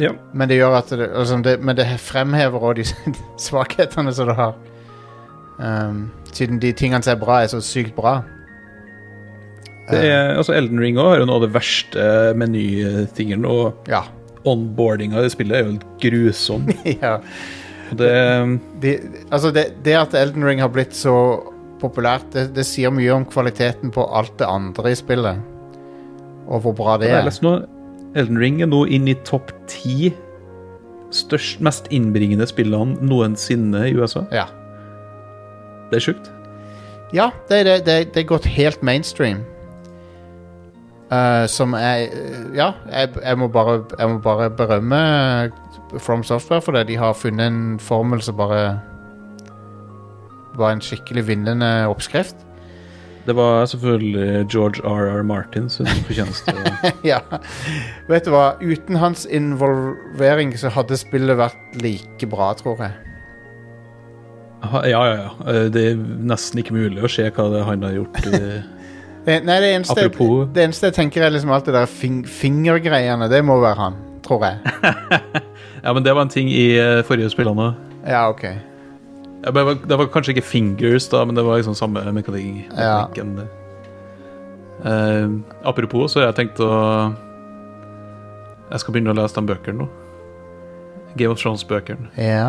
Ja. men det gjør at det, altså det, men det fremhever òg de <laughs> svakhetene som det har. Um, siden de tingene som er bra, er så sykt bra. Det er, altså Elden Ring også har jo noe av det verste menytingen, og Ja. onboardinga i det spillet er jo helt grusom. <laughs> ja. Og Det, eh, de, altså det, det at Elden Ring har blitt så populært, det, det sier mye om kvaliteten på alt det andre i spillet. Og hvor bra det jeg er. leste nå, Elden Ring er nå inn i topp ti størst, mest innbringende spillene noensinne i USA. Ja, Det er sjukt. ja det, det, det, det er gått helt mainstream. Eh, som jeg Ja, jeg, jeg, må bare, jeg må bare berømme From Software for det. De har funnet en formel som bare var en skikkelig vinnende oppskrift. Det var selvfølgelig George R.R. Martin sin <laughs> fortjeneste. <laughs> ja. Vet du hva, uten hans involvering så hadde spillet vært like bra, tror jeg. Ha- ja, ja, ja. Eh, Det er nesten ikke mulig å se hva det han har gjort. eh. Det, nei, det eneste, Apropos- det eneste jeg tenker er liksom alt det der fing, fingergreiene, det må være han, tror jeg. <laughs> <laughs> Ja, men det var en ting i eh, forrige spillene òg. Ja, ok. Ja, men Det var- det var kanskje ikke fingers, da, men det var liksom samme mekanikk. Ja. mekanikken, det. Eh, apropos, så har jeg tenkt å Jeg skal begynne å lese de bøkene nå. Game of Thrones-bøkene. Ja.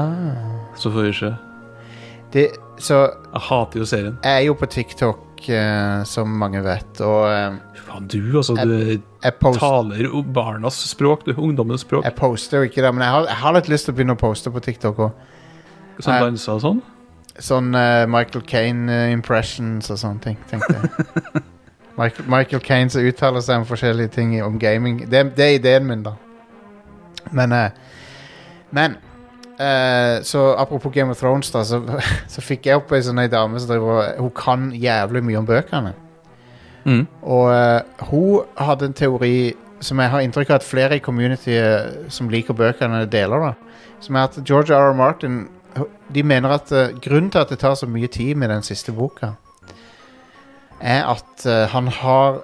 Så får vi se. Det, så Jeg hater jo serien. jeg er jo på TikTok, eh, som mange vet, og eh, Faen, du, altså. Du jeg, post, taler jo barnas språk. Du, ungdommenes språk. jeg poster jo ikke det, men jeg har, jeg har litt lyst til å begynne å poste på TikTok òg. Som jeg- danser og sånn. Sånn eh, Michael Kane-impressions og sånne ting, tenkte jeg. Michael, Michael Kane som uttaler seg om forskjellige ting i- om gaming. Det, det er ideen min, da. Men eh, Men eh, Så apropos Game of Thrones, da, så, <laughs> så fikk jeg opp ei sånn ei dame som driver og- Hun kan jævlig mye om bøkene. Mm. Og eh, hun hadde en teori som jeg har inntrykk av at flere i communityet som liker bøkene, deler. da Som er at George R. R. Martin De mener at eh, grunnen til at det tar så mye tid med den siste boka, er at eh, han har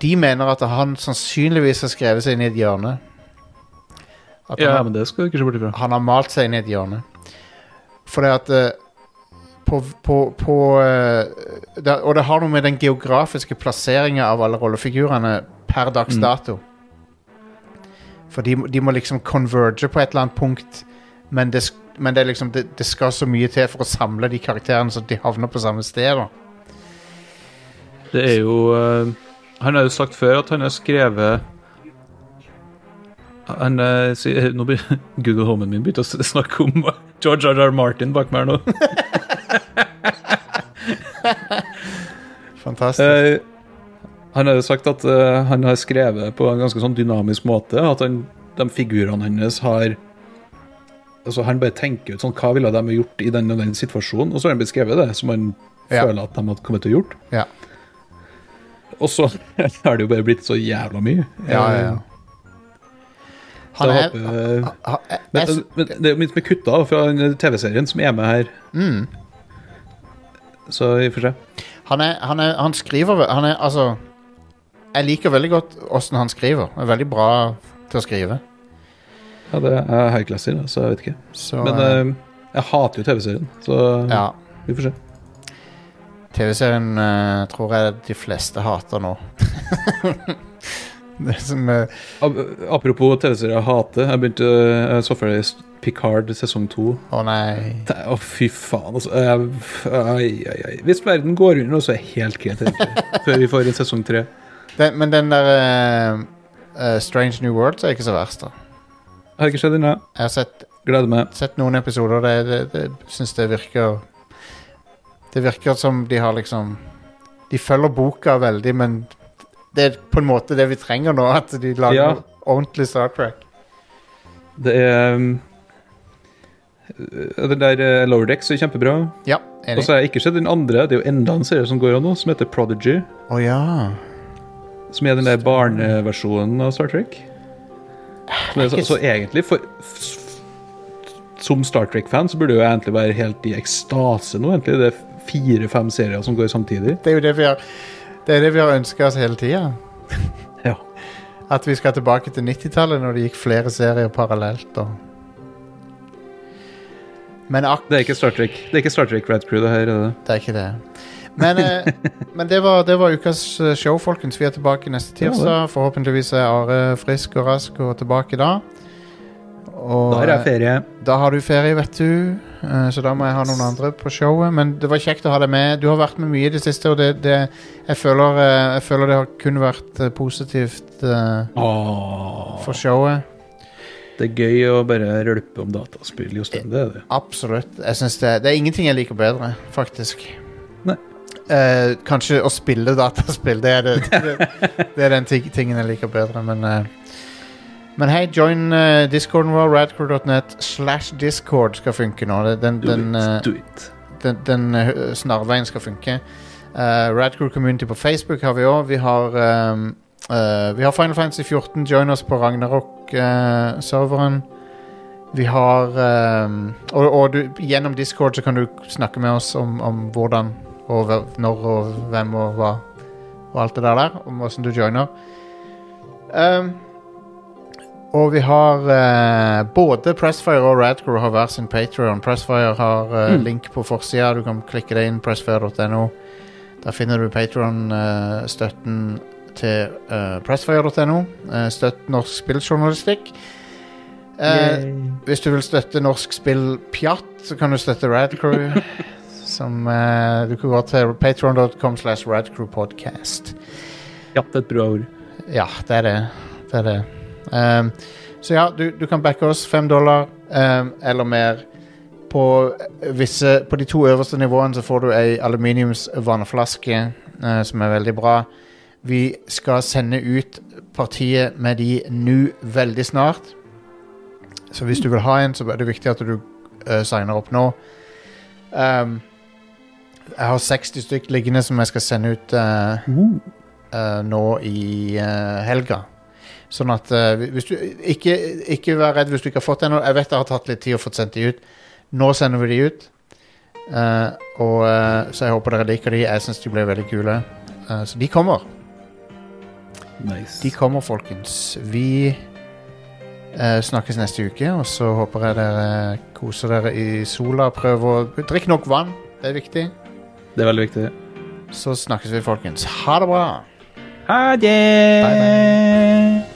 De mener at han sannsynligvis har skrevet seg inn i et hjørne. At han Ja, har- men det skal du ikke se bort ifra. han har malt seg inn i et hjørne. Fordi at eh, på, på, på eh, det, Og det har noe med den geografiske plasseringa av alle rollefigurene per dags Mm. dato. For de, må- de må liksom converge på et eller annet punkt, men det, sk- men det, er liksom, det, det skal så mye til for å samle de karakterene så de havner på samme sted. Da. Det er jo eh, Han har jo sagt før at han har skrevet han, eh, sier- nå blir, <laughs> Google Homen min begynte å s- snakke om <laughs> George R.R. Martin bak meg her nå. <laughs> Fantastisk. Eh, han har jo sagt at eh, han har skrevet på en ganske sånn dynamisk måte. At han, de figurene hans har Altså Han bare tenker ut sånn Hva ville de ha gjort i den og den situasjonen? Og så har han beskrevet det som han Ja. føler at de hadde kommet til å gjort. ja. Og så <laughs> har det jo bare blitt så jævla mye. Ja, ja, ja. Han Så er jeg Eh, håper, eh, ha- jeg- jeg men, sy- men det er jo mye som er kutta da, fra den TV-serien som er med her. Mm. Så vi får se. Han, er, han, er, han skriver ve- han er, altså, Jeg liker veldig godt åssen han skriver. Han er veldig bra til å skrive. Ja, det er høyklasser, da, så jeg vet ikke. Så, Men eh, eh, jeg hater jo TV-serien, så ja. vi får se. TV-serien eh, tror jeg de fleste hater nå. <laughs> det som eh, Ap- Apropos TV-serier jeg hater. Jeg begynte jeg så ferdig Picard sesong to. Å nei. Det- Å, fy faen, altså. Jeg, ai, ai, ai. Hvis verden går under nå, så er jeg helt greit, egentlig. Før vi får en sesong tre. Den, men den der eh, eh, Strange New Worlds er ikke så verst, da. Har ikke skjedd ennå. Jeg har sett, Gleder meg. sett noen episoder, og det, det, det syns det virker Det virker som de har liksom De følger boka veldig, men det er på en måte det vi trenger nå, at de lager Ja. noe ordentlig Star Trek. Det er um, Den der eh, Lower Decks er kjempebra. Ja, Og enig. så har jeg ikke sett den andre. Det er jo enda en serie som går an nå, som heter Prodigy. Å ja. Som er den der barneversjonen av Star Trek. Som er så, så egentlig for, f- f- Som Star Trek-fan så burde jo jeg egentlig være helt i ekstase nå, egentlig. Det er fire-fem serier som går samtidig. Det er jo det vi har Det er det vi har ønska oss hele tida. Ja. At vi skal tilbake til 90-tallet, når det gikk flere serier parallelt. Og... Men akkurat Det er ikke Star Trek Det er ikke Star Trek Red Crew, det her. Er det. Det er ikke det. Men, eh, <laughs> men det, var, det var ukas eh, show, folkens. Vi er tilbake neste Ja, det. tirsdag. Forhåpentligvis er Are frisk og rask og tilbake da. Og, Da har jeg ferie. eh, da har du ferie, vet du. Eh, Så da må jeg ha noen andre på showet. Men det var kjekt å ha deg med. Du har vært med mye i det siste, og det, det, jeg, føler, eh, jeg føler det har kun vært eh, positivt eh, Åh, for showet. det er gøy å bare rølpe om dataspill, Jostein. Det er det. Absolutt. Jeg synes det, det er ingenting jeg liker bedre, faktisk. Nei. Eh, kanskje å spille dataspill. Det er, det, det, det er den ting- tingen jeg liker bedre, men eh, Men hei, join eh, discorden vår. Radcore.net slash discord skal funke nå. Det- Den, Do den, eh, it. Do it. den, den eh, snarveien skal funke. Uh, Radcore Community på Facebook har vi òg. Vi har ehm, eh, Vi har Final Fantasy 14. Join oss på eh, Ragnarok-serveren. vi har ehm, Og, og du, gjennom Discord så kan du snakke med oss om, om hvordan og hve- når og hvem og hva. Og alt det der der. Om åssen du joiner. Ehm, og vi har eh, både Pressfire og Radcrew har hver sin Patreon Pressfire har eh, link på forsida. Du kan klikke deg inn pressfire.no. Der finner du Patreon-støtten til eh, pressfire.no. Eh, støtt norsk spilljournalistikk. Eh, hvis du vil støtte norsk spill pjatt, så kan du støtte Radcrew. som eh, Du kan gå til patreon.com slash radcrewpodcast. Ja, det er et bra ord. Ja, det er det. det, er det. Ehm, så ja, du, du kan backe oss fem dollar ehm, eller mer. På, eh, visse, på de to øverste nivåene så får du ei aluminiumsvannflaske, eh, som er veldig bra. Vi skal sende ut partiet med de nå veldig snart. Så hvis du vil ha en, så er det viktig at du eh, signer opp nå. Ehm, jeg har 60 stykk liggende som jeg skal sende ut eh, eh, nå i eh, helga. Sånn at eh, hvis du, ikke, ikke vær redd hvis du ikke har fått det ennå. Jeg vet det har tatt litt tid å få sendt de ut. Nå sender vi de ut. Eh, og, eh, så jeg håper dere liker de. Jeg syns de ble veldig kule. Eh, så de kommer. Nice. De kommer, folkens. Vi eh, snakkes neste uke, og så håper jeg dere koser dere i sola. Prøv å Drikk nok vann. Det er viktig. Det er veldig viktig. Så snakkes vi, folkens. Ha det bra. Ha det! Bye, bye.